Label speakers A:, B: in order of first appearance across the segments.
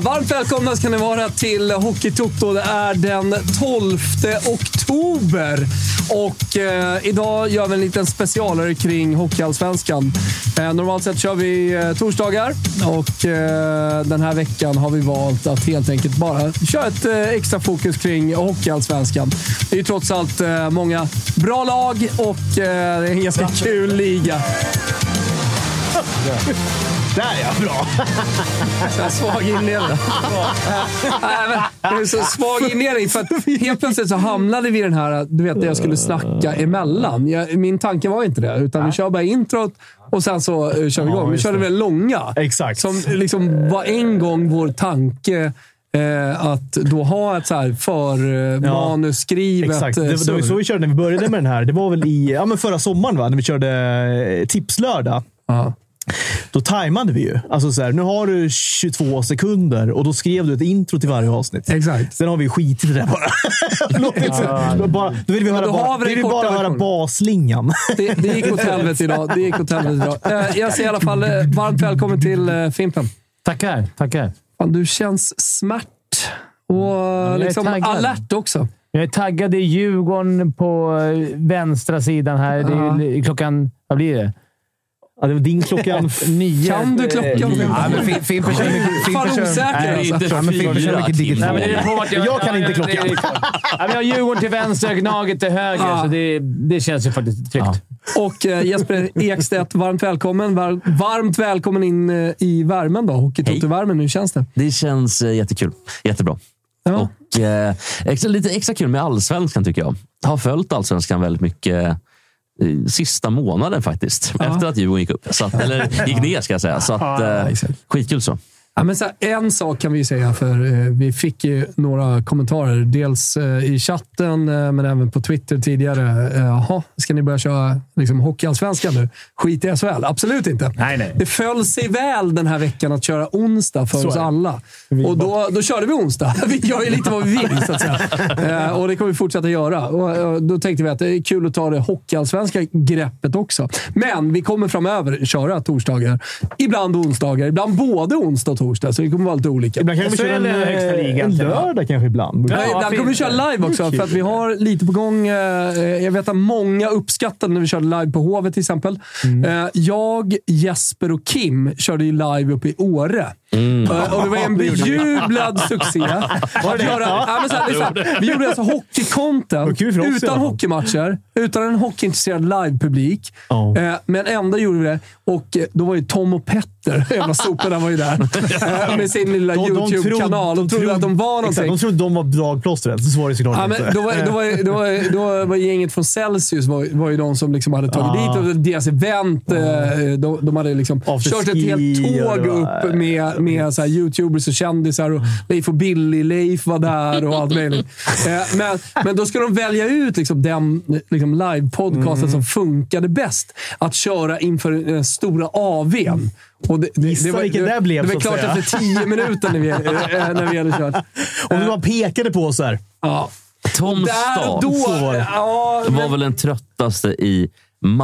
A: Varmt välkomna ska ni vara till Hockeytoto. Det är den 12 oktober och eh, idag gör vi en liten specialare kring Hockeyallsvenskan. Eh, normalt sett kör vi eh, torsdagar och eh, den här veckan har vi valt att helt enkelt bara köra ett eh, extra fokus kring Hockeyallsvenskan. Det är ju trots allt eh, många bra lag och eh, det är en ganska kul liga.
B: Där ja, bra.
A: Så här svag inledning. Nej, men det är så svag inledning. För att helt plötsligt så hamnade vi i den här, du vet, när jag skulle snacka emellan. Jag, min tanke var inte det, utan vi kör bara introt och sen så eh, kör vi igång. Vi körde väl långa.
B: Exakt.
A: Som liksom var en gång vår tanke. Eh, att då ha ett så här eh, förmanuskrivet...
B: Exakt. Det, det var ju så vi körde när vi började med den här. Det var väl i ja, men förra sommaren, va? när vi körde eh, tipslördag.
A: Ja.
B: Då tajmade vi ju. Alltså så här, nu har du 22 sekunder och då skrev du ett intro till varje avsnitt.
A: Exakt.
B: Sen har vi skitit i det där bara. Låtit, så- bara. Då vill vi, höra,
A: då har
B: bara,
A: vi
B: vi
A: den
B: vill bara
A: korta
B: höra
A: versionen.
B: basslingan.
A: Det, det gick åt helvete idag. Det gick åt helvete idag. Eh, jag säger i alla fall eh, varmt välkommen till eh, Fimpen.
C: Tackar, tackar.
A: Fan, du känns smärt och
C: Mm. jag är
A: liksom
C: taggad.
A: alert också.
C: Jag är taggad. Det är Djurgården på eh, vänstra sidan här. Det är ju klockan... Vad blir det?
B: Ja, det var din klockan
C: Nio?
A: Kan du klockan?
D: Ja, men Fim- Fimpen kör mycket, Fimpen
A: Fan
D: kör,
A: osäker
D: Nej,
A: alltså.
D: ja, men Fimpen kör mycket
C: Nej, men det är
D: digitalt.
C: på att jag,
B: Jag kan inte
C: det är
B: klockan.
C: liksom- Ja, men jag har Djurgården till vänster och Gnaget till höger,
A: Ja.
C: så det, det känns ju faktiskt tryggt.
A: Och eh, Jesper Ekstedt, varmt välkommen. Var, varmt välkommen in eh, i värmen då. Hockeytoto-värmen. Hur känns det?
D: Det känns eh, jättekul. Jättebra.
A: Ja.
D: Och, eh, extra, lite extra kul med allsvenskan tycker jag. Har följt allsvenskan väldigt mycket eh, sista månaden faktiskt. Efter att Djurgården gick upp. Så att, eller gick ner ska jag säga. Så att,
A: Ja,
D: eh,
A: exakt.
D: skitkul så.
A: Ja, men så här, en sak kan vi ju säga, för eh, vi fick ju några kommentarer. Dels eh, i chatten, eh, men även på Twitter tidigare. Eh, Jaha, ska ni börja köra liksom, hockeyallsvenskan nu? Skit i SHL. Absolut inte.
C: Nej, nej.
A: Det föll sig väl den här veckan att köra onsdag för oss
B: är det.
A: alla. Och då, då körde vi onsdag. Vi gör ju lite vad vi vill, så att säga. Eh, och det kommer vi fortsätta göra. Och, eh, då tänkte vi att det är kul att ta det hockeyallsvenska greppet också. Men vi kommer framöver köra torsdagar. Ibland onsdagar, ibland både onsdag och torsdag. Så det kommer vara lite olika.
B: Ibland kanske vi
C: SHL
B: kör en,
C: är högsta
B: eh,
C: ligan,
B: en
C: till och med.
B: lördag kanske ibland.
A: Ja,
C: Ja,
A: ibland
C: fint.
A: kommer vi köra live också, för att vi har lite på gång. eh, Jag vet att många uppskattade när vi körde live på Hovet till exempel. Eh, Jag, Jesper och Kim körde ju live uppe i Åre. Eh, Och det var en bejublad succé. Att göra- ja, men så här, det är så här, Vi gjorde alltså
B: Vad
A: hockeycontent
B: kul för oss i
A: utan
B: alla fall.
A: hockeymatcher, utan en hockeyintresserad livepublik.
B: Ja.
A: Eh, Men ändå gjorde vi det. Och eh, då var ju Tom och Petter, jävla soporna, var ju där. Eh, Med sin lilla YouTube-kanal. De trodde att de var någonting.
B: Exakt, de trodde de var dragplåstret. Så var det såklart
A: Ja, men
B: inte.
A: då, var, då, var, då, var, då var gänget från Celsius var, var ju de som liksom hade tagit
B: Ah.
A: dit och deras event. eh, De, de hade liksom
B: After
A: kört ett
B: ski
A: helt
B: och
A: tåg
B: det var-
A: upp med, med så här youtubers och kändisar. Och Leif och Billy, Leif var där och allt möjligt. Eh, Men, men då skulle de välja ut liksom den liksom live-podcasten
B: Mm.
A: som funkade bäst att köra inför den stora AWn. Och det, det,
B: Gissa vilken det blev,
A: det var
B: så att
A: klart
B: säga.
A: efter tio minuter när vi, eh, när vi hade kört.
B: Om
A: Eh.
B: du bara pekade på så här.
A: Ja.
D: Tom
A: Där och
D: Stad
A: då...
B: Så var det.
A: Ja,
D: var väl den tröttaste i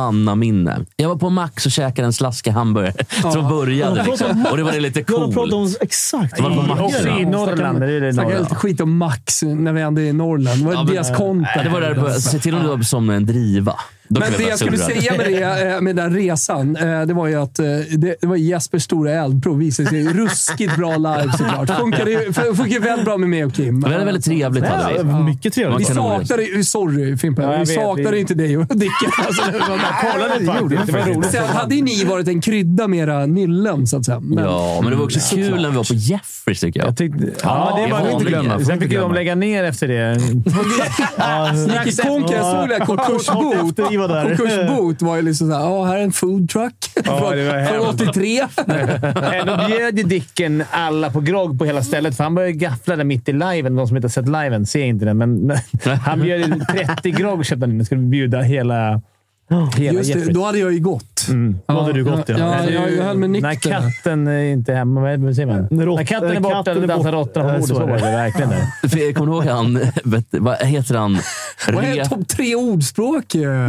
D: mannaminne. Jag var på Max och käkade en slaskig hamburgare som började. Liksom. Och det var det lite
B: Ja, de
D: cool.
B: pratade om exakt.
D: Det var på Max.
C: Också i Norrland. Det är det
A: Snacka lite
C: norra.
A: skit om Max när vi ändå är i Norrland. Vad är
D: Ja, men-
A: deras konto?
D: Nej, det var där det började. Se till om du var som en driva. Då
A: Men
D: kunde
A: det jag skulle
D: bara surra.
A: säga med, det, eh, med den resan, eh, det var ju att eh, det, det var Jespers stora eldprov. Visade sig ruskigt bra live såklart. Funkade ju- f- Funkar väldigt bra med mig och Kim.
D: Det var väldigt trevligt. hade vi.
B: Ja, mycket
D: Man
A: Vi
B: trevligt.
D: kan-
A: saknade ju... Sorry Fimpen.
C: jag
A: vi
C: vet,
A: saknade
C: vi-
A: ju inte dig och Dicken. Alltså, det var bara-
B: Det var roligt.
A: Sen hade ju ni varit en krydda med era nyllen, så att säga. Men,
D: Ja, men det var också kul när vi var på Jeffrey tycker jag.
C: Jag tyckte, ja,
D: det
C: det var
D: får man
C: inte
D: inte glömma,
C: glömma.
D: får
C: Sen
D: inte
C: fick ju de
D: glömma.
C: lägga ner efter det.
A: Nicky Konke, jag såg det. här,
B: Kort
A: Konkursbot.
B: efter vi var där.
A: Konkursbot var ju liksom såhär, ja, här är en food truck från,
C: det var
A: från
C: hemskt.
A: 83.
C: Då bjöd ju Dicken alla på grogg på hela stället, för han började gaffla där mitt i liven. De som inte har sett liven ser inte den, men han bjöd in 30 grogg köpte han in. Nu skulle bjuda hela... hela
A: Just det,
C: Jefferies.
A: då hade jag ju gått.
B: gott.
A: Ja,
C: Mådde du gott, ja.
A: ja, jag- jag höll mig nykter.
C: När katten är inte är hemma. Vad säger man?
B: Rått-
C: när katten är
B: eh,
C: borta
B: katten är
C: dansar
B: borta.
C: råttorna på
B: Eh,
C: bordet.
B: så
C: Så
B: är
C: var det verkligen. det.
D: För jag kommer ihåg han, vet, vad heter han?
A: Vad är
D: Re-
A: topp tre ordspråk ju?
C: Men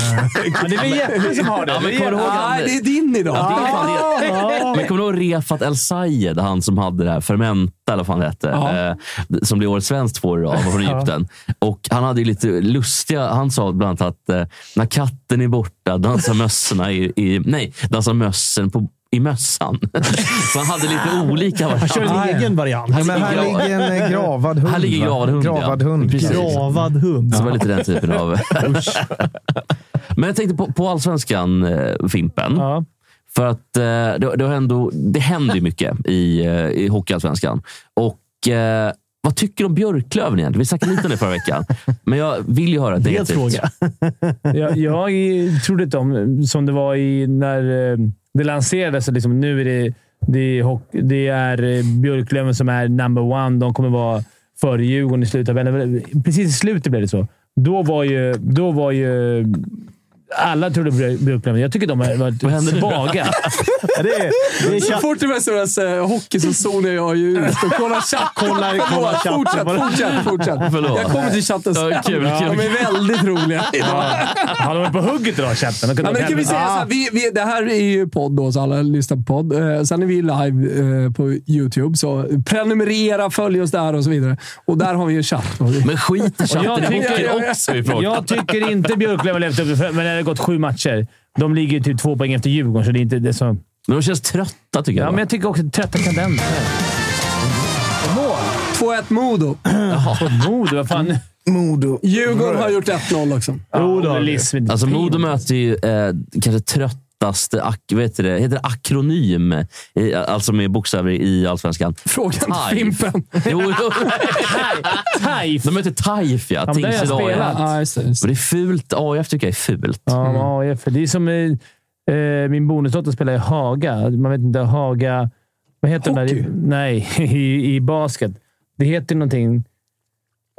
C: det är väl Jeppe som har det?
D: Ja, men
C: Det är
D: kommer du ihåg
C: Jeppe.
D: han-
A: Nej, det är din idag.
D: Ja, det är fan det. Men kommer du ihåg Refat El Sayed? Han som hade det här Fermenta, eller vad fan det hette.
A: Ja.
D: Eh, som blev årets svenskt två år i rad. Han var från Egypten. Och han hade ju lite lustiga... Han sa bland annat att eh, när katten är borta dansar mössorna i... i nej, dansar mössen på, i mössan. Så han hade lite olika
B: Kör
D: varandra.
B: en egen variant.
D: Han
E: Men här
D: ligger-
E: ligger en eh, gravad hund.
D: Här ligger
E: va?
D: gravad hund, ja.
E: Gravad hund.
D: Precis.
B: Gravad hund.
D: Så det var lite den typen av... Men jag tänkte på, på allsvenskan, eh, Fimpen.
C: Ja.
D: För att eh, det, det, har ändå, det händer ju mycket i, eh, i Hockeyallsvenskan. Och eh, vad tycker du om Björklöven egentligen? Vi snackade lite om det förra veckan. Men jag vill ju höra ett
B: Helt
D: negativt.
B: fråga.
C: Jag, jag trodde inte om, som det var i, när eh, det lanserades, att liksom, nu är det, det, är, hock- det är eh, Björklöven som är number one. De kommer vara före Djurgården i sluttabellen. Precis i slutet blev det så. Då var ju... Då var ju alla trodde på Björklöven. Jag tycker de har varit svaga.
B: Ja, Det är, det är
A: Så
B: chatt.
A: fort det mestadels eh, hockey så zonar jag ju ut och kollar chatten.
B: Kollar- kollar
A: Förlåt,
B: chatten.
A: Fortsätt, fortsätt, fortsätt.
D: Förlåt.
A: Jag kommer till chatten sen.
D: Ja, kul,
A: De
D: kul.
A: är väldigt roliga idag.
C: Har de varit på hugget idag, chatten? De kunde
A: Ja, men
C: åka
A: kan vi
C: hem.
A: säga så här, vi, vi, det här är ju podd då, så alla lyssnar på podd. Eh, sen är vi live eh, på YouTube, så prenumerera, följ oss där och så vidare. Och där har vi ju chatt.
D: Men skit i
C: jag
D: chatten. Det
C: tycker-
D: tycker också i frågan.
C: Jag tycker inte Björklöven har levt upp till Men det har gått sju matcher. De ligger ju typ två poäng efter Djurgården, så det är inte det som...
D: Men de känns trötta tycker
C: Ja,
D: jag.
C: men jag tycker också trötta tendenser.
A: 2-1 Modo.
C: Mod, vad fan?
E: Modo.
A: Djurgården har gjort 1-0 också.
C: Jo, det har vi.
D: Alltså Modo möter ju eh, kanske tröttaste, ak, vad heter det, heter det akronym, i, alltså med bokstäver i Allsvenskan.
A: Frågan till
D: Taj.
A: Fimpen.
D: Jo, jo.
C: Taif!
D: De möter Taif, ja.
C: men där har jag
D: Tingsryd
C: spelat.
D: AIF.
A: Ja, just det, just
D: Och
A: det.
D: Det är fult. AIF tycker jag är fult.
C: Ja, men AIF. Det är som eh, eh, min bonusdotter spelar i Haga. Man vet inte. Haga... Vad heter den där?
A: Hockey?
C: i- Nej, i, i basket. Det heter någonting...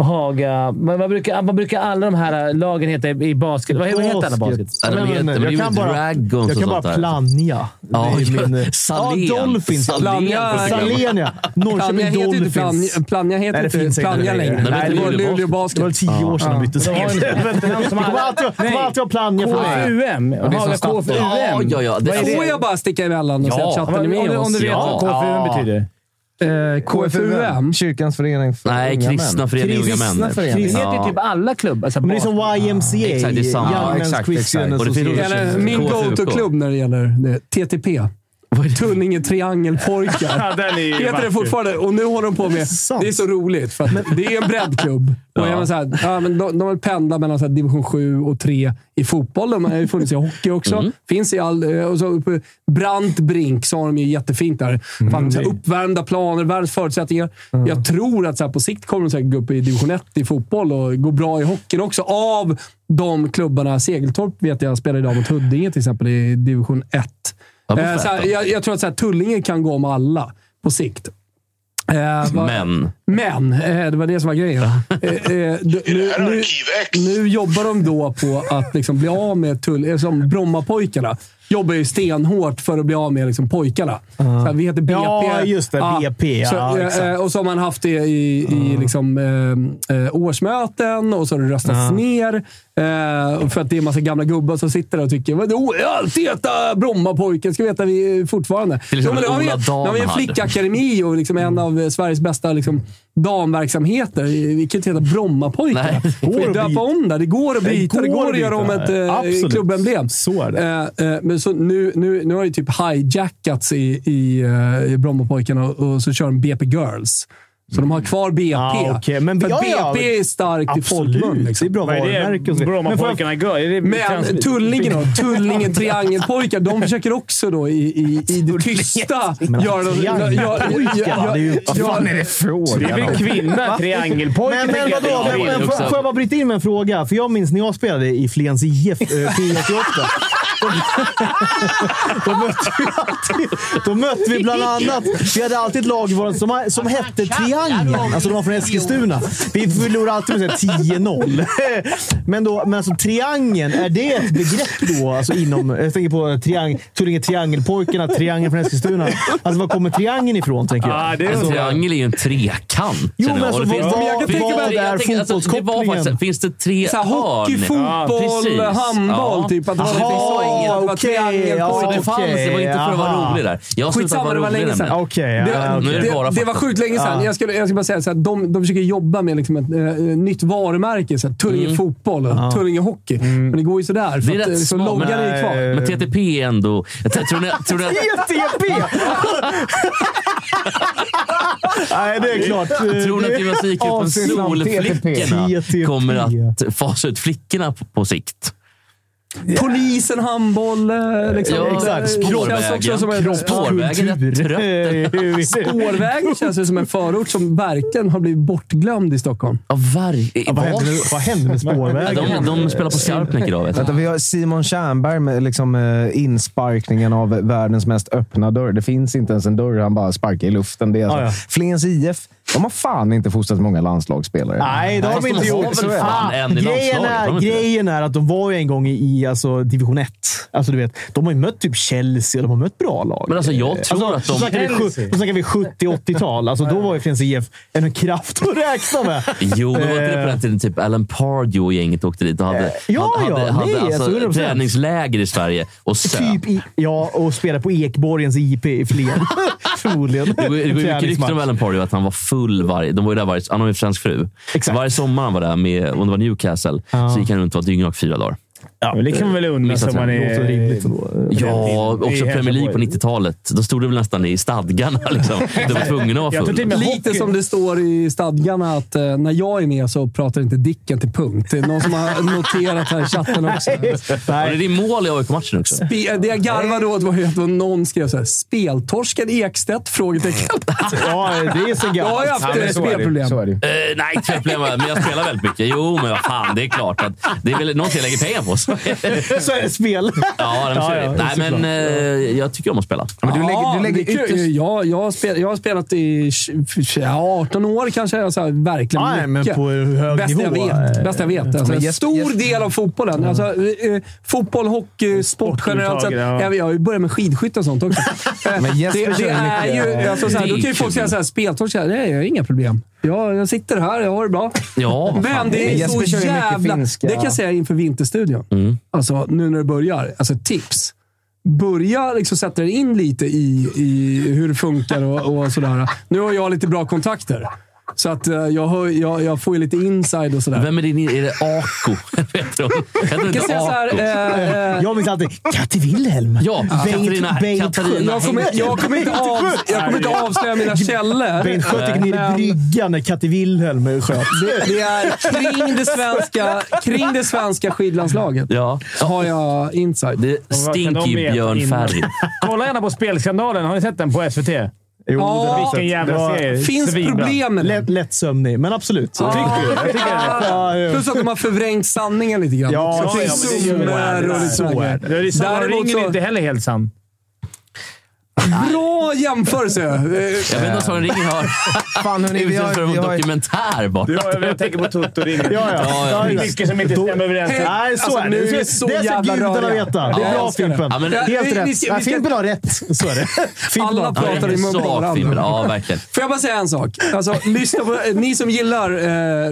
C: Haga... Men vad, brukar, vad brukar alla de här lagen heta i, i basket? Vad, vad heter alla
B: Basket.
C: basket?
D: Ja, de heter- men det är ju Dragons
B: jag
D: och
B: kan
D: sånt
B: bara
D: där.
B: planja.
D: Ja,
B: det är min,
D: Salén.
B: Ja, Dolphins.
D: Salén.
A: Planja-
B: Salén,
A: Planja
B: ja. Norrköping
A: heter inte Planja,
B: Dolphins.
A: Planja, heter
B: Nej, det finns
A: inte
B: inte
A: Planja
B: längre.
A: längre.
D: Nej,
A: Nej,
D: det
A: det var
D: är Luleå
A: Luleå
B: Det var
A: Basket.
B: tio år sedan de bytte
C: De har
B: serie.
C: en-
B: Det kommer alltid
C: Nej.
B: kommer alltid vara planja för mig.
C: KFUM.
E: det är som
C: Haga
E: staten.
C: KFUM.
D: Ja, ja, ja. Det-
C: Vad är
A: Får
C: det?
A: jag bara sticka emellan och säga att
D: Ja.
A: chatten är
C: Om
A: med
C: du, om
A: oss?
C: du vet
D: Ja.
C: vad KFUM betyder.
A: Eh, KFUM?
E: Kyrkans förening för
D: Nej,
E: unga
D: kristna
E: män.
D: förening Unga Män.
E: Kristna förening.
C: Det heter
D: Ja.
C: ju typ alla klubbar. Alltså
B: Men det är som
C: bas-
B: YMCA.
D: Exakt, det är samma.
B: Young
D: Ja,
B: Men's
E: exakt,
B: Christian
E: exakt.
D: Och det finns-
B: Association.
A: Eller min
D: KFUK.
A: go-to-klubb när det gäller det. TTP. Tunninge Triangelpojkar.
C: Den är ju
A: Heter det
C: vacker.
A: fortfarande. Och nu håller de på med...
B: sant.
A: Det är så roligt, för att det är en breddklubb. Och jag menar så här, ja, men de, de pendlar mellan så här division 7 och 3 i fotboll. De har ju funnits i hockey också. Finns i all... eh, Och så uppe Brantbrink så har de ju jättefint där. Fan, så här, uppvärmda planer, världens förutsättningar. Jag tror att så här, på sikt kommer de säkert gå upp i division 1 i fotboll och gå bra i hockeyn också. Av de klubbarna. Segeltorp vet jag spelar idag mot Huddinge till exempel i division 1.
D: Ja, vad
A: Eh,
D: fett
A: så här,
D: då.
A: jag, jag tror att så här, Tullinge kan gå om alla på sikt. Eh, vad-
D: Men.
A: men, eh, det var det som var grejen. Eh, eh, d- nu, nu, nu jobbar de då på att liksom bli av med tull, eh, som Brommapojkarna. Jobbar ju stenhårt för att bli av med liksom pojkarna. Så här, vi heter BP.
B: Ja, just det, BP, ja,
A: så, eh,
B: exakt.
A: eh, och så har man haft det i, i liksom, eh, eh, årsmöten och så har det röstats ner. Eh, för att det är en massa gamla gubbar som sitter där och tycker vadå, jag har alltid hetat Brommapojken. Ska veta vi fortfarande.
D: Till
B: liksom
D: exempel
A: nu har vi,
D: Ola
A: nu har vi en
D: Danhard.
A: flicka Akademi och liksom en av eh, Sveriges bästa liksom, damverksamheter. Vi kan inte heta Brommapojkarna.
D: Nej.
A: Får vi
B: Går att
A: döpa
B: byta.
A: om där. Det går att byta. Det
B: går
A: går
B: att
A: att göra om
B: byta.
A: ett eh,
B: Absolut.
A: klubbemblem.
B: Så är det.
A: Eh, eh, men så nu, nu, nu har det typ hijackats i, i, eh, i Brommapojkarna och, och så kör de BP Girls. Så de har kvar BP.
B: Ah, okej. Men
A: För
B: ja, ja.
A: BP är starkt i folkmun.
B: Absolut. Det är
A: Liksom.
B: bra
C: Vad är
B: varumärke. och så
C: det
B: vidare. Men får jag-
C: Brommapojkarna gör? Är det
A: Men
C: trans-
A: Tullinge då? Tullinge Triangelpojkar, de försöker också då i, i, i det tysta göra...
B: Triangelpojkar, det är ju-
E: Vad fan är det
C: Det är
E: frågan
C: väl
E: om?
C: kvinna, triangelpojke.
B: Men, men vadå? Men, men, får, får jag bara bryta in med en fråga? För jag minns när jag spelade i Flens IF, eh, P88. Då mötte vi alltid, då mötte vi bland annat... Vi hade alltid ett lag i våran som, som hette Triangeln. Alltså de var från Eskilstuna. Vi förlorade alltid med så här 10-0. Men, då, men alltså triangeln, är det ett begrepp då? Alltså inom, jag tänker på triang, Tullinge Triangelpojkarna, Triangeln från Eskilstuna. Alltså var kommer triangeln ifrån, tänker jag?
C: Ah, det är
D: En
C: så.
D: alltså, triangel är ju en trekant.
B: Jo,
D: eller?
B: men alltså,
D: Och det finns-
B: vad- vad- jag kan tänka mig
D: vad-
B: att det
D: jag
B: är
D: tänker, alltså, det var
B: fotbollskopplingen.
D: faktiskt- Finns det tre
A: Så här, hockey,
D: hörn?
A: fotboll,
D: Ja, precis.
A: handboll.
D: Ja.
A: Typ, att det var lite
B: Aha,
A: så enkelt. Det var
B: okej,
A: triangelpojkar.
D: Så
B: ja.
D: det fanns, det var inte för att vara
B: Aha.
D: rolig där. Jag
A: Skitsamma,
D: slutade vara
A: det var
D: rolig
A: länge
D: den
A: sedan.
D: där.
B: Okej,
A: Det,
B: ja, okej.
D: nu är det bara
A: det, det var
D: fakta.
A: sjukt länge sedan.
B: Ja.
A: Jag, skulle, jag skulle bara säga så här, de, de försöker jobba med liksom ett eh, nytt varumärke. Så här, Tullinge fotboll och Tullinge hockey. Men det går ju sådär. För
D: Mm. Det
A: att,
D: är rätt
A: eh, liksom,
D: smart,
A: loggan
D: men- eh,
A: är ju kvar.
D: Men TTP är ändå... Jag tror- Tror ni, tror ni att,
B: ETP! Nej, det är klart.
D: tror ni att gymnastikgruppen
E: Avsnitt namn,
D: Solflickorna
B: TTP.
D: kommer att fasa ut flickorna på, på sikt?
A: Polisen, handboll. eh, Liksom.
D: Ja,
B: exakt.
A: Det känns
D: Spårvägen.
A: också som en,
D: Spårvägen är trött.
B: trött.
A: Spårvägen känns ju som en förort som verkligen har blivit bortglömd i Stockholm.
D: Ja, var,
B: Vad hände med, vad hände med
D: de,
B: spårvägen?
D: de spelar på Skarpnäck idag. Vet
E: Vänta,
D: du.
E: vi har Simon Tjernberg med liksom, eh, insparkningen av världens mest öppna dörr. Det finns inte ens en dörr, han bara sparkar i luften. Det är alltså,
B: Ah, ja.
E: Flens IF, de har fan inte fostrat många landslagsspelare.
B: Nej, det har de
E: Nej,
B: inte
E: så
B: gjort.
E: är det.
D: fan en i
B: grejen,
D: landslaget, har de
B: är,
D: inte det?
B: grejen är att de var ju en gång i alltså, division 1. Alltså, du vet, de har ju mött typ Chelsea och de har mött bra lag.
D: Men alltså, jag tror att de-
B: Då snackar vi sju- då snackar vi 70-80-tal. Alltså, då var ju Flens IF en kraft att räkna med.
D: Jo, men var inte det på den tiden typ Alan Pardew och gänget åkte dit och hade,
B: Eh. ja,
D: hade,
B: ja,
D: hade
B: nej, alltså, 100%.
D: träningsläger i Sverige och söp.
B: Typ i, ja, och spela på Ekborgens IP i Flen. Förmodligen.
D: Det går det går ju mycket rykten om Alan Pardew att han var full varje... De var ju där varje, han har ju en svensk fru.
B: Exakt.
D: Varje sommar han var där, med, om det var Newcastle, så gick han runt och var dyngrak fyra dagar.
C: Ja, men det kan man väl unna
D: Missat
C: sig om man
D: den.
B: Det låter
C: är...
B: rimligt ändå.
D: Ja,
C: det är
D: också
C: helt
D: Premier League på
C: sjukt.
D: 90-talet. Då stod det väl nästan i stadgarna. Liksom. De var tvungna att
C: Jag tror
D: vara
C: till och
D: full.
C: med
A: Lite
C: hockey-
A: som det står i stadgarna att eh, när jag är med så pratar inte Dicken till punkt. Det är någon som har noterat här i chatten också.
D: Var det din mål i AIK-matchen också?
A: Spe- Det jag garvade åt var ju att någon skrev såhär “Speltorsken Ekstedt?” frågetecken.
B: Ja, det är så
A: Jag har ju
B: gammalt.
A: haft
E: men
A: eh,
E: så är det ju.
A: spelproblem.
E: Så är det ju.
D: Eh, nej, inte problem. Men jag spelar väldigt mycket. Jo, men vad fan, det är klart att det är väl något jag lägger pengar på. Så.
B: Så är det spel.
D: Ja, men så är det. Nej, men eh, jag tycker om att spela.
E: Men du lägger, du lägger
A: det är kul.
E: ytterst...
A: ja, jag, har spel, jag har spelat i tj- tj- 18 år kanske. Jag så här, verkligen
B: Nej, men
A: mycket.
B: på hög
A: Bäst
B: nivå.
A: Jag vet, bäst jag vet. Alltså, en
E: Jes-
A: stor
E: Jes-
A: del av fotbollen. Alltså, eh, eh, fotboll, hockey, sport generellt sett.
C: överhuvudtaget, ja.
A: Jag, jag har ju börjat med skidskytte och sånt också. Eh,
E: Men Jesper
A: det, det
E: kör
A: är
E: mycket-
A: ju... Alltså, så här,
D: Det
A: då
D: är
A: kan ju folk
D: kul.
A: säga såhär, speltorsk. Nej, jag har inga problem. Jag, jag sitter här, jag har det bra.
D: Ja, vad fan.
A: Men
E: Men
A: det är
E: Jesper
A: så
E: kör ju mycket
A: jävla...
E: finska.
A: Det kan jag säga inför Vinterstudion. Alltså, nu när det börjar. Alltså, tips. Börja liksom sätta dig in lite i, i hur det funkar och, och sådär. Nu har jag lite bra kontakter. Så att eh, jag, hör, jag, jag får ju lite inside och sådär.
D: Vem är din... Är det Ako? Heter hon? Heter
A: Jag
D: hon
A: kan
D: inte
A: säga så här,
D: Ako?
A: eh, eh,
B: Jag minns alltid Katte Wilhelm.
D: Ja, Katarina, Katarina
A: jag kommer, jag kommer inte, av, jag kommer inte avslöja mina källor.
B: Bengt Sköld gick ner i
A: Men-
B: bryggan när Katte Wilhelm sköt.
A: Det, det är kring det svenska, kring det svenska skidlandslaget.
D: Ja.
A: Har jag inside.
D: Det
C: Vad kan
D: stinker
C: de
D: ju
C: veta
D: Björn
C: innan?
D: Ferry.
C: Kolla gärna på Spelskandalen. Har ni sett den på SVT?
B: Jo,
A: Ja,
B: det har jag
C: Vilken
B: sett. Det
C: jävla
B: var
C: serie.
A: Finns
C: Svinbra.
A: problem med det?
B: Lätt, lätt sömnig, men absolut. Så
A: Ah.
B: tycker jag. Ja, ja.
A: Plus att de har förvrängt sanningen lite grann.
B: Ja,
A: också.
B: ja,
A: det är
B: men det är ju-
A: summor och lite
B: så
A: sådana grejer.
B: är det.
C: Det är ju så, de
A: Däremot
C: ringer
A: så-
C: inte heller helt sann.
A: Bra jämförelse! Eh,
D: Jag vet inte om Sara Ringer har
E: Fan, hörni, vi
D: utsatts
E: har,
D: för en
E: vi har,
D: dokumentär bara.
C: Jag tänker på Toto Ring.
B: Ja, ja.
D: Ja, ja,
B: Ja,
C: Det är
B: visst.
C: mycket som inte
B: Då-
C: stämmer överens.
A: Hej.
B: Nej, så
A: Alltså,
B: är
A: nu
B: det.
A: är
B: Det
A: det
B: ska
A: så
B: det ska
A: jävla
B: gudarna
A: röriga.
B: veta. Det
A: Ja,
B: är
A: jag
B: bra,
A: älskar det.
B: Fimpen.
D: Ja, men-
B: Helt
A: vi- vi
B: rätt.
A: ska-
B: Ja,
A: vi ska-
B: Fimpen har rätt. Så är det. Fimpen
A: Alla
B: har-
A: pratar
D: Ja, det är
A: i mun på
D: sak,
A: varandra.
D: Fimpen. Ja, verkligen.
A: Får jag bara säga en sak? Alltså, lyssna på, eh, ni som gillar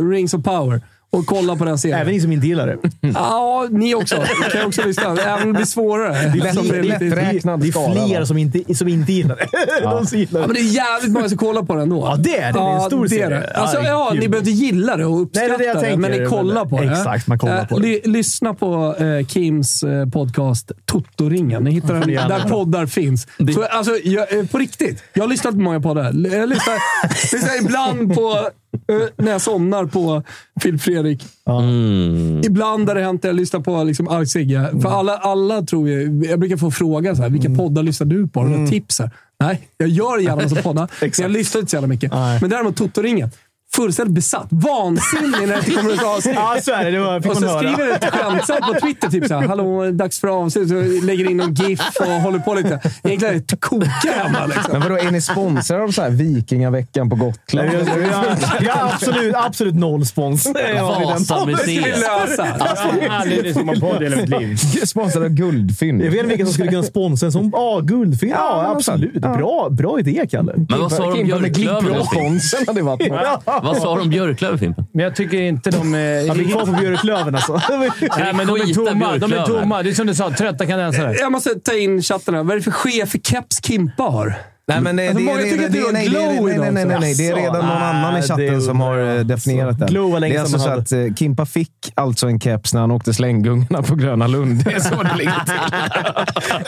A: eh, Rings of Power och kolla på den serien.
B: Även ni som inte gillar det.
A: Ja, ni också. Ni kan också lyssna. Även om det blir svårare.
E: lätt-
A: Som är lite-
E: lätt- Räknad
B: det
E: skala,
B: är fler
E: va?
B: som inte, som inte gillar det. De som gillar
A: Ja, men
B: det.
A: det är jävligt många som kollar på den ändå.
B: Ja, det är det. Det är en stor
A: det är
B: serie.
A: det. Alltså,
B: Ja,
A: ja,
B: kul.
A: ni behöver inte gilla det och
B: Nej, det
A: uppskatta
B: är det jag
A: det,
B: tänker.
A: men ni kollar på det.
B: Exakt, man kollar
A: Eh,
B: på det.
A: ly- Lyssna på eh, Kims eh, podcast Totoringen. Ni hittar den
B: gärna.
A: där poddar finns. Så, alltså, jag, eh, på riktigt. Jag har lyssnat på många poddar. L- Jag lyssnar, lyssnar ibland på eh, när jag somnar på Filip Fredrik.
B: Mm.
A: Ibland har det hänt att jag lyssnar på liksom Alex Sigge. För alla, alla tror ju... Jag brukar få frågan så här, vilka poddar lyssnar du på?
B: Mm.
A: Mm. Tips här. Nej, jag gör gärna massa poddar. men jag lyssnar inte så jävla mycket.
B: Nej.
A: Men däremot Totoringen. fullständigt besatt. Vansinnig när det inte kommer ett avsnitt.
B: Ja, så är det. Det var, fick
A: Och
B: man
A: så
B: höra.
A: skriver ett skämtsamt på Twitter, typ såhär “Hallå, dags för avsnitt”. Så lägger in någon GIF och håller på lite. Egentligen är det kokar hemma. Liksom.
E: Men vadå, är ni sponsrade av så här Vikingaveckan på Gotland?
B: Vi har, vi har, vi har absolut, absolut noll spons. Det har vi
A: Det
B: den.
A: är
D: Vasamuseet.
A: lösa.
C: Jag har aldrig lyssnat på en podd i hela mitt liv.
E: Sponsrade av Guldfynd.
B: Jag vet inte vilka som skulle kunna sponsra en sån. Ja, guldfilm. Ja,
E: men
B: absolut.
E: absolut. Ja.
B: Bra, bra idé, Kalle.
D: Men vad sa de om
E: Kimpa med
D: Björklöven?
E: Glipp-
D: älskling?
E: Sponsen hade varit något.
D: Vad sa de om Björklöven, Fimpen?
C: Men jag tycker inte de eh, är...
B: Han blir kvar på Björklöven alltså.
C: Nej, men de är
D: Skita
C: tomma. De är
D: björklöven.
C: tomma. Det är som du sa, trötta kanadensare.
A: Jag måste ta in chatten här. Vad är det för chef i keps Kimpa har?
E: Nej, men det,
A: Alltså,
E: det,
A: många
E: det,
A: tycker
E: det,
A: att du har
E: det, nej, det,
A: glow
E: nej, nej,
A: idag,
E: nej, nej, nej. Det är
B: alltså.
E: redan någon annan i
B: Nej, det
E: chatten
B: är
E: som har eh, definierat det.
B: Glow var länge
E: Det är alltså
B: sedan
E: så
B: man
E: att eh, Kimpa fick alltså en keps när han åkte slänggungarna på Gröna Lund. Det är så det ligger till.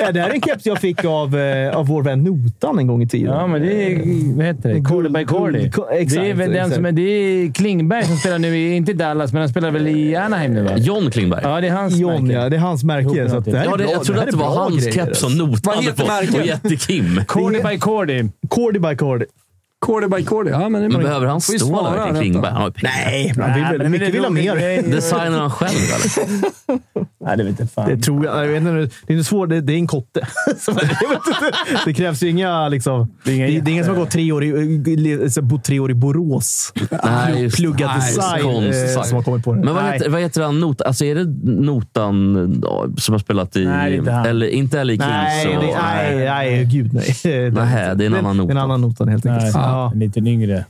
B: Ja, det här är en keps jag fick av, eh, av vår vän Notan en gång i tiden.
C: Ja, men det är... Vad heter det?
B: Guld-
C: Cordy by Cordy.
B: guld- ko- exakt,
C: Det är väl den
B: exakt.
C: som är... Det är Klingberg som spelar nu i... Inte i Dallas, men han spelar väl i Anaheim nu, va?
D: John Klingberg.
C: Ja, det är hans
B: John,
C: märke.
B: ja, det är hans märke. Så att det här är
D: Ja, det,
B: bra.
D: jag trodde
B: här
D: att det
B: är
D: var
B: bra
D: hans
B: grejer, alltså.
D: keps som
A: Vad
D: notade
A: heter
D: på.
A: märket?
D: Och jätte-Kim.
C: Cordy by Cordy.
B: Cordy by Cordy.
A: Cordy by Cordy. Ja, men det är
D: Men
A: bra.
D: behöver han
A: Får ju
D: stå
A: svara
D: där till
A: rätt
D: Klingberg? Han har ju pengar.
B: Nej, men han vill,
C: Nej,
B: väl-
C: men
B: mycket
C: det
B: vill ha
C: låter
B: mer.
C: grej.
D: Designar han själv, eller?
C: Nej, det vet jag fan.
B: Det tror jag. jag vet inte, det är inte svårt. Det, det är en kotte. Så det är väl inte- det krävs ju inga... Liksom, det, är
C: inga
B: det är ingen som har gått tre år i, så här, bott tre år i Borås
D: Nej, just-
B: och pluggat
D: nej,
B: design eh,
D: konstdesign.
B: som har kommit på det.
D: Men vad
C: Nej.
D: heter, vad heter han? Not, alltså är det Notan ja, som har spelat i...
C: Nej, det är inte han.
D: eller, inte Ellie Kings?
B: Nej,
D: och,
B: det, nej, nej, gud nej.
D: Nähä, det är en annan
B: Det är en
D: nota.
B: annan notan helt
C: Nej,
B: enkelt. Ja.
C: en liten yngre.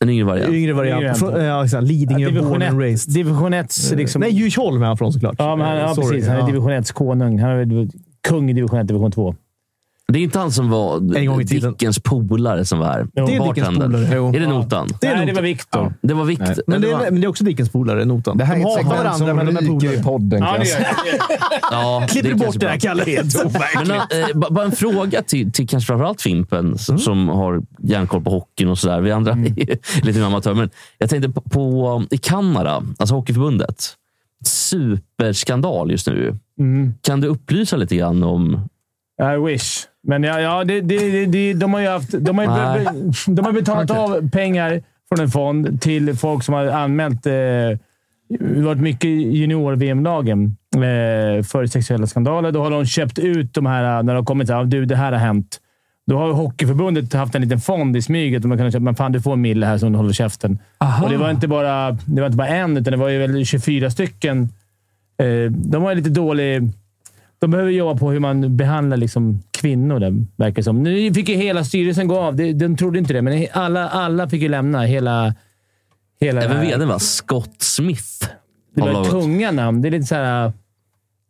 D: En yngre variant.
B: Yngre variant.
C: Yngre
B: Från,
C: variant.
B: ja, exakt. Lidingö, born
C: Division
B: and
C: 1.
B: raised.
C: Division 1 liksom...
B: Nej, Djursholm är han från såklart.
C: Ja, men han,
B: Eh,
C: ja,
B: sorry.
C: precis. Han är
B: Ja.
C: division 1 konung. Han är väl kung i division 1, division 2.
D: Det är inte han som var
B: En gång i tiden.
D: Dickens polare som var här?
C: Jo. Det är
B: Dickens
D: Bartendern.
B: polare. Jo.
D: Är det Notan?
B: Det är
C: Nej, det
B: nog-
C: var Viktor.
D: Det var Victor.
B: Men det, är, men det är också Dickens polare, notan.
E: Det här
B: de
E: är ett
B: hatar
E: segment
B: varandra,
E: som
B: men de är
E: ryker
B: polare.
E: i podden. kan jag säga.
D: Ja,
B: Klipper
D: är
B: du bort
D: kanske
B: det
D: bra.
B: här, Kalle?
D: Men, eh, ba- bara en fråga till, till kanske framförallt Fimpen
C: Mm.
D: som, som har järnkoll på hockeyn och sådär. Vi andra är lite mer amatörer. Men jag tänkte på, på um, i Kanada, alltså Hockeyförbundet. Superskandal just nu.
C: Mm.
D: Kan du upplysa lite grann om...
C: I wish. Men ja, ja det, det, det, det, de har ju haft... De har, ju be,
D: Nej.
C: be- de har betalat
D: Okej.
C: av pengar från en fond till folk som har anmält... Eh, det har varit mycket junior-VM-lagen eh, för sexuella skandaler. Då har de köpt ut de här, eh, när de har kommit så här, du det här har hänt. Då har Hockeyförbundet haft en liten fond i smyget. Och man kan köpa, men fan du får en mille här som du håller käften.
A: Aha.
C: Och det var, inte bara, det var inte bara en, utan det var ju väl 24 stycken. Eh, de har ju lite dålig... De behöver jobba på hur man behandlar liksom kvinnor, där, verkar det som. Nu fick ju hela styrelsen gå av. De, de trodde inte det, men he- alla, alla fick ju lämna. Hela... hela det
D: Även
C: här.
D: vdn va? Scott Smith.
C: Det
D: har
C: var
D: lagat.
C: tunga namn. Det är lite så här...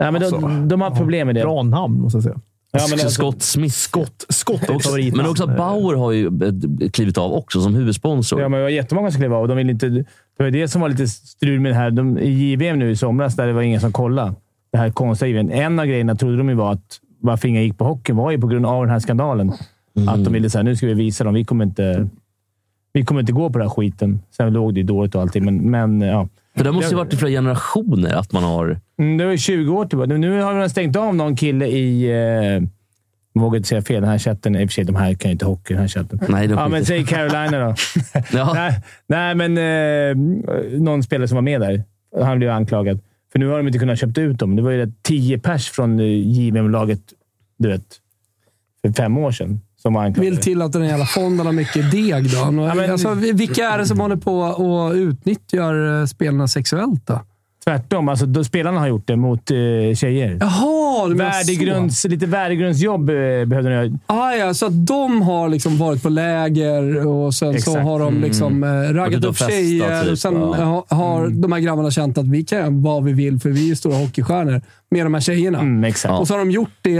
C: Nej, men de, de har problem med det.
B: Bra namn, måste jag säga.
C: Ja, men alltså,
D: Scott Smith.
B: Skott, skott är
D: Också,
B: favorit.
D: men också att Bauer har ju eh, klivit av också som huvudsponsor.
C: Ja, men det var jättemånga som klev av och de ville inte... Det var ju det som var lite strul med det här. De, I JVM nu i somras, där det var ingen som kollade. Det här konstiga JVM. En av grejerna trodde de ju var att varför ingen gick på hockeyn var ju på grund av den här skandalen.
D: Mm.
C: Att de ville säga nu ska vi visa dem. Vi kommer inte, vi kommer inte gå på den här skiten. Sen låg det ju dåligt och allting, men, men ja.
D: För det måste ju varit i flera generationer att man har...
C: Mm, det var ju 20 år tillbaka. Nu- Nu har de stängt av någon kille i... Eh, jag vågar inte säga fel. Den här chatten. I och för sig, de här kan ju inte hockey, den här chatten.
D: Nej, de
C: Ja, men
D: skiter.
C: säg Carolina då.
D: Ja,
C: nej, nej, men eh, någon spelare som var med där. Han blev anklagad. För nu har de inte kunnat köpt ut dem. Det var ju rätt 10 pers från eh, JVM-laget, du vet, för fem år sedan som var anklagade.
A: Vill till att den jävla fonden har mycket deg då.
C: men-
A: Alltså, vilka är det som håller på och utnyttjar eh, spelarna sexuellt då?
C: Tvärtom. Alltså, då, spelarna har gjort det mot eh, tjejer.
A: Jaha, du menar så.
C: Värdegrunds, lite värdegrundsjobb eh, behövde de göra.
A: Ah, ja, så att de har liksom varit på läger och sen så
C: Exakt.
A: har de liksom eh,
D: Varit
A: raggat
D: ute och
A: upp
D: festat,
A: tjejer.
D: typ,
A: och sen
D: ja.
A: ha- har de här grabbarna känt att vi kan göra vad vi vill för vi är ju stora hockeystjärnor med de här tjejerna.
C: Mm, exakt.
A: Och så har de gjort det.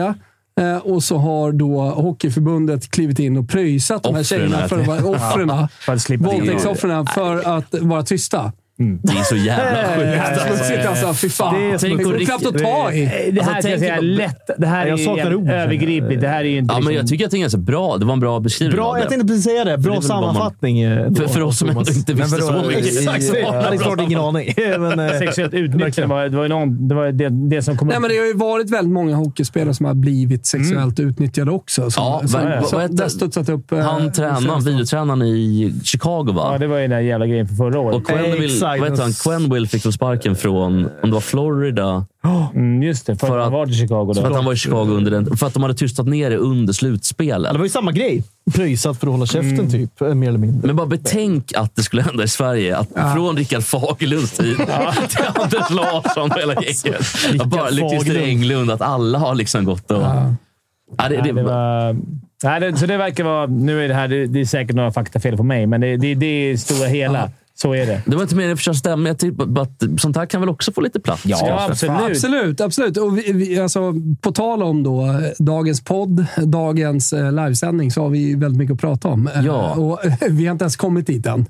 A: eh, Och så har då Hockeyförbundet klivit in och pröjsat de här
D: Offren
A: tjejerna,
D: här.
A: för att vara offren,
C: För att slippa det.
A: våldtäktsoffren, för att vara tysta.
D: Det är så jävla sjukt.
A: Då sitter han såhär, fy fan.
C: Det är som
A: Det
D: ett
A: går knappt att ta i.
C: eh, Det här kan jag säga är lätt. Det här
B: Jag
C: är
B: saknar ord.
C: ju övergripligt. Det här är ju inte... liksom
D: Ja, men jag tycker att det är ganska bra. Det var en bra beskrivning av
B: Bra,
D: det.
B: jag tänkte precis säga det.
D: det är
B: Bra
D: väl vad man-
B: sammanfattning. eh, då,
D: För, för oss som
B: Thomas.
D: ändå inte
E: Men
D: visste
E: vadå,
D: så mycket.
E: i-
D: Exakt så.
B: Jag hade klart ingen aning. Men, eh,
C: Sexuellt utnyttjande var, det var, ju någon, det, var det, det som kom
A: Nej,
C: upp.
A: men det har ju varit väldigt många hockeyspelare som har blivit sexuellt utnyttjade också. Som,
D: Ja,
A: som,
D: vad- vad-
A: som,
D: vad heter-
A: där studsat upp. eh,
D: Han tränaren, videotränaren i Chicago
C: Ja,
D: va?
C: det var ju den där jävla grejen för förra året.
D: Och Quenville,
B: Exakt.
D: vad heter han? Quenville fick väl sparken från, om det var Florida,
C: Mm, just det, för,
D: För
C: att han
D: att-
C: var i Chicago
D: för att
C: då.
D: han var i Chicago under den, för att de hade tystat ner det under slutspelet.
B: det var ju samma gej. Pröjsat för att hålla käften,
D: Mm.
B: typ. eh, Mer eller mindre.
D: Men bara betänk att det skulle hända i Sverige. Att Från Rickard Fagerlunds tid till Anders Larsson och hela gänget. Att bara
B: Rickard
D: Christer
B: Fagerlund.
D: Englund, att alla har liksom gått och... Ja. det,
C: Nej,
D: det,
C: det var, nej, det, så det verkar vara... Nu är det här... Det, det är säkert några faktafel på mig, men det, det, det är stora hela. Så är det.
D: det var inte meningen att förstöra stämningen. Jag tyckte bara att sånt här kan väl också få lite plats?
C: Ja,
D: kanske.
C: absolut.
A: Absolut, absolut. Och vi, vi, alltså, på tal om då, eh, dagens podd, dagens eh, livesändning, så har vi väldigt mycket att prata om. Eh,
D: Ja.
A: Och, vi har inte ens kommit dit än.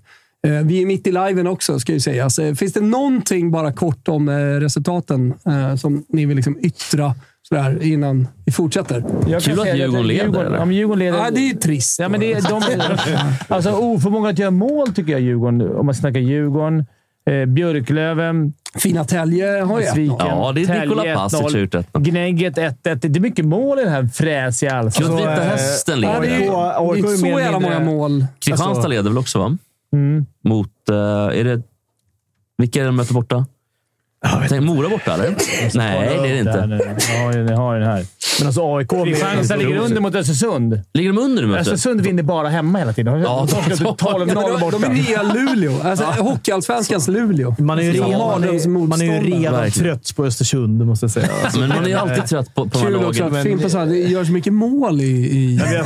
A: Eh, Vi är mitt i liven också, ska ju sägas. Eh, Finns det någonting, bara kort om eh, resultaten, eh, som ni vill liksom yttra sådär, innan vi fortsätter?
C: Jag kan
D: Kul att
C: säga
D: Djurgården leder, eller?
C: Ja, men Djurgården leder.
A: Ja, det är ju trist.
C: Ja, men det är de, alltså, oförmågan att göra mål tycker jag Djurgården, om man snackar Djurgården. Eh, Björklöven,
A: Fina Tälje har ju ett
C: Sviken,
A: noll.
D: Ja, det är
C: Tälje
D: Nikola Passic
C: 1-0,
D: har gjort ett.
C: Gnägget 1-1. Det är mycket mål i den här fräsiga allsvenskan.
D: Gud, Vita
B: eh,
D: Hästen
A: Ja, det är ju
D: leder.
C: alltså-
A: det är
B: AIK
A: inte
B: är
A: så
B: mer eller
A: jävla många
B: mindre-
A: mål.
D: Kristianstad
B: alltså-
D: leder väl också, va?
C: Mm.
D: Mot... eh, är det... Vilka är det de möter borta? Tänk, Mora borta, eller? Nej, det är det
C: Där
D: inte.
C: nu. Ja, ni har den här.
B: Men alltså AIK... med-
C: Kristianstad ligger under mot Östersund.
D: Ligger de under nu, mötet?
C: Östersund vinner bara hemma hela tiden.
D: Alltså- Ja,
C: De torskat
D: de-
C: ut 12-0
A: Ja, men de,
C: borta.
A: de är nya Luleå. Alltså, Hockeyallsvenskans Luleå.
B: Man är ju
A: Som
B: redan, man
A: mardröms-
B: är, man är ju
A: motståndare.
B: redan
D: Verkligen.
B: trött på Östersund, det måste jag säga. Alltså,
D: Men man är ju alltid trött på, på de här
A: Kul också
D: lagen.
A: att Fimpen sa att det görs mycket mål i... i, i, i, i ja,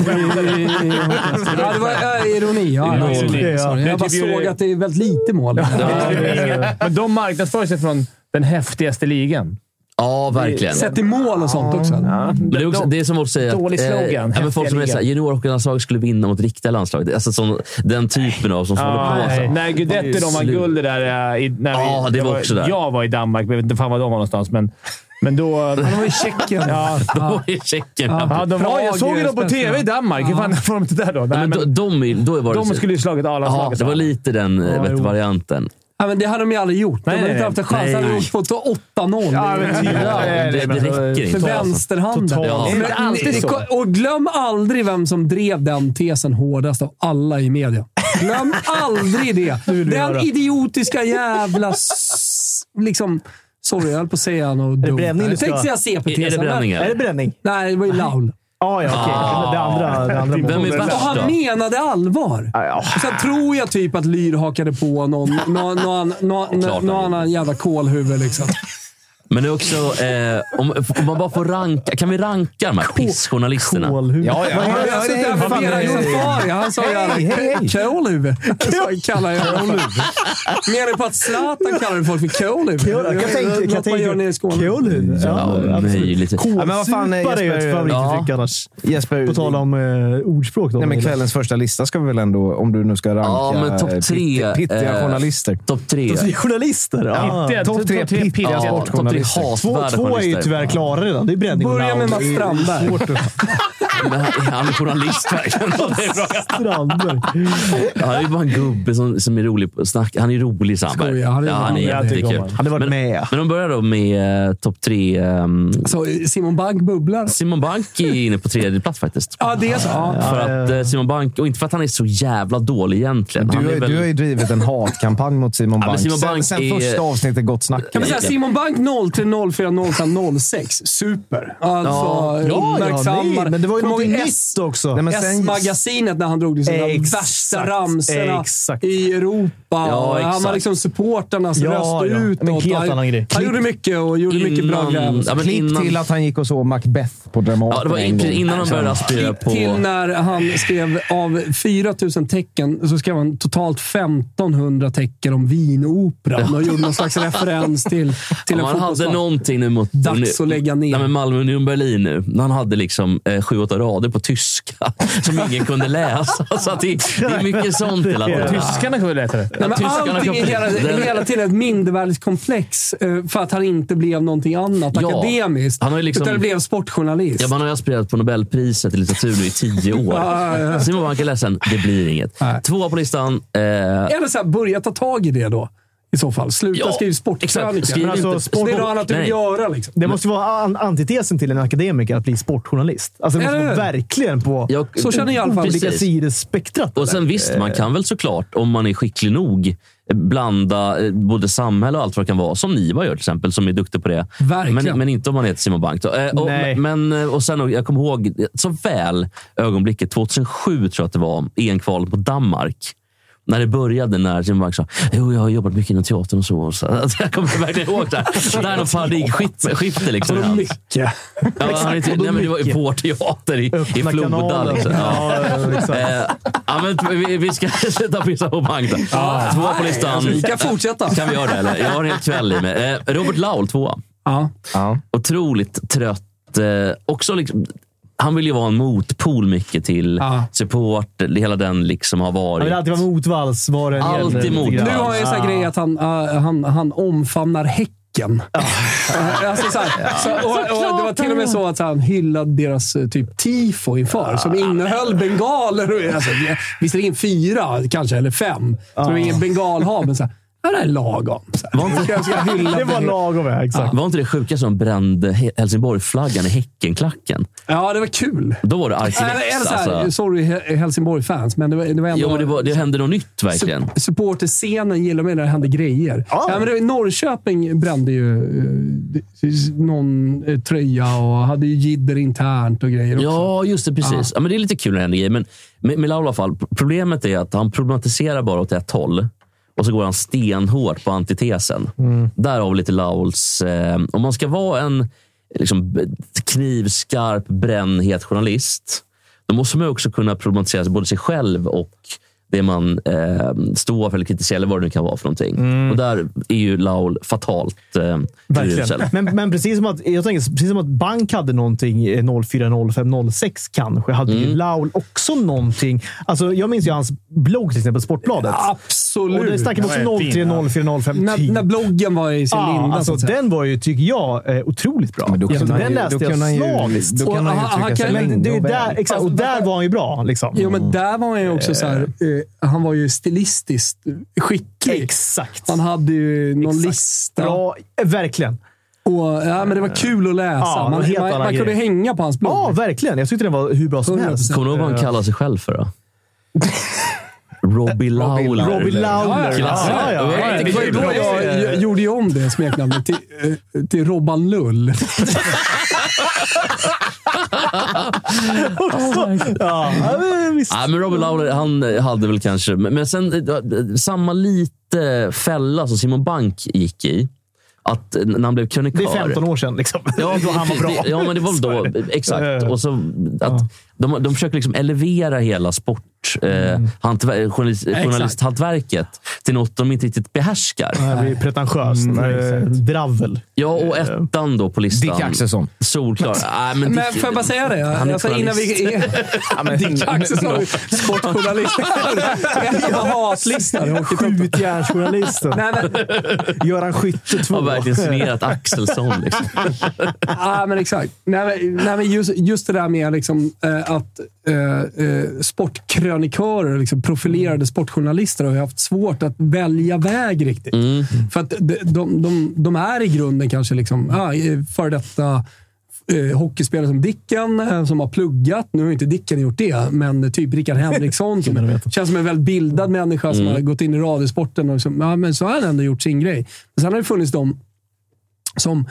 A: det var ja, ironi. Ja,
C: Ironi.
A: ja, sorry.
C: Ja.
A: Sorry.
C: Det är
A: Jag bara
C: typ ju-
A: såg att det är väldigt lite mål.
C: Men de marknadsför sig från den häftigaste ligan.
D: Ja, verkligen.
A: Sett i mål och sånt också.
D: Men det, är också, det är som folk säger,
C: Dålig slogan.
D: eh, ja, men
C: Häftiga
D: folk som är
C: ligan.
D: såhär, juniorhockeylandslaget skulle vinna mot riktiga landslaget. Alltså sån, den typen av som håller på.
C: nej.
D: Alltså.
C: När Guidetti de vann
D: slut.
C: guld det där... eh, I, när vi,
D: Ja, det
C: jag
D: var också där.
C: Jag var i Danmark, men jag vet inte fan var de var någonstans. Men, men då...
A: Han var i Tjeckien.
C: Ja,
D: Då är Tjeckien
C: ja, de var, jag såg ju dem på tv i Danmark. Hur fan var de inte där då? Nej,
D: men
C: men,
D: då, de, är- då var det,
C: de skulle ju slagit
D: ja,
C: A-landslaget.
D: det var lite den eh, vet,
C: jo.
D: varianten.
A: Ja, men det hade de ju aldrig gjort. De
C: Nej,
A: hade
C: nej,
A: inte haft en chans. De
D: nej.
A: hade gjort fått 8-0.
C: Ja, men typ.
D: Ja, det, det räcker
A: För
D: inte. Alltså.
A: vänsterhanden.
B: Totalt.
D: Ja.
A: Men-
C: Det är inte alltid
A: ni-
C: så.
A: ko- Och glöm aldrig vem som drev den tesen hårdast av alla i media. Glöm aldrig det. Den idiotiska jävla... s- Liksom, sorry, jag höll på att säga något dumt.
B: bränning
A: här.
B: du
A: Jag
B: ska-
A: tänkte säga
D: Är, är det
A: CP-tesen. men-
D: bränningar?
B: Är det bränning?
A: Nej, det var ju Laul.
B: Ah, ja, okej.
D: Ah.
B: Det andra, det andra
C: Vem
B: målet.
D: Vem är
A: Och
D: värst
A: han
D: då?
A: menade allvar. Och Sen tror jag typ att Lyr hakade på någon, någon, någon, någon,
D: Klart han
A: någon annan jävla kolhuvud. Liksom.
D: Men det är också, eh, om, om man bara får ranka. Kan vi ranka de här pissjournalisterna?
B: Kålhuvud.
A: Jag har suttit här med
B: fan,
A: Vera
B: hej,
A: Jonsari. Han sa ju alla kolhuvud. Så kallar jag honom. Menar du på att Zlatan kallade folk för kolhuvud?
B: Jag kan tänka- kan
A: Något man gör nere i
B: tänka...
A: Skåne.
B: Kålhuvud.
D: Ja, möjligt.
E: Ja, men vad fan,
B: Kålsupare är ju ett
E: Jesper-
B: favorituttryck
D: Ja.
B: annars.
E: Jesper,
B: På tal om eh, ordspråk. då.
E: nej, men kvällens första lista ska vi väl ändå, om du nu ska ranka
D: Ja, men
E: eh,
D: topp tre.
E: pitt- pittiga
D: eh,
E: journalister.
D: Topp tre.
B: Alltså, Journalister? Ja.
C: Pittiga-
E: Topp tre
C: topp tre
E: pittiga
C: pittiga
D: Ja, topp tre
E: sportjournalister.
B: Två,
D: hatvärda
B: två är ju
D: journalister.
B: tyvärr klara redan. Det är bränning och
A: Börja med
B: Laul.
A: Mats Strandberg.
D: Men han- är han journalist verkligen?
B: Strandberg.
D: Han är ju bara en gubbe som, som är rolig på snack. Han är rolig Sandberg.
A: Skojar, han är
D: ja, han är
A: rolig.
C: Jag tycker om
D: jättekul.
C: honom.
B: Han har varit
D: Men-
B: med.
D: Men de börjar då med eh, topp tre. ehm,
A: Så Simon Bank bubblar.
D: Simon Bank är inne på tredje plats faktiskt.
A: Ja, det är så. Ja.
D: För att eh, Simon Bank, och inte för att han är så jävla dålig egentligen. Han
E: Du,
D: är
E: har-
D: väl,
E: du har ju drivit en hatkampanj mot Simon
D: men
E: Bank.
D: Simon
E: sen
D: Bank
E: sen
D: är-
E: första avsnittet Gott Snack.
A: Kan man säga Simon Bank 03, 04, 05, 06. Super. Alltså,
B: Ja,
A: uppmärksammar.
B: nej, men det var ju
A: Kommer
B: något
A: ihåg S-
B: nytt också.
E: Nej, men sen-
A: S-magasinet när han drog liksom de sina
B: Exakt.
A: värsta ramsorna
B: Exakt.
A: i Europa.
D: Ja,
A: Och han var
D: exakt.
A: liksom supporternas
B: Ja,
A: röst
B: ja.
A: utåt.
B: Men helt
A: han,
B: annan grej.
A: han gjorde mycket och gjorde mycket bra
D: Innan-
A: gräv.
D: ja, men
E: Klipp
D: innan-
E: till att han gick och såg Macbeth på Dramaten
D: Ja, det var
E: en
D: in,
E: gång.
D: innan de började aspirera
A: Klipp alltså. till
D: på...
A: när han skrev av 4000 tecken så skrev han totalt 1500 tecken om Wienoperan och gjorde någon slags referens till, till en
D: Man hade
A: fotbollsmatch.
D: någonting nu mot...
A: Dags att lägga ner.
D: Nej, men Malmö och Union Berlin nu. När han hade liksom eh, 700 åtta rader på tyska som ingen kunde läsa. Så att det, det är mycket sånt hela tiden.
C: Tyskarna kommer lättare.
A: Nej, men
D: Tyskarna
A: allting är
D: kan-
A: hela,
D: den-
A: hela tiden ett mindervärdeskomplex eh, för att han inte blev någonting annat
D: Ja.
A: akademiskt.
D: Han har ju liksom-
A: Utan blev sportjournalist.
D: Ja, man har ju aspirerat på Nobelpriset i litteratur nu i tio år.
A: Ja, ja, ja.
D: Simon Bank är ledsen, det blir inget.
A: Nej.
D: Tvåa på listan. Eh,
A: Eller så här, börja ta tag i det då. I så fall. Sluta
D: Ja,
A: skriva
D: exakt.
A: sportkrönika.
D: Skriv
A: Men
B: alltså,
D: inte-
A: alltså, Det är något annat du vill
D: Nej.
A: göra. Liksom.
B: Det måste ju vara an- antitesen till en akademiker att bli sportjournalist. Alltså, det måste
A: Eller
B: vara
A: hur?
B: verkligen på
D: Jag-
A: Så känner jag i alla fall.
B: olika
D: precis.
B: sidor spektrat.
D: Och sen visst, man kan väl såklart, om man är skicklig nog, blanda eh, både samhälle och allt vad det kan vara. Som Niva gör till exempel, som är duktig på det.
A: Verkligen.
D: Men, men inte om man heter Simon Bank. då. Eh, och,
B: Nej.
D: Men, eh, och sen, jag kommer ihåg så väl ögonblicket, 2007 tror jag att det var, EM-kvalet mot Danmark. När det började, när Simon Bank sa jo, jag har jobbat mycket inom teatern och så. Och så. Alltså, jag kommer verkligen ihåg det. här. Det där är något paradigmskifte. Liksom, i
A: Och
D: hans-
A: mycket.
D: Ja, han är inte, nej, men det var ju vår teater i, i
B: Öppna
D: Floda.
B: kanalen.
D: Liksom. Ja.
B: Ja, exakt.
D: Eh, ja, men vi, vi ska sätta pissa på bank. då. Två på listan.
A: alltså, Vi kan fortsätta.
D: Kan vi göra det? Eller? Jag har en hel kväll i mig. Eh, Robert Laul, tvåa.
A: Ja.
E: Ja.
D: Otroligt trött. Eh, också liksom, han vill ju vara en motpol mycket till
A: Ja.
D: support. Hela den liksom har
B: Han vill
D: varit.
B: alltid vara motvalls. Var det än
D: Alltid
B: gäller, lite
D: motvalls.
A: Nu
B: grann.
A: har jag en sån här
B: Ah.
A: grej att han, eh, han, han omfamnar Häcken. Eh, alltså så här, så, och, och det var till och med så att han hyllade deras eh, typ tifo inför, som innehöll bengaler. Och, alltså, det- visserligen fyra kanske, eller fem. Så det var ingen bengalhav, men så här, ja, det här är lagom. Så här,
D: Var inte,
A: jag ska hylla
B: Det var
A: Ben-
B: lagom, ja. Exakt.
D: var inte det sjuka som brände He- Helsingborg-flaggan i Häckenklacken?
A: Ja, det var kul.
D: Då var det
A: Eller, Äh, eller
D: Arkilex.
A: så här,
D: Alltså.
A: Sorry He- Helsingborg-fans, men det var, det var ändå...
D: Jo, men det, var, det hände något nytt verkligen.
A: Sup- Supporterscenen gillar mig när det händer grejer.
B: Ja.
A: Ja, men det, var- Norrköping brände ju eh, det- någon eh, tröja och hade ju jidder internt och grejer också.
D: Ja, just det. Precis.
A: Ja.
D: Ja. men det är lite kul när det händer grejer. Men med, med Laul i alla fall, problemet är att han problematiserar bara åt ett håll. Och så går han stenhårt på antitesen.
A: Mm.
D: Där har vi lite Lauls... Eh, om man ska vara en liksom, b- knivskarp, brännhet journalist, då måste man ju också kunna problematisera både sig själv och det man eh, står för eller kritiserar, eller vad det nu kan vara för någonting.
A: Mm.
D: Och där är ju Laul fatalt eh, urusel.
B: Men, men precis, som att, jag tänker, precis som att Bank hade någonting eh, 04, 05, 06 kanske, hade
E: Mm.
B: ju Laul också någonting. Alltså, jag minns ju hans blogg till exempel, Sportbladet.
A: Absolut.
B: Och det snackade
C: Den var
B: också
C: ju fin,
B: 03, 04, 05,
A: när, när bloggen var i sin
B: Ja,
A: linda.
B: alltså,
A: så att säga.
B: den var ju, tycker jag, eh, otroligt bra.
E: Men då
B: Alltså,
E: kunde han
B: den
E: ju-
B: läste
E: då
B: jag
E: kunde han ju-
B: slaviskt.
E: Då kan
A: Och
E: han ju
A: han- han
E: uttrycka sig
A: kan- Alltså,
B: Men det är ju
E: länge och
B: där,
E: väl.
B: exakt, och där var han ju bra. Liksom.
A: Jo, men där var han ju också så här, eh, Han var ju stilistiskt skicklig.
B: Exakt.
A: Han hade ju någon
B: Exakt.
A: lista.
B: Bra, eh, verkligen.
A: Och, ja, men det var kul att läsa.
B: Ja,
A: man
B: helt
A: man,
B: annan
A: man kunde
B: grej.
A: hänga på hans blogg.
B: Ja, verkligen. Jag tyckte den var hur bra som helst.
A: 100%.
D: Kommer du ihåg vad
B: eh,
D: han kallar sig själv för? Då? Robbie Lawler.
B: Robbie Lawler.
D: Klassare.
B: Ja, ja, ja.
A: Det var ju då jag jag gjorde ju om det smeknamnet till, eh, till Robban Lull.
B: Ja, men visst.
D: Nej, men Robbie Lawler, han eh, hade väl kanske... Men men sen eh, eh, samma lite fälla som Simon Bank gick i. Att eh, när han blev krönikör.
B: Det är 15 år sedan liksom.
D: Ja,
B: då han var bra.
D: det- Ja, men det var väl
B: Så är
D: då.
B: det. Ja, ja,
D: Exakt.
B: ja.
D: Och så, att de, de försöker liksom elevera hela sport... Eh,
B: Mm.
D: hantver- journalist, journalisthantverket till något de inte riktigt behärskar.
B: Det här blir pretentiöst.
D: Mm,
B: Eh, Dravel.
D: Ja, och
B: eh,
D: ettan då på listan.
E: Dick Axelsson.
D: Solklar. Nej, Ah, men
A: Men
D: Dick-
A: får jag bara säga det?
D: Han är
A: Alltså, innan vi... Dick Axelsson, sportjournalist. En av hatlistan.
B: Skjutjärnsjournalisten.
A: Nej, men,
B: Göran Skytte 2.
D: har verkligen signerat Axelsson. Liksom.
A: ja, men exakt. Nej, men, nej, men just, just det där med liksom, eh, att eh, eh, sportkrönikörer, liksom, profilerade sportjournalister, har ju haft svårt att välja väg riktigt. För att de, de, de, de är i grunden kanske liksom, ah, eh, före detta eh, hockeyspelare som Dicken, eh, som har pluggat. Nu har ju inte Dicken gjort det, men typ Rickard Henriksson som känns som en väldigt bildad människa som har gått in i radiosporten. Och liksom, ja, men så har han ändå gjort sin grej. Men sen har det funnits de som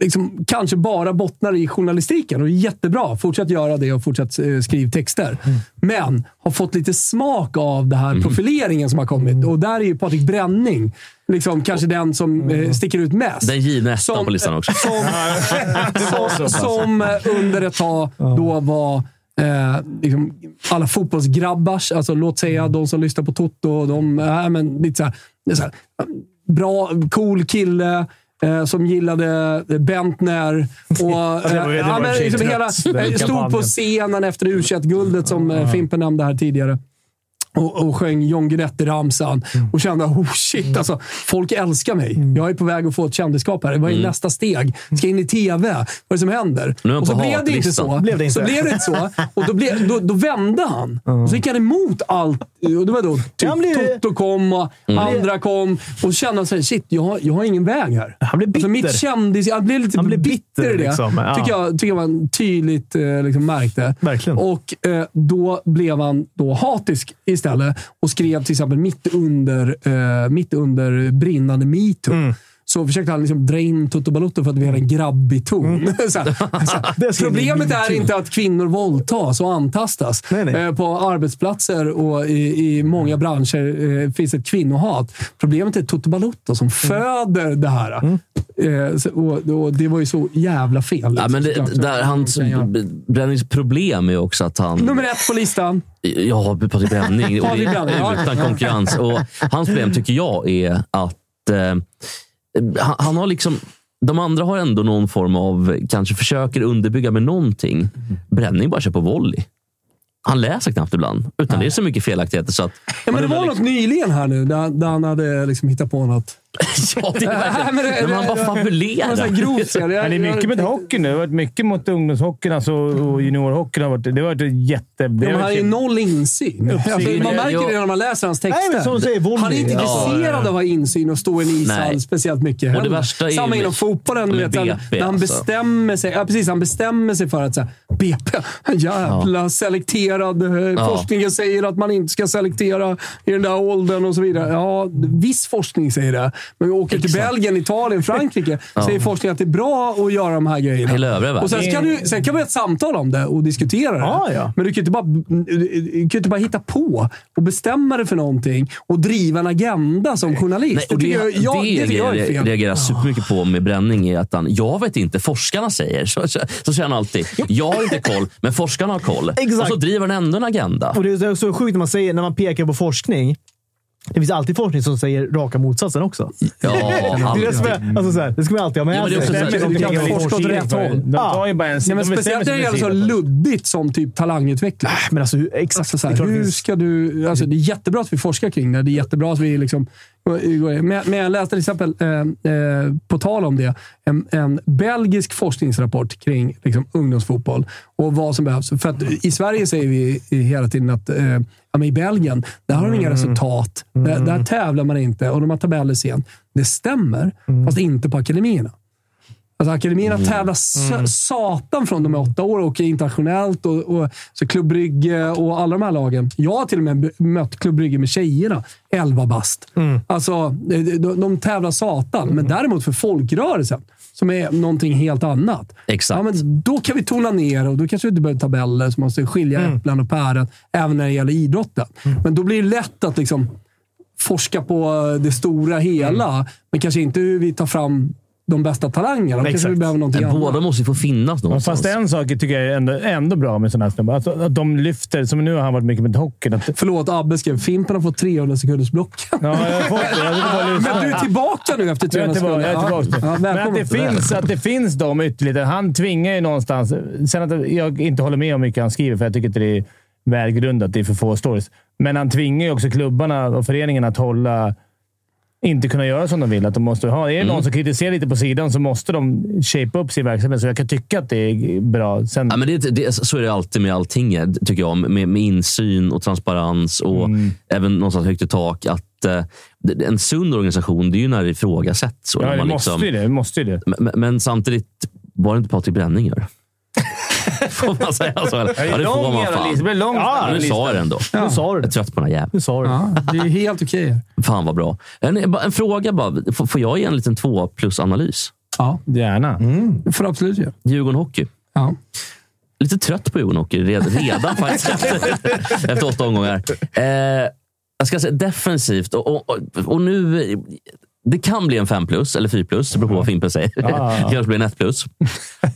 A: liksom, kanske bara bottnar i journalistiken och är jättebra. Fortsätt göra det och fortsätt eh, skriv texter. Men har fått lite smak av den här profileringen som har kommit. Och där är ju Patrik Bränning liksom, kanske den som eh, sticker ut mest.
D: Den givna ettan
A: Som-
D: på listan också.
A: Som, som,
C: alltså.
A: som eh, under ett tag då var eh, liksom, alla fotbollsgrabbars, alltså låt säga
C: Mm.
A: de som lyssnar eh, på Toto, de, äh, men, lite så här, det är så här, bra, cool kille. eh, som gillade Bentner. Och,
C: det var-
A: eh,
C: det
A: ja,
C: var
A: men
C: i och för sig
A: liksom hela,
C: trött, den
A: eh, stod på
C: kampanjen.
A: scenen efter u guldet som eh, Fimpen nämnde här tidigare. Och, och sjöng John Guidetti-ramsan
B: Mm.
A: och kände oh shit, alltså, folk älskar mig. Jag är på väg att få ett kändisskap här. Vad
B: Mm.
A: är nästa steg? Ska jag in i tv? Vad är det som händer?
D: Nu är jag
A: Och så
D: på
A: blev det inte
D: hatlistan.
A: så.
B: Blev det inte?
A: Så blev det inte så. Och då, blev, då, då vände han. Och så gick han emot allt. Och det var då
B: Han
A: typ,
B: blev- Mm.
A: Toto kom och andra kom. Och kände sig shit, jag har, jag har ingen väg här. Alltså,
B: Han blev bitter.
A: mitt kändis... Han blev lite
B: Han blev
A: bitter, i
B: bitter,
A: det.
B: liksom. Ja.
A: Tycker, jag, tycker jag man tydligt eh, liksom, märkte.
B: Verkligen.
A: Och eh, då blev han då hatisk istället och skrev till exempel mitt under, eh, mitt under brinnande metoo.
B: Mm.
A: Så försökte han liksom dra in Toto Balotto för att vi hade en grabbig ton. så här, så här.
B: Mm. Det ska
A: Problemet
B: in i
A: är
B: metoo.
A: inte att kvinnor våldtas och antastas.
B: Nej, nej.
A: Eh, på arbetsplatser och i, i många branscher eh, finns ett kvinnohat. Problemet är Toto Balotto
B: Mm.
A: som föder det här. Eh, så, och, och det var ju så jävla fel.
D: Ja,
A: liksom,
D: men det,
A: såklart.
D: där hans
A: Kan jag-
D: bränningsproblem är också att han...
A: Nummer ett på listan.
D: Ja, Patrik Bränning. Och det
A: Patrik Bränning, ja.
D: är utan konkurrens. Och hans problem tycker jag är att eh, han, han har liksom... De andra har ändå någon form av, kanske försöker underbygga med
A: Mm.
D: någonting. Bränning bara kör på volley. Han läser knappt ibland. Utan det är så mycket felaktigheter så att...
A: Ja, men det
D: man
A: var
D: undrar
A: något nyligen här nu där, där han hade liksom hittat på något.
D: liksom- Ja, det är verkligen-
A: men det-
D: Nej, men han
A: det-
D: bara
A: Det var så här
D: fabulerar.
A: grovt ser jag.
C: Men det är mycket med hockey nu. Det har varit mycket mot ungdomshockeyn alltså, och juniorhockeyn. Har varit, det har varit ett jätte... Det
A: Men
C: har
A: han har ju
C: varit
A: noll insyn. Alltså, man märker det när man läser hans texter.
B: Nej, men som du säger, volley.
A: han är inte
B: Ja.
A: intresserad av att ha insyn och stå i en ishall
D: Nej.
A: speciellt mycket. heller.
D: värsta är ju
A: Samma
D: med-
A: inom fotbollen. Du
D: med
A: vet, han,
D: BP,
A: när han
D: alltså.
A: bestämmer sig ja, precis, han bestämmer sig för att så här, BP, jävla selekterad. eh,
D: Ja.
A: Forskningen säger att man inte ska selektera i den där åldern och så vidare. Ja, viss forskning säger det. Men vi åker till Belgien, Italien, Frankrike säger forskningen att det är bra att göra de här grejerna.
D: Hela övriga världen.
A: och sen, kan du, sen kan vi ha ett samtal om det och diskutera det.
B: Ja, ja.
A: Men du kan ju inte bara, du kan ju inte bara hitta på och bestämma dig för någonting och driva en agenda som journalist.
D: Nej, och det,
A: tycker jag, jag, det tycker jag är
D: grejen jag
A: fel.
D: reagerar supermycket på med Bränning är att han, jag vet inte, forskarna säger. Så, så, så säger han alltid. Jag har inte koll, men forskarna har koll.
B: Exakt.
D: Och så driver han ändå en agenda.
B: Och det är så sjukt när man, säger, när man pekar på forskning. Det finns alltid forskning som säger raka motsatsen också.
D: Ja,
B: Det, är det, som är, alltså så här, det ska man alltid ha med
D: Ja, men det är också
B: sig.
D: så här-
B: Det är
A: Du
B: mycket
A: kan
B: olika
A: forska åt
B: forskning.
A: rätt håll.
C: De tar ju bara en
A: Nej, men
C: de bestämmer
A: speciellt när
C: sig
A: det gäller
C: för
A: så
C: en sida.
A: luddigt som typ talangutveckling.
B: Men alltså, hur, exakt,
A: Alltså så
B: det är
A: här,
B: klart det
A: hur
B: finns.
A: ska du, alltså det är jättebra att vi forskar kring det. Det är jättebra att vi liksom... Men jag- men jag läste till exempel, eh, eh, på tal om det, en, en belgisk forskningsrapport kring liksom, ungdomsfotboll och vad som behövs. För att i Sverige säger vi hela tiden att eh, ja, men i Belgien, där har de
B: Mm.
A: inga resultat. Där, där tävlar man inte och de har tabeller sent. Det stämmer, fast
B: Mm.
A: inte på akademierna. Alltså akademierna tävlar s- satan från de är åtta år och åker internationellt. Och, och, så Klubb Brygge och alla de här lagen. Jag har till och med b- mött Klubb Brygge med tjejerna. Elva bast. Alltså, de, de- de tävlar satan. Men däremot för folkrörelsen, som är någonting helt annat.
D: Exakt.
A: Ja, men då kan vi tona ner och då kanske vi inte behöver tabeller som måste skilja äpplen och päron, även när det gäller idrotten. Men då blir det lätt att liksom forska på det stora hela,
C: Mm.
A: men kanske inte hur vi tar fram de bästa talangerna. Då kanske
B: Exakt.
A: vi behöver någonting
D: Men båda
A: annat.
D: måste ju få finnas
C: Men
D: någonstans.
C: Fast en sak tycker jag är ändå, ändå bra med sådana här snubbar. Att, att de lyfter, som nu har han varit mycket med hockeyn. Att,
A: Förlåt, Abbe skrev Fimpen har fått 300 sekunders block.
C: ja, jag har fått det. Jag sitter bara och lyssnar.
A: Men du är tillbaka nu efter
C: Jag
A: 300
C: är tillbaka.
A: sekunder.
C: Jag är tillbaka.
A: Ja, ja,
C: Men att
A: välkommen.
C: det, finns, att det finns de ytterligheter. Han tvingar ju någonstans. Sen att jag inte håller med om mycket han skriver, för jag tycker inte det är välgrundat. Det är för få stories. Men han tvingar ju också klubbarna och föreningen att hålla... Inte kunna göra som de vill. Att de måste ha. Är det
D: Mm.
C: någon som kritiserar lite på sidan så måste de shape upp sin verksamhet. Så jag kan tycka att det är bra. Sen,
D: Ja, men det, det, så är det alltid med allting, eh, tycker jag. Med, med insyn och transparens och även någonstans högt i tak. Att, eh, det- en sund organisation, det är ju när det ifrågasätts. och
C: ja,
D: när
C: det
D: man
C: måste
D: liksom-
C: ju det. det, måste ju det.
D: Men, men samtidigt, var det inte Patrik Bränning gör? får man säga så? Eller? Ja, det får man fan.
C: blir lång
B: Ja,
D: Men nu sa jag det ändå.
B: Nu sa du
D: Jag är
B: det.
D: trött på den här jäveln.
B: Nu sa du det.
A: Ja, det är helt okej.
D: Fan vad bra. En, bara en fråga bara. F- Får jag ge en liten två plus analys?
A: Ja,
C: Gärna.
A: det får du absolut göra.
D: Djurgården Hockey.
A: Ja.
D: Lite trött på Djurgården Hockey redan, redan faktiskt efter, efter åtta omgångar. Eh, jag ska säga defensivt och, och, och- och nu... Det kan bli en 5 plus eller 4 plus, det beror på vad Fimpen säger.
C: ja, Ah. ja.
D: Det kanske blir en 1 plus.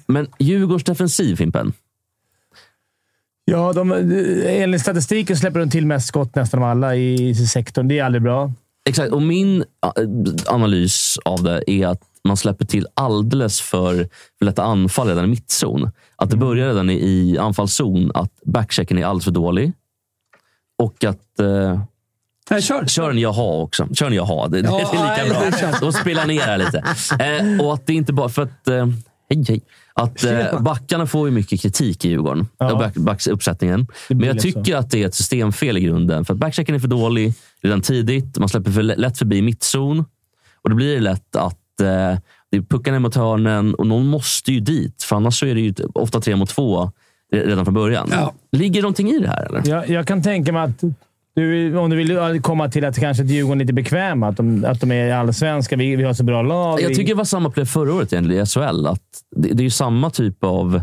D: Men Djurgårdens defensiv, Fimpen.
C: Ja, de, enligt statistiken släpper de till mest skott nästan av alla i sektorn. Det är aldrig bra.
D: Exakt, och min eh, analys av det är att man släpper till alldeles för för lätta anfall redan i mittzon. Att det börjar redan i, i anfallszon, att backchecken är alldeles för dålig. Och att... Eh,
A: Nej, kör.
D: Kör en jaha också. Kör en jaha. Det,
A: Ja,
D: det är
A: nej,
D: lika
A: det
D: bra.
A: känns-
D: Då spelar ner här lite. Eh, och att det inte bara... För att, eh, hej, hej. Att eh, backarna får ju mycket kritik i Djurgården.
C: Ja.
D: Ja. Back, backsuppsättningen. Men jag
C: lätt så.
D: tycker att det är ett systemfel i grunden. För att backchecken är för dålig redan tidigt. Man släpper för lä- lätt förbi mittzon. Och då blir det lätt att eh, det är puckarna mot hörnen och någon måste ju dit. För annars så är det ju ofta tre mot två re- redan från början.
A: Ja.
D: Ligger någonting i det här eller?
C: Jag, jag kan tänka mig att du, om du vill komma till att kanske Djurgården är lite bekväma, att de, att de är allsvenska. Vi, vi har så bra lag.
D: Jag
C: vi,
D: tycker det var samma problem förra året egentligen i SHL. Att det, det är ju samma typ av...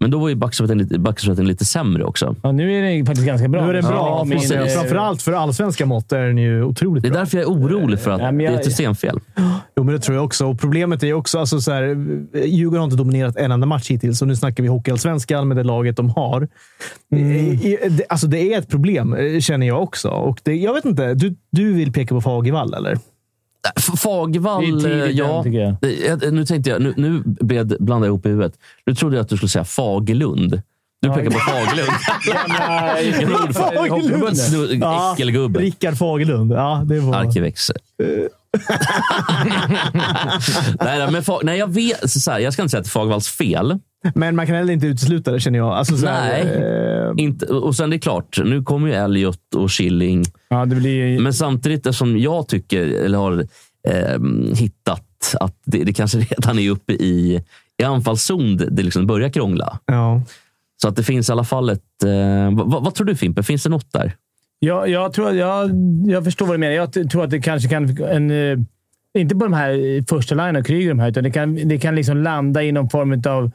D: Men då var ju backsuppsättningen lite, backsuppsättningen lite sämre också.
C: ja, nu är det ju faktiskt ganska bra.
B: Nu är den bra.
C: men,
D: precis.
C: eh,
B: Framförallt för allsvenska mått är den ju otroligt
D: Det är
B: bra.
D: därför jag är orolig för att
C: Ja, men jag-
D: det är ett systemfel.
B: Jo, men det tror jag också. Och problemet är ju också... Alltså, så här, Djurgården har inte dominerat en enda match hittills och nu snackar vi hockeyallsvenskan med det laget de har. I- i- det- Alltså, det är ett problem, eh, känner jag också. Och det, jag vet inte, du, du vill peka på Fagervall, eller?
D: Äh, F- Fagervall,
C: Det är tidigt
D: ja.
C: än, tycker jag.
D: Eh, eh, Nu tänkte jag, nu, nu blev det- blandade jag ihop i huvudet. Nu trodde jag att du skulle säga Fagerlund. Du pekar på Fagerlund. Gamla ordförande-
B: Fagerlund.
D: Snu- Äckelgubbe.
B: Rickard Fagerlund. Ja, det var...
D: Arkivex.
C: Eh.
D: nej, nej, men Fa- nej, jag vet. Så här, jag ska inte säga att det är Fagervalls fel.
B: Men man kan heller inte utesluta det, känner jag. Alltså, så här,
D: Nej.
B: eh,
D: Inte, och sen det är klart, nu kommer ju Elliot och Schilling.
C: Ja, det blir ju...
D: Men samtidigt som jag tycker, eller har ehm, hittat, att det, det kanske redan är uppe i, i anfallszon det, det liksom börjar krångla.
B: ja.
D: Så att det finns i alla fall ett... Eh, vad, vad tror du Fimpen? Finns det något där?
C: Jag, jag, tror, jag, jag förstår vad du menar. Jag t- tror att det kanske kan... En, eh, inte bara de här första linjen och Kryger, de här, utan det kan, det kan liksom landa i någon form av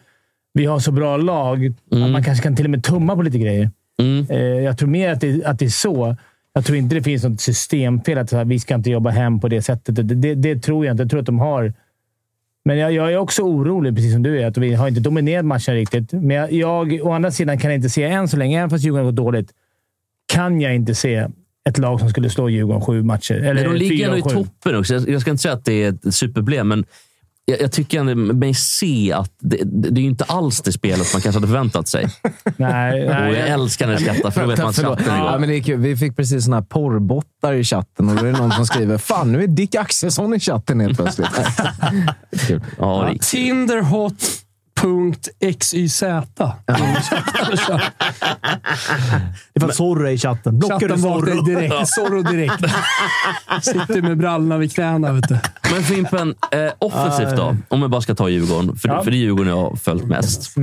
C: vi har så bra lag att man kanske kan till och med tumma på lite grejer.
D: Mm.
C: Eh, jag tror mer att det, att det är så. Jag tror inte det finns något systemfel. Att så här, vi ska inte jobba hem på det sättet. Det, det, det tror jag inte. Jag tror att de har... Men jag, jag är också orolig, precis som du är, att vi har inte dominerat matchen riktigt. Men jag, jag å andra sidan kan jag inte se, än så länge, även fast Djurgården har gått dåligt, kan jag inte se ett lag som skulle slå Djurgården sju matcher. Eller
D: Men de ligger
C: fyra
D: ändå i
C: och sju.
D: toppen också. Jag, jag ska inte säga att det är ett superproblem, men jag, jag tycker ändå mig se att det, det, det är ju inte alls det spelet man kanske hade förväntat sig.
C: Nej,
D: Och jag
C: nej.
D: älskar när jag skrattar, för då vet man att chatten
E: Ja,
D: går.
E: men det är kul. Vi fick precis såna här porrbottar i chatten och då är det någon som skriver “Fan, nu är Dick Axelsson i chatten helt plötsligt”. Kul.
D: Ja, det-
A: Tinderhot.xyz.
B: Det fanns Zorro i chatten. Blockar du
A: Chatten vaknade
B: Zorro?
A: direkt. Zorro direkt. Sitter med brallorna vid knäna. Vet du.
D: Men Fimpen, eh, offensivt då? Om jag bara ska ta Djurgården, för,
C: Ja. Mm.
D: för det är Djurgården jag har följt mest.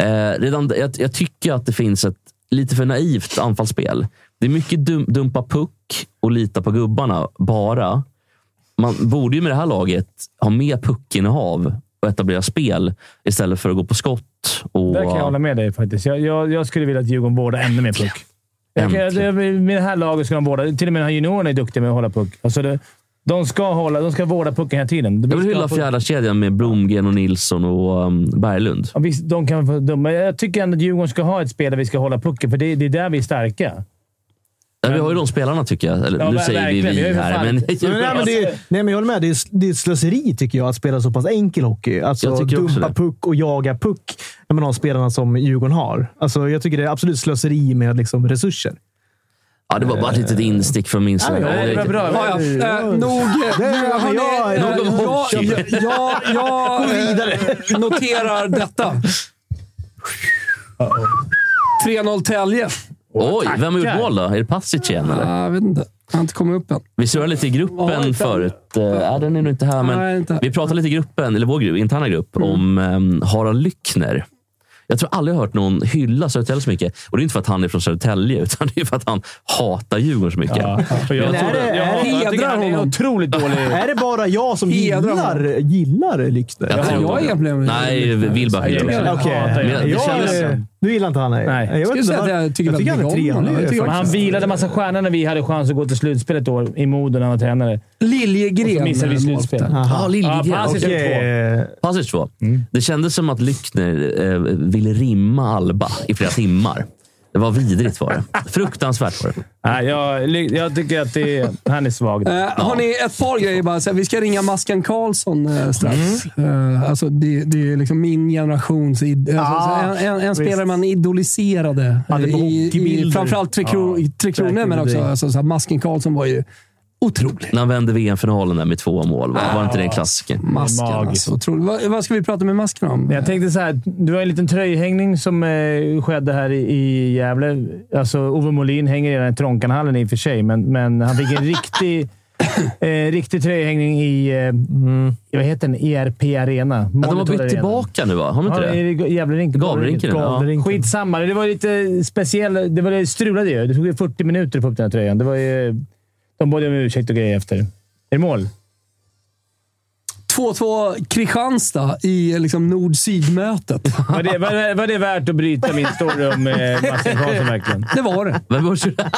D: Eh, redan, jag, jag tycker att det finns ett lite för naivt anfallsspel. Det är mycket dum, dumpa puck och lita på gubbarna bara. Man borde ju med det här laget ha mer puckinnehav och etablera spel istället för att gå på skott. Och,
C: Där kan jag hålla med dig faktiskt. Jag, jag, jag skulle vilja att Djurgården vårdar ännu mer puck. Jag, kan- jag, med det här laget ska de vårda. Till och med de här juniorerna är duktiga med att hålla puck. Alltså det, de, ska hålla, de ska vårda pucken hela tiden. De
D: jag vill
C: ska
D: hylla
C: få-
D: fjärde kedjan med Blomgren och Nilsson och um, Berglund.
C: Ja, visst, de kan få dumma. Jag tycker ändå att Djurgården ska ha ett spel där vi ska hålla pucken, för det, det är där vi är starka.
D: Ja, vi har ju de spelarna tycker jag. Eller,
C: Ja,
D: nu
C: ver-
D: säger vi
C: verkligen. Vi har ju
D: vi
C: för
D: här.
C: fan-
D: Men,
B: Men, nej, men det är, nej, men jag håller med. Det är, det är ett slöseri tycker jag att spela så pass enkel hockey. Alltså
D: Jag tycker också
B: dumpa
D: det.
B: puck och jaga puck när man har spelarna som Djurgården har. Alltså, jag tycker det är absolut slöseri med liksom, resurser.
D: Ja, det var bara ett litet instick från min sida.
C: Eh, Ja, det var bra.
A: Ja, ja. Eh, nog...
B: Det-
A: nu har
B: men jag-
A: ni- eh,
B: nog om
D: hockey.
A: jag, jag, jag, jag eh, noterar detta. 3-0 Tälje.
D: Oj, vem har gjort
C: Tackar.
D: mål då? Är det Passage igen eller?
A: Jag vet inte. Jag har inte kommit upp än.
D: Vi surrade lite i
A: Ja,
D: gruppen
A: inte.
D: förut. Eh, Ja, den är nog inte här,
A: Nej,
D: men
A: inte.
D: vi pratade lite i gruppen, eller vår grupp, interna grupp,
C: Mm.
D: om um, Harald Lyckner. Jag tror aldrig jag hört någon hylla Södertälje så mycket. Och det är inte för att han är från Södertälje, utan det är för att han hatar Djurgården så mycket.
C: För jag,
B: Men är
C: tror
B: det-
C: det,
B: är
C: jag,
B: det-
C: jag tycker han är
A: hedrar
C: otroligt dålig.
B: Är det bara jag som
A: Hedra
B: gillar, gillar Lyxner?
A: Ja,
D: tror
A: jag
D: det.
A: är problem med
D: Nej,
A: Lyckner.
D: Wilbach
C: Jag
D: hyllar också.
C: gillar-
B: Okej.
C: hatar
D: Men
C: jag.
D: det
B: Jag,
D: kändes-
B: eh, du gillar inte han? Nej.
C: Nej.
B: Jag, vet
A: Skulle
B: inte,
A: säga att jag tycker väldigt
B: han är
A: mycket om honom.
B: trevlig.
A: Jag tycker
B: faktiskt.
C: Men han vilade en massa stjärnor när vi hade chans att gå till slutspel ett år i Modo när han var tränare. Och så
A: Liljegren.
C: missade vi slutspel.
A: målvakten.
D: Ja, Liljegren.
C: Ja, Passage
D: Okej.
C: är två. Mm.
B: Eh,
D: Passage två. Det kändes som att Lyckner eh, ville rimma Alba i flera timmar. Det var vidrigt var det. Fruktansvärt var det.
C: Nej, jag, jag tycker att det är, han är svag.
A: Eh,
C: där.
A: Har ni ett par grejer bara? Så här, vi ska ringa Maskan Karlsson eh, strax. Eh, alltså, det, det är liksom min generations... Id-
B: Ah,
A: alltså, en en, en
B: visst.
A: spelare man idoliserade.
B: Hade
A: eh, i, i,
B: hockeybilder.
A: framförallt Tre, kro,
C: Ja,
A: tre Kronor, men också
C: säkert.
A: alltså, så här, Masken Karlsson var ju otrolig.
D: När han vände VM-finalen där med två mål. Va? Var inte det en klassiker?
A: Masken
C: Magiskt.
A: alltså. Otrolig. Vad, vad ska vi prata med Masken om?
C: Men Jag tänkte så här, du har en liten tröjhängning som eh, skedde här i, i Gävle. Alltså, Ove Molin hänger redan i Tronkanhallen i och för sig, men, men han fick en riktig, eh, riktig tröjhängning i, eh, vad heter den, ERP Arena.
D: Mm. Ja, de har bytt tillbaka nu va? Har de inte
C: Ja,
D: det?
C: i Gävlerinken.
D: Gavlerinken, ja.
C: Skitsamma. Det var lite speciellt. Det var det strulade ju. Det tog ju 40 minuter att få upp den här tröjan. Det var ju, de bad ju om ursäkt och grejer efter. Är det mål?
A: 2-2 Kristianstad i liksom, nord-syd-mötet.
C: Var det, var, var det värt att bryta min story om eh, Marcel Karlsson verkligen?
A: Det var det.
D: Vem var det?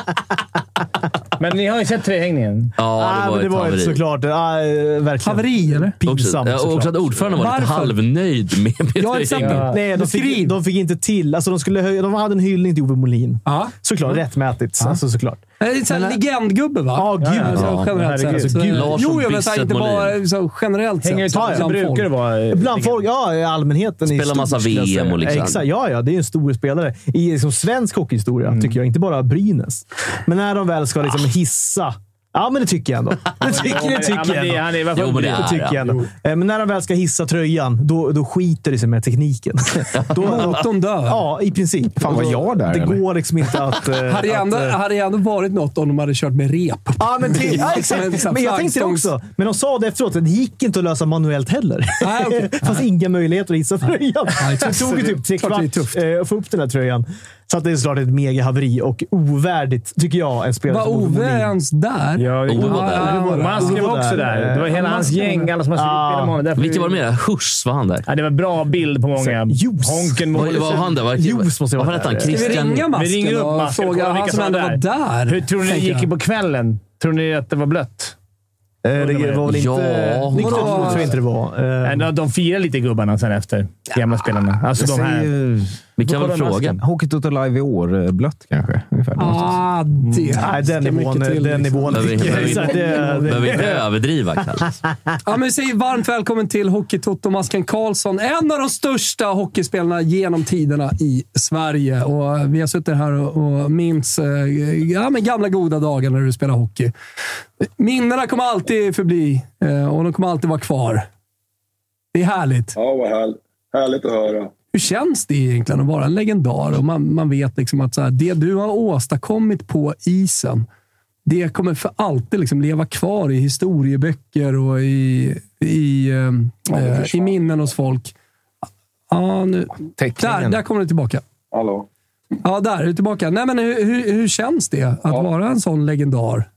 C: Men ni har ju sett tröjhängningen.
D: Ja, det var
B: men det
D: ett
B: var ju
D: haveri.
B: såklart. Ah, verkligen.
A: Haveri, eller?
D: Också,
B: Pinsamt
D: ja, och också att
B: såklart.
D: ordföranden var lite
A: Varför?
D: halvnöjd med med
A: Ja, exakt.
D: tröjan.
B: Nej, de
A: Beskriv.
B: fick, de fick inte till. Alltså, de, skulle höja, de hade en hyllning till Ove Molin.
A: Ja.
B: Såklart. Rättmätigt. Alltså, såklart.
A: Det är en sån här legendgubbe, va?
B: Ja, gud.
A: Alltså,
D: Ja,
A: generellt
C: herregud.
A: sett. Så-
D: Gud, Larsson,
A: Jo, jag menar så här,
D: Bisset,
A: inte bara
D: Molin.
A: så generellt
C: Hänger i
A: sett.
C: taket.
A: bland folk.
C: brukar det vara. eh,
B: Bland folk, ja, i allmänheten. i
D: Spelar
B: stort,
D: massa
B: skulle jag säga.
D: VM och liksom.
B: Exakt, ja, ja. Det är en stor spelare i liksom, svensk hockeyhistoria, tycker jag. Inte bara Brynäs. Men när de väl ska liksom, hissa... Ja, men det tycker jag ändå. Det tycker, det
C: Ja, men
B: tycker jag
C: det-
B: ändå.
C: han är- varför-
D: Jo, men det
B: Det
D: är
B: tycker jag ändå. Eh, Men när de väl ska hissa tröjan, då, då skiter det sig med tekniken. då,
A: Motorn dör.
B: ja, i princip.
E: Fan, var jag där,
B: Det
E: eller?
B: går liksom inte att... eh,
A: Hade ju
B: att,
A: ändå,
B: eh,
A: hade ju ändå varit något om de hade kört med rep.
B: Ja, men, det, ja,
A: Men
B: exakt.
A: så här
B: men jag tänkte det
A: flaggstångs-
B: också. Men de sa det efteråt, att det gick inte att lösa manuellt heller.
A: Nej, okej.
B: Det fanns inga möjligheter att hissa tröjan.
A: Nej,
B: Så det tog ju typ tre
A: klart det är
B: kvart
A: tufft.
B: eh, att få upp den här tröjan. Så att det är såklart ett mega haveri och ovärdigt, tycker jag, en spelare
A: Var
B: som Ove
A: Ove
B: Molin.
A: ens där?
C: Ja,
D: Ove var
A: där.
C: ja,
A: Ove var där.
C: Masken var också där. Det var hela hans gäng. Alla som har
B: Ja.
C: spelat med honom. Därför-
D: Vilka var det med? Huss var han där.
B: Mm.
C: Ja, det var bra bild på många.
B: Ljus.
C: Honken
D: Var, var han där? Var,
B: Ljus måste
D: vad
B: vara
D: hette han?
B: där.
A: Ska vi
D: Christian...
A: ringa
C: Vi ringer
A: masken
C: upp
A: och
C: masken och
A: fråga
C: kollar
A: han
C: vilka
A: som
C: som
A: ändå
C: var
A: var där?
C: Hur tror ni det
A: tänker jag.
C: gick på kvällen? Tror ni att det var blött?
B: Eh, Det var väl inte...
D: Ja,
B: Nykter
A: vadå?
B: blod tror jag inte det var. Eh,
C: Nej, de- De firar lite gubbarna sen efter. Gamla spelarna. Alltså de här.
D: Vi kan
C: Då
D: väl
C: kollar
D: fråga.
C: masken.
E: Hockeytoto live i år, eh, blött kanske. Ungefär någonstans.
A: Ah, det
B: Nej, den nivån. Den
C: liksom.
A: liksom.
B: nivån.
D: Behöver inte- behöver
B: Exakt, det-
D: inte-
B: det-
D: behöver inte överdriva, Kalle.
A: Ja, men vi säger varmt välkommen till Hockeytoto Masken Karlsson. En av de största hockeyspelarna genom tiderna i Sverige. Och vi har suttit här och, och minns eh, ja, men gamla goda dagar när du spelade hockey. Minnena kommer alltid förbli eh, och de kommer alltid vara kvar. Det är härligt.
F: Ja, vad härligt. Härligt att höra.
A: Hur känns det egentligen att vara en legendar? Och man, man vet liksom att så här, det du har åstadkommit på isen, det kommer för alltid liksom leva kvar i historieböcker och i, i, ehm, eh, i minnen hos folk. Ja, nu. Där,
E: Teckningen.
A: där kommer du tillbaka.
F: Hallå?
A: Ja, där är du tillbaka. Nej, men hur, hur, hur känns det att vara en sån legendar?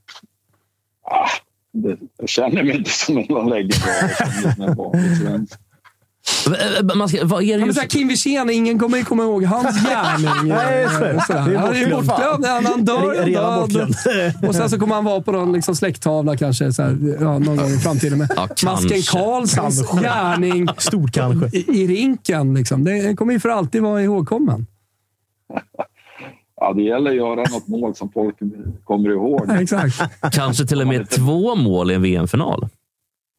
F: Det, jag känner mig inte som någon legendar. Jag känner mig bara en svensk.
D: Eh, eh, Masken, Vad är det
A: Ja, men
D: just...
A: så här, Kim Wirsén, ingen kommer ju komma ihåg hans gärning.
B: Nej, så är det.
A: Och så här.
B: Det är
A: Han är ju
B: bortglömd.
A: bortglömd. Han, han dör
B: Re-
A: en
B: Redan
A: död.
B: bortglömd.
A: Och sen så kommer han vara på någon liksom släkttavla kanske så här, ja, någon gång i framtiden. Men
D: Ja, kanske.
A: masken Karlssons gärning
B: Stort kanske.
A: i, i rinken, liksom, det kommer ju för alltid vara ihågkommen.
F: Ja, det gäller att göra något mål som folk kommer ihåg.
A: Ja, exakt.
D: Kanske till och med två mål i en VM-final.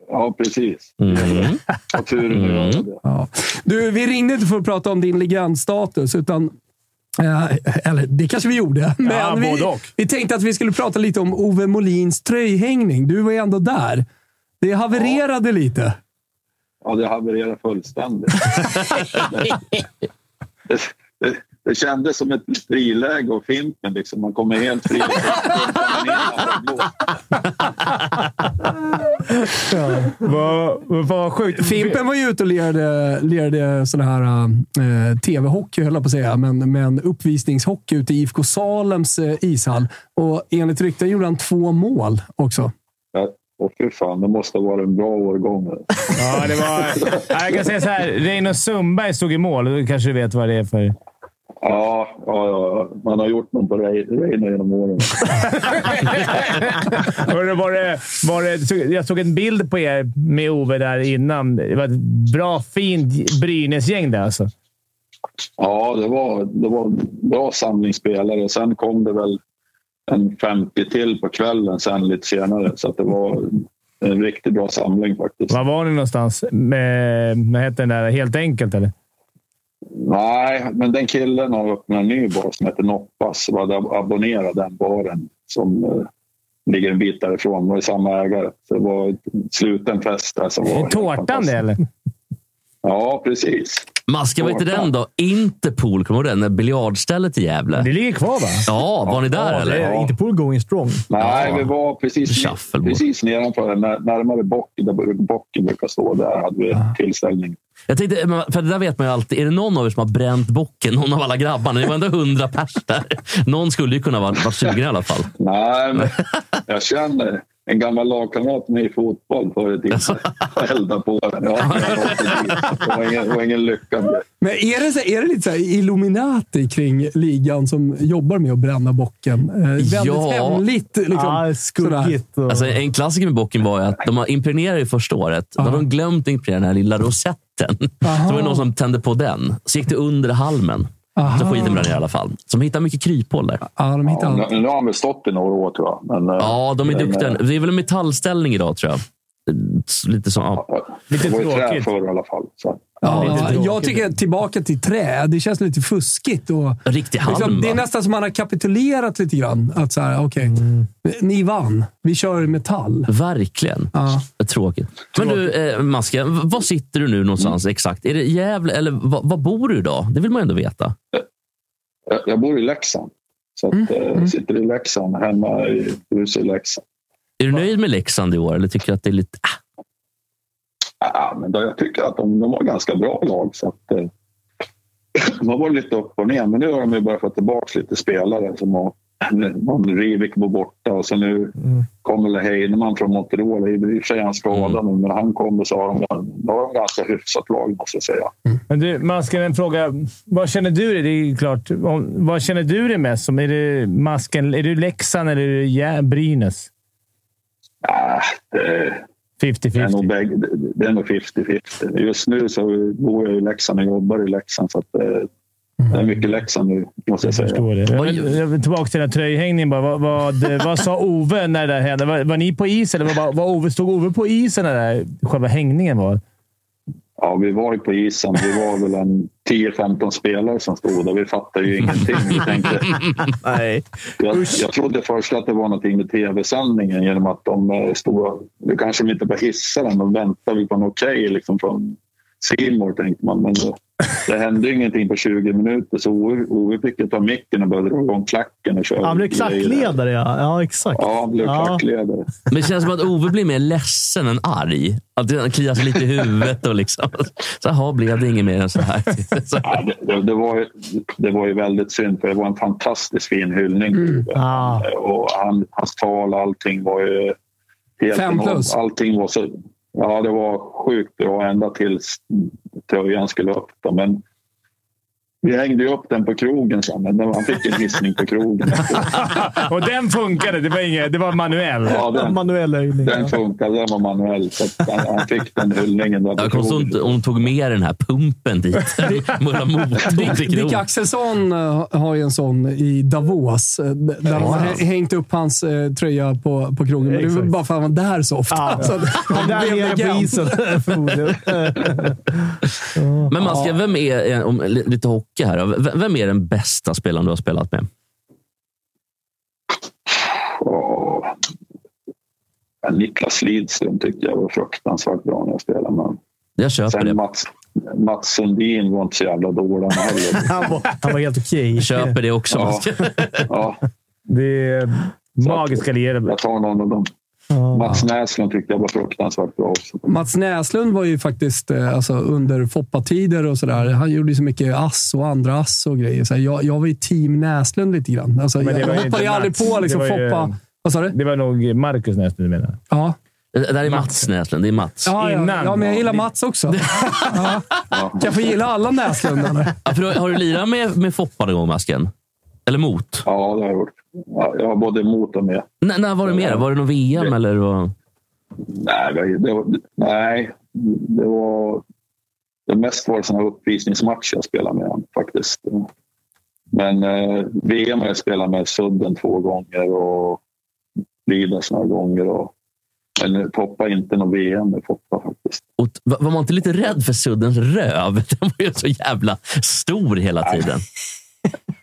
F: Ja, precis.
D: Mm.
F: Ha tur att göra det.
A: Ja. Du, vi ringde inte för att prata om din legendstatus, utan eh, eller det kanske vi gjorde, men
C: Ja, både
A: vi,
C: och.
A: vi tänkte att vi skulle prata lite om Ove Molins tröjhängning. Du var ju ändå där. Det havererade lite.
F: Ja, det havererar fullständigt. det, det, det kändes som ett friläge och Fimpen. Liksom. Man kommer helt fri. Man kommer in här på blå.
C: Vad vad- vad sjukt.
A: Fimpen var ju ute och lirade, lirade sån här eh, tv-hockey, höll jag på att säga, men, men uppvisningshockey ute i IFK Salems eh, ishall. Och enligt rykten gjorde han två mål också.
F: Ja, Och fy fan, det måste ha varit en bra årgång.
C: Ja, det var... Ja, jag kan säga så här. Reino Sundberg stod i mål. Du kanske vet vad det är för...
F: Ja, ja, ja, man har gjort något på Reine genom åren.
C: Hörru, var det, var det, jag såg en bild på er med Ove där innan. Det var ett bra, fint Brynäs-gäng där alltså.
F: Ja, det var, det var bra samlingsspelare. Sen kom det väl en 50 till på kvällen sen lite senare. Så att det var en riktigt bra samling faktiskt.
C: Var var ni någonstans? Med, vad heter den där? Helt enkelt, eller?
F: Nej, men den killen har öppnat en ny bar som heter Noppas. Jag hade ab- abonnerat den baren som eh, ligger en bit därifrån. Det var ju samma ägare. Så det var en sluten fest där som var
C: Är
F: helt
C: tårtan det,
F: fantastisk.
C: eller?
F: Ja, precis.
D: Maska, vad heter den då? Interpol, kommer du ihåg den? Det biljardstället i Gävle.
C: Det ligger kvar, va?
D: Ja, var ni där
B: Ja, det
D: eller?
B: är inte på going strong.
F: Nej, vi var precis,
D: Shuffleboard.
F: precis nedanför, när- närmare bocken, där bocken brukar stå. Där hade vi tillställning.
D: Jag tänkte, men för det där vet man ju alltid. Är det någon av er som har bränt bocken? Någon av alla grabbarna? Ni var ändå hundra pers där. Någon skulle ju kunna vara, vara sugen i alla fall.
F: Nej, men jag känner en gammal lagkamrat med i fotboll förr i tiden. Jag Eldade på den. Ja, jag åkte dit. det var ingen, det var ingen lyckad grej.
A: Men är det, så, är det lite så här Illuminati kring ligan som jobbar med att bränna bocken? Eh, väldigt
D: Ja.
A: hemligt. Liksom,
B: Ja,
A: sådär.
B: Ah, skuggigt. och-
D: Alltså, en klassiker med bocken var ju att de har impregnerat i första året. Då hade de glömt impregnera den här lilla rosetten. Så var det någon som tände på den. Så gick det under halmen. Så
A: Aha.
D: skiten brann i alla fall. Så de hittar mycket kryphål där.
A: Ja, de hittar allt.
F: Ja, nu, nu har han väl stått i några år tror jag. Men, eh,
D: Ja, de är
F: men,
D: duktiga.
F: eh,
D: Det är väl en metallställning idag tror jag. Lite som... Ja.
F: Det var ju trä
C: tråkigt.
F: förr i alla fall. Så.
C: lite
A: Ja,
C: tråkigt.
A: jag tycker tillbaka till trä. Det känns lite fuskigt. Och,
D: Riktig halm,
A: liksom, det är
D: va?
A: nästan som man har kapitulerat lite grann. Att så här, okej, Ni vann. Vi kör metall.
D: Verkligen.
A: Ja.
D: Tråkigt. Men du, eh, Masken, v- var sitter du nu någonstans
F: Mm.
D: exakt? Är det Gävle eller va- var bor du idag? Det vill man ju ändå veta.
F: Jag, jag bor i Leksand. Så
D: Mm,
F: att, eh, sitter i Leksand, hemma i huset i Leksand.
D: Är du nöjd med Leksand i år eller tycker du att det är lite... Ah,
F: Ja, men då, jag tycker att de, de har ganska bra lag. Så att, eh, de har varit lite upp och ner, men nu har de ju börjat få tillbaka lite spelare. Som har, någon Rivik var borta och så nu
C: Mm.
F: kommer väl Heinemann från Montreal. I och för sig är han
C: Mm.
F: skadad nu, men när han kommer så har de, då har de ganska hyfsat lag måste jag säga.
C: Men du, Masken, en fråga. Vad känner du dig? Det är ju klart. Om- Vad känner du dig mest som? Är det Masken? Är du Leksand eller är du Jä- Brynäs?
F: Ah, det, det, är nog
C: 50-50.
F: bägge, det, det är nog 50-50. Just nu så bor jag i Leksand och jobbar i Leksand. Så att, eh, det är mycket Leksand nu måste jag
C: Mm. Jag
F: säga.
C: förstår det.
D: Oj.
C: Men, jag vill tillbaka till den här tröjhängningen bara. Vad, vad, vad sa Ove när det där hände? Var, var ni på is eller var, var, var Ove, stod Ove på isen när det där, själva hängningen var?
F: Ja, vi var ju på isen. Vi var väl en 10-15 spelare som stod där. Vi fattade ju ingenting. Vi tänkte,
C: Nej.
F: jag, jag trodde först att det var någonting med tv-sändningen genom att de eh, stod... Nu kanske de inte bara hissade den. De väntade väl på en okej liksom från Simor tänkte man. Men det, det hände ju ingenting på 20 minuter så Ove- Ove fick ju ta micken och började dra igång klacken och köra.
B: Han blev klackledare, ja. Ja, exakt.
F: Ja, han blev klackledare.
D: Men det känns som att Ove blir mer ledsen än arg. Att han kliar sig lite i huvudet och liksom... Så här, blev det inget mer än så här? Så,
F: Ja, det, det, det, var, ju- det var ju väldigt synd för det var en fantastiskt fin hyllning.
B: Ah.
F: Eh, Och han, hans tal och allting var ju... Helt
A: Fem
F: enormt.
A: plus.
F: Allting var så... Ja, det var sjukt bra ända tills tröjan skulle upp. Då. Men vi hängde ju upp den på krogen sen, men det var- han fick en hissning på krogen.
C: Och den funkade. Det var, inget, det var manuell.
F: Ja, den,
B: Manuell höjning.
F: den funkade, den var manuell. Så att han, han fick den hyllningen. Där på
D: jag kommer ihåg
F: krogen.
D: att hon tog med den här pumpen dit. Mulla motorn till
A: Dick
D: grov.
A: Axelsson eh, har ju en sån i Davos. eh, d- Där de har hä- hängt upp hans eh, tröja på, på krogen. Men det var
B: Exakt.
A: bara för att han var där så ofta.
B: Ja.
A: Så att han
B: Där
A: blev
B: nere på
A: legend.
B: isen förmodligen.
D: Men Maska, vem är, eh, om, lite hockey här. då. V- Vem är den bästa spelaren du har spelat med?
F: Och, ja, Niklas Lidström tyckte jag var fruktansvärt bra när jag spelade. Men
D: Jag köper det.
F: sen Mats, Mats Sundin var inte så jävla dålig han heller.
B: Han var, han var helt okej.
D: Jag köper det också.
F: Ja.
D: Maska.
F: Ja,
C: Det är magiska lirare.
F: jag tar någon av dem.
B: Ja.
F: Mats Näslund tyckte jag var fruktansvärt bra också.
A: Mats Näslund var ju faktiskt eh, alltså, under Foppa-tider och sådär. Han gjorde ju så mycket ass och andra ass och grejer. Så här, jag, jag var ju team Näslund lite grann. Alltså,
C: Men det
A: jag
C: var ju
A: hoppade ju
C: inte
A: aldrig
C: Mats.
A: på liksom,
C: Det var ju-
A: Foppa. Vad sa du?
C: Det var nog Marcus nästan du menar.
A: Ja.
D: Det där är Mats Näslund. Det är Mats.
A: Ja, ja.
C: Innan
A: ja, men jag
C: var
A: gillar
C: det-
A: Mats också. Ja. Kan jag få gilla alla Näslundarna?
D: Ja, för då- har du lirat med, med Foppa någon gång, Masken? Eller mot?
F: Ja, det har jag gjort. Ja, Jag har både emot och med.
D: N- när var det mer? Var det någon VM? Eller vad?
F: Nej, det var, nej, det var... Det mest var det såna här uppvisningsmatcher jag spelade med honom faktiskt. Men eh, VM har jag spelat med Sudden två gånger och Lidas några gånger. Och, men Foppa inte något VM med Foppa faktiskt.
D: Och t- var var man inte lite rädd för Suddens röv? Den var ju så jävla stor hela
F: Nej.
D: tiden.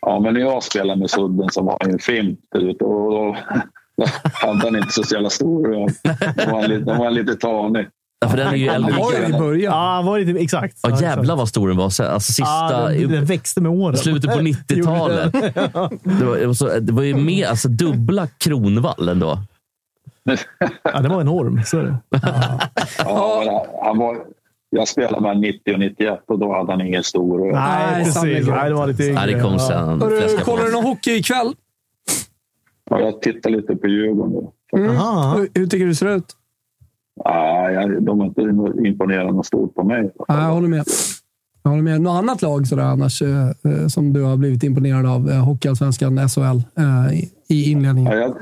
F: Ja, men när jag spelade med Sudden så var han ju en fimp där ute och då hade han inte så jävla stor röv. Då var han lite, då var han lite tanig.
D: Ja, för den är ju
F: Han
D: äldre.
F: var ju
A: Oj, i början.
B: Ja, han var lite... Exakt.
D: Ja,
B: exakt.
D: jävlar vad stor den var. Så- Alltså,
B: Ja,
D: sista,
B: den, den växte med åren.
D: Slutet på 90-talet. Det var, det var, så, det var ju mer, alltså, dubbla Kronvall ändå.
B: Ja, den var enorm. Så är det.
F: Ja, men han var, jag spelade med 90 och 91 och då hade han ingen stor röv.
B: Nej, precis.
A: sannolikt.
B: Nej, det var lite
D: Ja, det kom
B: Ja.
D: sen.
A: Hörru,
D: fläskar på.
A: kollar du någon hockey ikväll?
F: Ja, jag tittar lite på Djurgården nu.
B: Aha.
A: Hur, hur tycker du det ser ut?
F: Nej, jag- de har inte imponerat något stort på mig.
A: Ja, jag håller med. Jag håller med. Något annat lag sådär, annars, eh, eh, som du har blivit imponerad av? Eh, Hockeyallsvenskan, SHL, eh, i- i
F: Ja,
A: inledningen.
F: jag,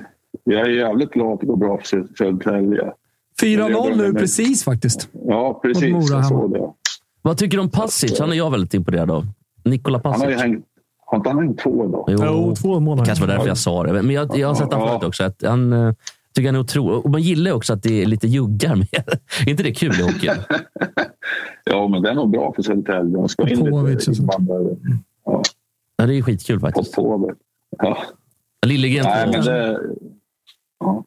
F: jag är jävligt glad att det går bra för Sö- Södertälje.
A: 4-0 nu precis faktiskt.
F: Ja,
A: Mot
F: precis.
A: Mora
F: Jag
A: hemma.
F: såg det.
D: Vad tycker du om Passic? Han är jag väldigt imponerad av. Nikola
F: Han har ju
D: Passic.
F: hängt... Har inte han hängt två idag?
B: Jo, två
D: Det
B: månader.
D: kanske var därför jag sa det. Men jag, jag har sett honom
F: Ja.
D: förut också. Att han, eh, tycker han är otrolig. Och man gillar ju också att det är lite juggar med. är inte det kul i hockeyn?
F: Ja, men det är nog bra för Södertälje. De ska in
A: Popovic
F: lite
A: och sånt.
F: invandrare. Ja,
D: Ja, det är ju skitkul faktiskt.
F: Popovic. Ja.
D: Liljegren
F: Nej, men
D: tror jag.
F: det... Ja.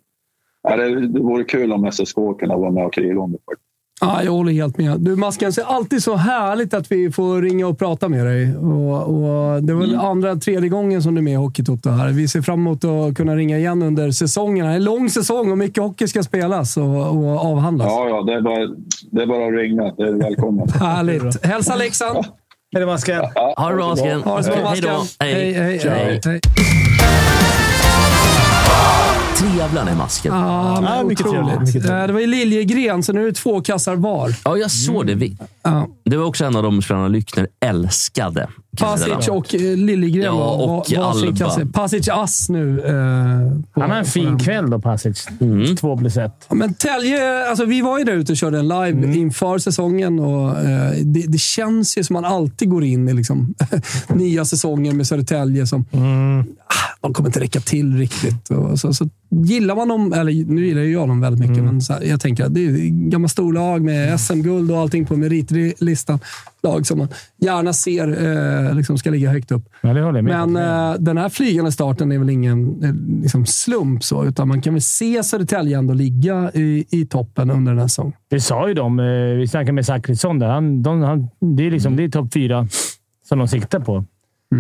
F: Ja, det, det vore kul om SSK kunde vara med och kriga om det. faktiskt.
A: Ja, jag håller helt med. Du Masken, det är alltid så härligt att vi får ringa och prata med dig. Och, och det var väl andra, tredje gången som du är med i Hockeytoto här. Vi ser fram emot att kunna ringa igen under säsongen. Det är En lång säsong och mycket hockey ska spelas och, och avhandlas.
F: Ja, ja, det är bara, det är bara att ringa. Det är välkommen.
A: Härligt! Hälsa Leksand!
B: Är det masken?
F: Ja,
D: Ha det bra, Asken.
A: Ha det så bra,
D: Hej då.
A: Masken! Hej, hej, hej.
D: Hej.
A: hej.
D: Trevlan är masken.
A: Ja,
B: Ja,
A: men
B: mycket trevligt,
A: otroligt.
B: mycket trevligt.
A: Eh, Det var ju Liljegren, så nu är det två kassar var.
D: Ja, jag såg det. Vi-
A: Ja.
D: Det var också en av de spelarna Lyckner älskade.
A: Pasic och eh, Liljegren
D: Ja,
A: var- var
D: och
A: varsin
D: Alba.
A: kasse. Pasic ass nu. eh, på-
C: Han har en
A: på
C: fin
B: Mm.
A: den.
C: kväll då, Pasic.
D: Mm.
C: Två plus ett.
A: Ja, Men Tälje, alltså vi var ju där ute och körde en live inför säsongen och eh, det, det känns ju som man alltid går in i liksom, nya säsonger med Södertälje som ah, de kommer inte räcka till riktigt. Och så, så gillar man dem, eller nu gillar ju jag dem väldigt mycket, men så här, jag tänker att det är ju gamla storlag med SM-guld och allting på meritlistan. Lag som man gärna ser eh, liksom ska ligga högt upp.
C: Ja, det håller jag med om.
A: Men eh, den här flygande starten är väl ingen eh, liksom slump, så, utan man kan väl se Södertälje ändå ligga i, i toppen under den här säsongen.
C: Det sa ju de. eh, Vi snackade med Zachrisson där. Han, de, han, det är liksom det är topp fyra som de siktar på.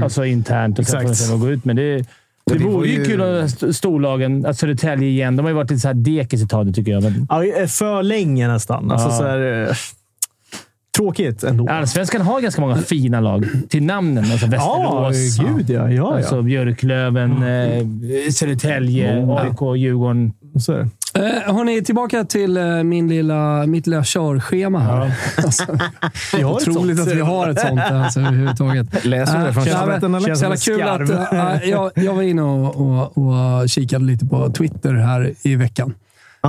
C: Alltså internt. Och sen får de
B: Exakt.
C: se vad de går ut med. Det, det,
E: vi var
C: vore ju
E: ju-
C: kul om st- storlagen, att Södertälje igen. De har ju varit lite så här dekis ett tag nu, tycker jag. Men
B: Ja, för länge nästan. Alltså,
C: Ja.
B: så här, eh, tråkigt ändå.
C: Allsvenskan har ganska många fina lag till namnen. Alltså
B: Ja,
C: Västerås,
B: gud ja. ja,
C: alltså
B: ja.
C: Björklöven, eh, Södertälje, AIK, Djurgården.
B: Så är det.
A: Eh, hörni, tillbaka till eh, min lilla, mitt lilla körschema här. Alltså,
B: Vi har ett
A: otroligt
B: sånt.
A: att vi har ett sånt alltså, överhuvudtaget. Eh,
E: Läser du det från
A: Ja,
E: chatten?
A: men-
B: eller?
A: så jävla
B: Känns som
A: kul
B: en
A: att,
B: skarv.
A: eh, jag, jag var inne och, och, och kikade lite på Twitter här i veckan.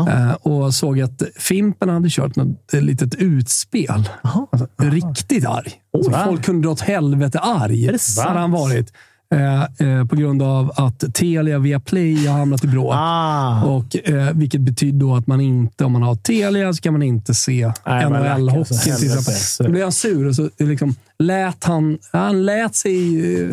A: Eh, och såg att Fimpen hade kört något eh, litet utspel. Alltså, riktigt arg. Alltså,
C: va?
A: folk kunde dra åt helvete arg. Hade han varit. Eh, eh, på grund av att Telia via Play har hamnat i bråk.
B: Ah,
A: Och, eh, vilket betyder då att man inte, om man har Telia, så kan man inte se
C: Nej, man lackar,
A: NHL-hockeyn
C: alltså.
A: till exempel.
C: Helvete.
A: Då blev han sur och så liksom, lät han, han lät sig eh,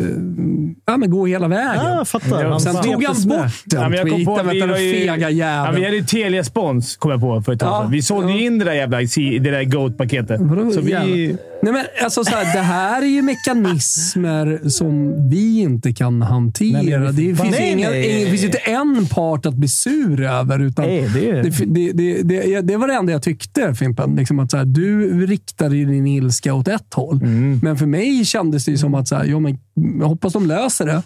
A: ja, men gå hela vägen.
B: ja, jag fattar.
C: Ja,
B: Han
A: Sen
C: fan.
A: tog
B: sveptes
A: han
B: med.
A: bort den
C: Ja, men jag kom på,
A: tweeten.
C: att vi
A: Vänta,
C: var
A: den
C: ju-
A: fega
C: Ja, vi
A: jäveln.
C: hade ju Telia-spons, kom jag på för ett tag
A: Ja,
C: sedan. Vi sålde ju in det där jävla si- det där Goat-paketet.
A: Vadå,
C: Så
A: jävlar?
C: vi...
A: Nej, men alltså, så här, det här är ju mekanismer som vi inte kan hantera.
C: Nej,
A: det
C: men
A: finns, ju
B: Nej,
A: ingen,
B: nej.
A: ingen, finns ju inte en part att bli sur över. Utan
B: Nej, det är-
A: det, fi- det, det, det, det var det enda jag tyckte, Fimpen. Liksom att, så här, du riktade ju din ilska åt ett håll, men för mig kändes det ju som att så här, jo, men, jag hoppas de löser det.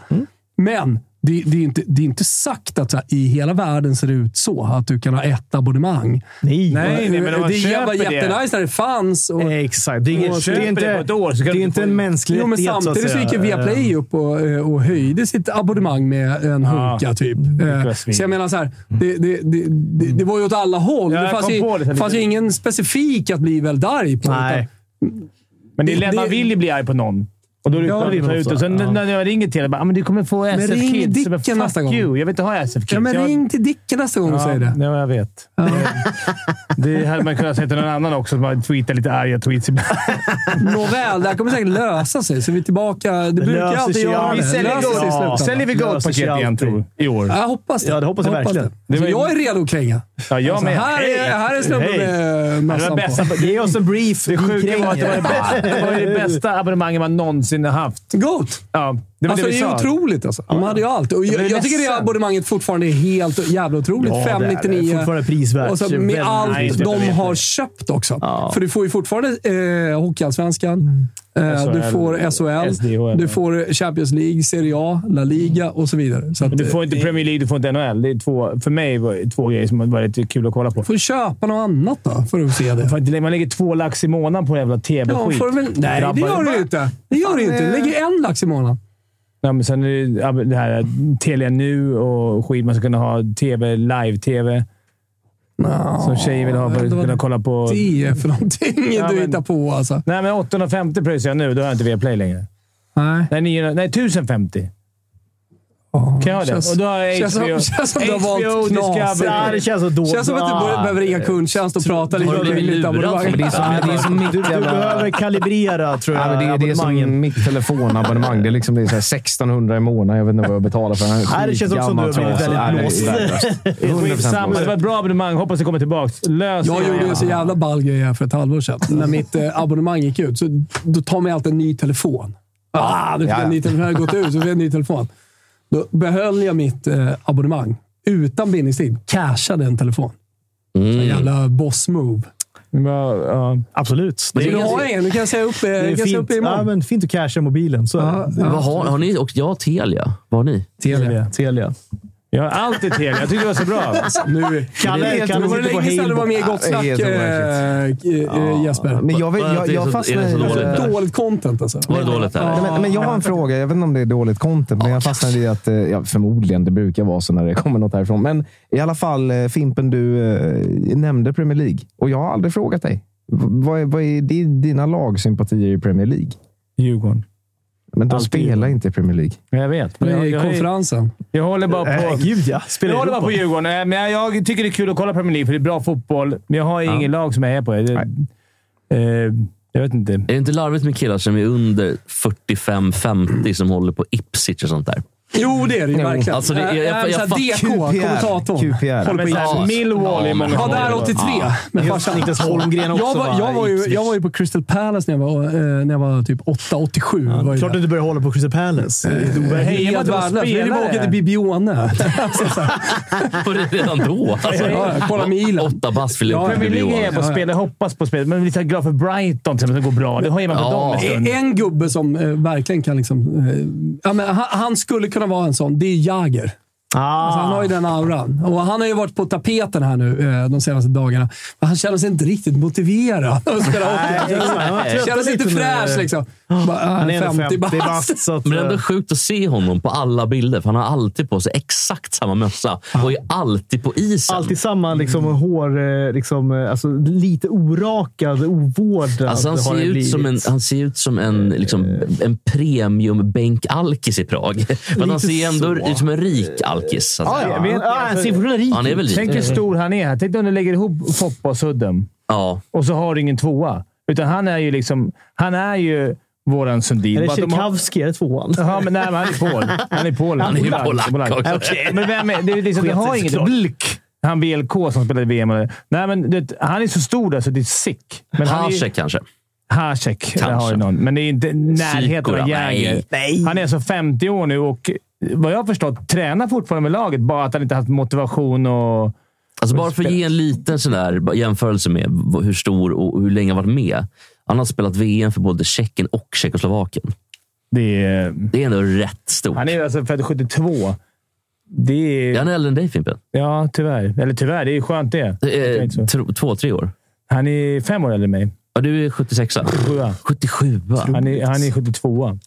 A: Men det, det, är inte, det är inte sagt att så här, i hela världen ser det ut så, att du kan ha ett abonnemang.
B: Nej,
C: Nej, nej, men om man
A: det var
C: köper det-
A: jättenice när det fanns.
C: Eh,
A: Och,
B: Exakt. Det är,
C: Om man
B: inget, det
C: köper
B: är inte,
C: det på ett år så kan
B: det är
C: du
B: inte
C: få-
B: en mänsklig
A: Jo, men samtidigt så gick ju Viaplay upp och, eh, och höjde sitt abonnemang med en
C: Ah,
A: hunka, typ. Eh,
C: var svin.
A: Så jag menar så här, det, det, det, det, det var ju åt alla håll.
C: Ja,
A: det
C: jag
A: fanns
C: kom på det
A: ju,
C: sen
A: fanns ju
C: lite.
A: ingen specifik att bli väldigt arg på.
B: Nej.
A: utan
C: Men det är,
A: Det-
C: lätt- man
A: det-
C: vill ju bli arg på någon. Och då är det
A: Ja,
C: skönt
A: det
C: att
A: är
C: ta
A: väl
C: ut det.
A: ofta.
C: Sen
A: Ja.
C: när jag ringer till er, bara, ah, men du kommer få SF
A: ring
C: Kids. Jag bara,
A: Dicken nästa gång.
C: Fuck you! Jag vill inte ha SF Kids.
A: Ja, men
C: jag,
A: ring till Dicken nästa gång och säg det.
C: Ja, jag vet. Det hade man kunnat säga till någon annan också. som Man tweetar lite arga tweets ibland.
A: Nåväl, det här kommer säkert lösa sig. Så vi är tillbaka. Det, brukar
B: löser
A: alltid
B: sig
A: göra
B: av
A: det.
B: det.
A: Det
B: Säljer
A: löser sig i
B: gold.
A: slutändan.
C: Säljer vi
B: Löser
C: Gold-paket
B: sig
C: igen
B: alltid.
C: tror jag, i år?
A: Ja, Jag hoppas det.
B: Ja, det hoppas jag verkligen.
A: Det.
C: Det var-
A: Så jag är redo att kränga.
C: Ja, jag
A: Alltså,
C: med.
A: här, är, här är snubben
C: Hej.
A: med
C: Det var
A: mössan
C: bästa,
A: på.
B: Ge oss en brief.
C: det
B: Vi
C: sjuka var att det var
B: kränger.
C: det bästa, det, var ju det bästa abonnemanget man någonsin har haft.
A: Goat!
C: Ja, det var
A: Alltså,
C: det
A: det
C: vi
A: är ju
C: sa.
A: otroligt alltså. De hade ju allt. Och jag,
C: blir
A: jag tycker det
C: ledsen.
A: abonnemanget fortfarande är helt jävla otroligt.
B: Ja, det är det.
A: 599.
B: Fortfarande prisvärt.
A: Och så
B: Väldigt
A: med allt
C: nice. Jag
A: de
C: vet
A: har
C: det.
A: köpt också.
D: Ja.
A: För du får ju fortfarande eh, Hockeyallsvenskan. Eh, du
C: SHL,
A: får SHL,
C: SDHL.
A: du får Champions League, Serie A, La Liga och så vidare. Så att,
C: Du får inte
A: eh,
C: Premier League, du får inte NHL. Det är två, för mig var det två grejer som har varit kul att kolla på.
A: får köpa något annat då, för att se det.
C: Fan, det- Man lägger två lax i månaden på jävla
A: Ja,
C: tv-skit.
A: får väl, nej, det
C: Drabbar-
A: gör du ju inte. Det gör du ju inte. Du lägger en lax i månaden.
C: Nej, men sen är det ja, men det här Telia Nu och skit. Man ska kunna ha tv, live-tv. Som tjejer vill ha för att
A: det var
C: kunna kolla på...
A: Det är för någonting
C: Ja,
A: du
C: men-
A: hittar på alltså.
C: Nej, men 850 pröjsar jag nu. Då har jag inte Viaplay längre.
A: Nej.
C: Nej, 900, nej 1050.
A: Åh,
C: Kan jag ha det?
A: känns-
C: Och då har jag
A: känns som-
C: HBO,
A: känns som du har valt
C: HBO,
A: knas.
B: Ja, det
C: Discovery.
B: känns så dåligt.
A: Känns som att du borde- behöver ringa kundtjänst och prata lite
D: Har du blivit
A: lite
D: lurad?
A: abonnemang.
D: För Det är som, det är som mitt
B: Du
E: jävla...
B: behöver kalibrera, tror
E: Ja,
B: jag,
E: men det är det är
B: abonnemangen.
E: som mitt telefonabonnemang. Det är liksom det är så här 1600 i månaden. Jag vet inte vad jag betalar för den.
B: Nej, det känns också som du har blivit
E: Skitgammal
B: väldigt
E: trasa. Nej, det är värdelöst. 100%
C: Skitsamma. Det var ett bra abonnemang. Hoppas det kommer tillbaka. Lös
A: Jag
C: det.
A: gjorde ju så jävla ball grej här för ett halvår sedan. När mitt eh, abonnemang gick ut, så då tar man alltid en ny telefon. Ah, du fick
E: Ja, ja.
A: en ny telefon. Jag hade gått ut, så fick jag en ny telefon. Då behöll jag mitt eh, abonnemang utan bindningstid. Cashade en telefon. Så jävla boss-move.
C: Ja, ja.
B: Absolut.
A: Vill
B: Det
A: du ha
B: är,
A: en? Du kan säga upp, eh,
B: det
A: du
B: är
A: kan säga upp
B: fint.
A: i
B: Ja,
A: imorgon.
B: men fint att casha mobilen. Så är det.
D: Vad har, har ni? Och jag har Telia. Vad har ni?
A: Telia.
B: Telia.
C: Jag har alltid Telia. Jag tyckte det var så bra.
A: Nu,
B: Kalle,
A: det
B: Kalle
A: var
B: sitter på
A: länge sedan du var
B: Halebop.
A: med i Gott
E: Ja,
A: Snack,
E: det är så
A: eh, eh, eh, Jesper.
E: Men jag, vet,
D: Bara att
E: jag,
D: det är
E: jag
D: så-
E: fastnar...
D: är det så dåligt där?
A: Dåligt content alltså.
D: Var det dåligt där?
E: Nej, Men, men jag har en fråga. Jag vet inte om det är dåligt content, men jag fastnade i att... eh, Ja, förmodligen, det brukar vara så när det kommer något härifrån. Men i alla fall, eh, Fimpen, du eh, nämnde Premier League. Och jag har aldrig frågat dig. V- Vad är, vad är di- dina lagsympatier i Premier League?
C: Djurgården.
E: Men de
C: Alltid.
E: spelar inte i Premier League.
C: Jag vet. men
A: Det
C: Jag,
A: är
C: jag,
A: konferensen.
C: jag håller bara
B: Eh,
C: på...
B: Gud ja. Spelar
C: Jag håller bara
B: Europa.
C: på Djurgården. Eh, Men jag, jag tycker det är kul att kolla Premier League, för det är bra fotboll. Men jag har inget lag som jag är på. Jag, eh, jag vet inte.
D: Är det inte larvigt med killar som är under 45-50 som håller på Ipswich och sånt där?
A: Jo, det är det ju verkligen.
D: Alltså, det- jag- jag-
A: Äh, äh,
D: jag-
A: så här,
D: fuck
A: DK, kommentatorn.
E: QPR.
A: Håller
C: Men
A: på
C: så här,
D: Ja.
C: Millwall är
D: Ja,
C: många
D: men-
A: Ja,
C: som
A: där
C: håller på.
A: 83 med
B: Just
A: farsan.
B: Niklas Holmgren också.
A: Jag var, jag, var ju, jag var ju på Crystal Palace när jag var, eh, när jag var typ 8-87. var ju
B: Klart
A: där. Eh,
B: att du började hålla på Crystal Palace. Det är Alltså, overkligt.
C: Hej, jag
A: Helt
C: var inte bara
A: värdelöst. Vi bara
C: spelare.
A: åka till Bibione.
D: Var det redan då? Alltså,
A: Ja, ja, kolla med Ilan.
D: Åtta bast för Liverpool.
C: Premier League är jag på
A: Ja, ja.
C: spel. Jag hoppas på spel. Men vi är glad för Brighton till exempel, som går bra. Det har ju man på
D: Ja.
C: dem en stund.
A: En gubbe som eh, verkligen kan liksom... Eh, ja, men han, han skulle kunna vara en sån. Det är Jagger. Alltså, han har ju den auran. Och han har ju varit på tapeten här nu eh, de senaste dagarna. Men han känner sig inte riktigt motiverad att spela hockey.
B: Nej,
A: Känner sig inte fräsch liksom. Bara, äh,
B: Han är ändå 50
A: bast.
B: bast. så att,
D: Men det är
B: eh,
D: ändå sjukt att se honom på alla bilder, för han har alltid på sig exakt samma mössa och är alltid på isen.
B: Alltid samma liksom, hår, eh, liksom, eh, alltså, lite orakad, ovårdad.
D: Alltså han,
B: har
D: ser
B: det
D: ut
B: blivit. Eh.
D: som en, han ser ut som en, liksom, en premium bänkalkis i Prag. Men han
B: Lite
D: ser ändå
B: så.
D: ut som en rik alkis. så att
B: Ja,
D: säga.
B: ja. Men, ah, han ser fortfarande rik
D: Han är väl
C: Tänk hur
D: rik.
C: stor han är. Tänk om du lägger ihop Foppa och Sudden
D: Ja.
C: och så har du ingen tvåa. Utan han är ju liksom... Han är ju våran Sundin.
B: Är det
C: Bara att de har-
B: Tjerkavski? Är det tvåan?
C: Ja, men nej, men han är pol. Han är pol.
D: Han är ju polack också.
C: Okej, Men vem är... Det är liksom, det har
B: sig
C: inget...
B: såklart.
C: Blk. Han VLK som spelade i VM. eller- Nej, men du vet, han är så stor där så det är sick. Men han är ju-
D: Hasek kanske.
C: Hasek där
D: Kanske.
C: har ju någon. Men det är inte närheten
D: Sikora,
C: av Jäger.
D: nej.
C: Han är alltså 50 år nu och vad jag har förstått tränar fortfarande med laget. Bara att han inte haft motivation och...
D: Alltså bara för att ge en liten sån där jämförelse med v- hur stor och hur länge han varit med. Han har spelat VM för både Tjeckien och Tjeckoslovakien.
C: Det är,
D: Det är ändå rätt stort.
C: han är alltså född 72. Det
D: Är
C: är...
D: han äldre än dig Fimpen?
C: Ja, tyvärr. Eller tyvärr, det är ju skönt det. Det är
D: Eh,
C: inte så.
D: tro- två, tre år?
C: Han är fem år äldre än mig.
D: Ja, du är 76
C: Sjua.
D: 77
C: Han är, han är 72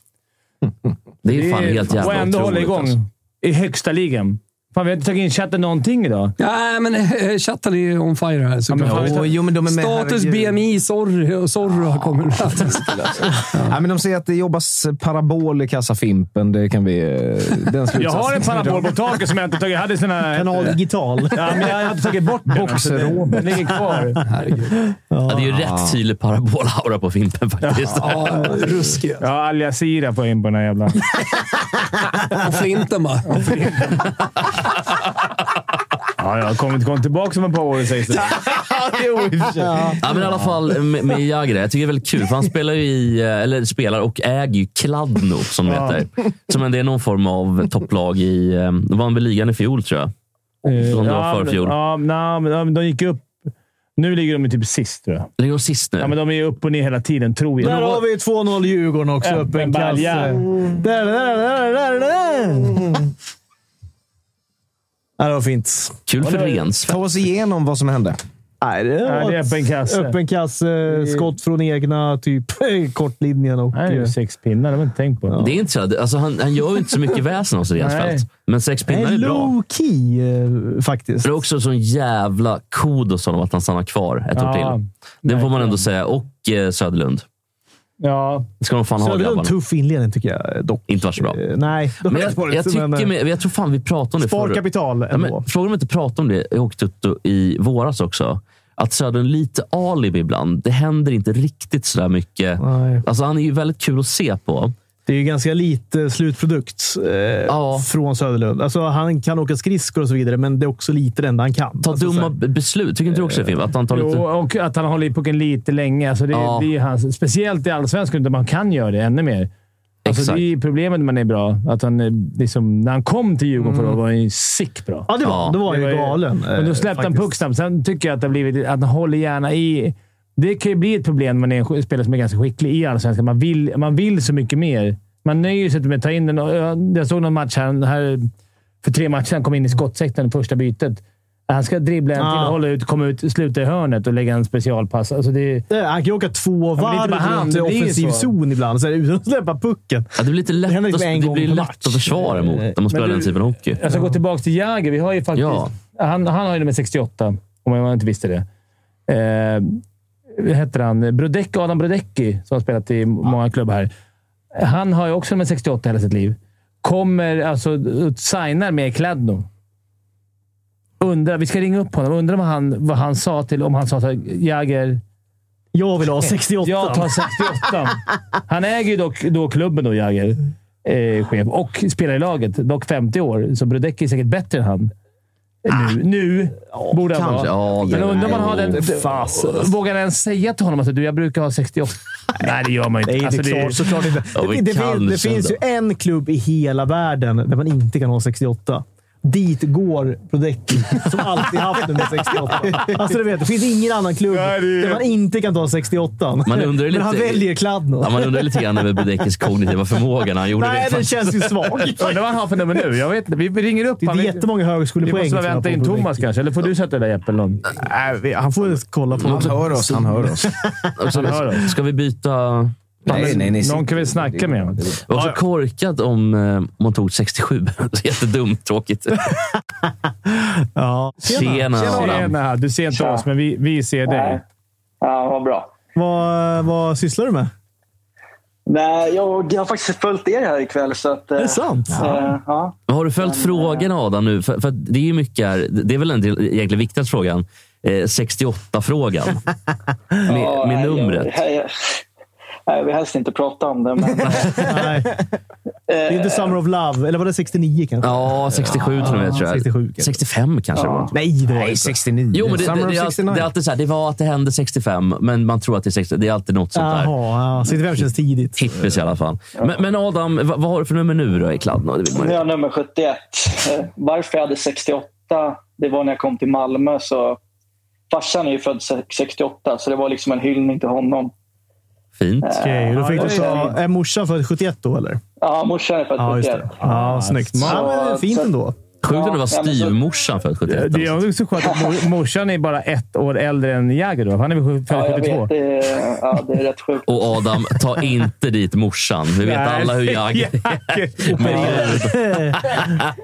D: Det är fan helt jävla
C: Och ändå håller
D: otroligt.
C: igång
D: alltså.
C: i högsta ligan. Fan, vi har inte tagit in chatten någonting idag.
A: Nej, men eh, chatten är ju on fire här såklart.
C: Ja, men fan,
E: Jo, jo, men de är med,
A: Status
E: herregud.
A: BMI, sorry, sorry har kommit.
E: Nej, men de säger att det jobbas parabol i kassafimpen. Det kan vi... eh, Den
C: Jag har en parabol på taket som jag inte tagit. Jag hade sina...
B: Kanal digital.
C: Ja, men jag hade tagit bort den. alltså. Den den ligger kvar.
D: Ja, det är ju rätt tydlig parabolaura på Fimpen faktiskt.
A: Ja, ruskigt.
C: Ja, Al Jazeera får in på den här jävla...
A: Och flinten bara.
C: Ja, jag kommer inte komma tillbaka om ett par år sägs det.
D: Ja, men i alla fall eh, med, med Jagre. Jag tycker det är väldigt kul, för han spelar ju i, eh, eller spelar och äger ju Kladno, som det heter. Som en- det är någon form av topplag i... eh, De vann väl ligan i fjol, tror jag. Som det var
C: men-
D: förfjol.
C: Eh, Ja, nej, men ja, men de gick upp. Nu ligger de ju typ sist, tror jag.
D: Ligger de sist nu?
C: Ja, men de är ju upp och ner hela tiden, tror jag.
B: Där har vi 2-0 Djurgården också.
C: Öppen
B: Öppen
C: balja.
B: kasse. Där, där, där, där, där. Ja, det var fint.
D: Kul för Rens.
E: Ta oss igenom vad som hände.
B: Nej, det
C: Ja,
B: var
C: det är öppen kasse.
B: öppen kasse. Skott från egna, typ kortlinjen. Och, eh,
C: Nej, det är ju sex pinnar. Det har jag inte tänkt på.
D: Det är inte så, alltså, han, han gör ju inte så mycket väsen av sig, Rensfeldt. Men sex pinnar är bra.
B: low key eh, faktiskt.
D: Det är också en sån jävla kodos honom att han stannar kvar ett år
C: Ja,
D: till. Den får man ändå säga. Och eh, Söderlund.
C: Ja,
D: Det ska de fan ha,
B: Söderlund
D: grabbarna.
B: tuff inledning tycker jag dock.
D: Inte var så bra.
B: Eh, Nej, dock
D: Men jag,
B: var det
D: jag,
B: inte,
D: tycker,
B: men, eh,
D: med, jag tror fan vi pratade om det
B: Spar
D: förut.
B: kapital
D: Ja,
B: ändå.
D: men, frågan om vi inte pratade om det i Hockeytutto i våras också. Att Södern lite alibi ibland. Det händer inte riktigt sådär mycket.
B: Nej.
D: Alltså, han är ju väldigt kul att se på.
B: Det är ju ganska lite slutprodukt eh,
D: Ja.
B: från Söderlund. Alltså, han kan åka skridskor och så vidare, men det är också lite det enda han kan.
D: Ta
B: alltså, så
D: dumma
B: här-
D: b- beslut. Tycker inte du också det, Fimp? Att han tar
C: jo,
D: lite...
C: och att han håller i pucken lite länge. Alltså det,
D: Ja.
C: det är ju hans, speciellt i allsvenskan, där man kan göra det ännu mer. Alltså
D: Exakt.
C: det är ju problemet när man är bra. Att han, eh, liksom, när han kom till Djurgården förra året var han ju sick bra.
B: Ja, det var,
D: Ja.
B: då var han
C: Det
B: ju
C: var ju-
B: galen. Eh,
C: Men då släppte han puck snabbt. Sen tycker jag att det har blivit att han håller gärna i. Det kan ju bli ett problem när man är en sk- spelare som är ganska skicklig i Allsvenskan. Man vill, man vill så mycket mer. Man nöjer sig inte med att ta in den. Och jag- Jag såg någon match här, här för tre matcher sedan. Han kom in i skottsektorn i första bytet. Han ska dribbla en till,
B: Ah.
C: hålla ut, komma ut, sluta i hörnet och lägga en specialpass. Alltså det,
B: Eh, Han kan ju åka två
C: men det är inte
B: varv
C: bara han,
B: runt i
C: det blir ju
B: offensiv
C: så.
B: zon ibland, så här, utan att släppa pucken.
D: Ja, det blir lite lätt,
B: händer
D: att,
B: liksom en
D: det
B: gång
D: blir
B: per
D: lätt
B: match. Alltså,
D: att försvara emot när man spelar
C: du-
D: den typen av hockey.
C: Jag ska gå tillbaka till Jagr. Vi har ju faktiskt...
D: Ja.
C: Han, han har ju nummer 68, om jag inte visste det. Eh, vad heter han? Brodecki, Adam Brodecki, som har spelat i många klubbar här. Han har ju också nummer 68 hela sitt liv. Kommer alltså och signar med Kladno. Undrar, vi ska ringa upp honom. Undrar vad han, vad han sa till... Om han sa så här, Jagr,
B: Jag vill ha 68.
C: jag tar 68. Han äger ju dock då klubben, då, Jagger. Eh, chef, och spelar i laget. Dock 50 år, så Brodecki är säkert bättre än han.
B: Ah.
C: Nu, nu borde han
D: kanske.
C: vara.
D: Ja, det-
C: Men undrar om han har den...
B: Fas.
C: Vågar han ens säga till honom att du, jag brukar ha 68? Nej, det gör man ju
B: Nej,
C: inte.
B: det är
C: Alltså,
B: klart.
C: det-
B: Såklart inte.
D: Ja,
B: det,
D: vi
B: det,
D: kan
B: finns, det
D: sen
B: finns ju
D: då.
B: en klubb i hela världen där man inte kan ha 68. Dit går Brodecki, som alltid haft nummer 68. Alltså, du vet, det finns ingen annan klubb där man inte kan ta 68.
D: Man undrar ju
B: Men han
D: lite-
B: väljer Kladno.
D: Ja, man undrar lite grann över Brodekis kognitiva förmåga när han gjorde
B: Nej,
D: det.
B: det känns ju svagt.
C: Undrar vad han har för nummer nu? Jag vet inte. Vi vi ringer upp
B: Det är
C: Vi-
B: jättemånga
C: Vi
B: högskolepoäng.
C: måste väl
B: tror jag,
C: vänta
B: på
C: in
B: Brodecki.
C: Thomas kanske. Eller får du sätta dig där, Jeppe? eller någon?
B: Nej, vi- han får kolla på
E: Han hör oss. Han hör oss.
D: Och så-
C: hör det.
D: Ska vi byta...
E: Nej, nej, nej.
C: Någon kan väl snacka med honom?
D: Det var så korkat om eh, man tog 67. Så Jättedumt. Tråkigt.
B: Ja.
D: Tjena, Adam.
C: Tjena! Du ser inte
G: Tja.
C: oss, men vi, vi ser dig.
G: Nej. Ja, vad bra.
B: Vad, vad sysslar du med?
G: Nej, jag, jag har faktiskt följt er här ikväll. Så att,
B: Är det sant?
G: Ja. ja.
D: Har du följt frågorna Adam nu? För, för att det är ju mycket här, det är väl den del- egentligen viktigaste frågan. Eh, 68-frågan. Med, med
G: nej,
D: numret.
G: Jag, jag, jag, nej, jag vill helst inte prata om det. Men,
B: Nej. Det är inte Summer of Love. Eller var det 69 kanske?
D: Ja, 67 tror jag det är, tror jag.
B: 67 kanske.
D: 65 kanske det var.
B: Nej, det var det
E: Nej,
B: inte.
E: 69.
D: Jo, men det, det,
E: Summer
D: det,
E: of
D: är alltid,
E: 69.
D: det är alltid så här, det var att det hände 65, men man tror att det är 60. Det är alltid något sånt där.
B: Jaha, ja. 65 känns tidigt.
D: Tippis i alla fall. Men, men Adam, vad, vad har du för nummer nu då i Kladno? Det vill man
G: nu är
D: ju.
G: jag nummer 71. Eh, Varför jag hade 68, det var när jag kom till Malmö. Så, farsan är ju född 68, så det var liksom en hyllning till honom.
D: Fint.
B: Okej, då fick
G: Ja,
B: du
G: det
B: så. Är morsan född 71 då, eller?
G: Ja, morsan är född
B: Ja, just
G: 71.
B: det. Ja, snyggt.
G: smart.
B: Ja, men, fint ändå.
D: Sjukt om det var
G: Ja, men så-
D: styvmorsan född 71.
C: Det är också skönt att mor, morsan är bara ett år äldre än Jagger. då. Han är väl
G: Ja, jag
C: 72?
G: vet. Det är, ja, det är rätt sjukt.
D: Och Adam, ta inte dit morsan. Vi vet alla hur jag är.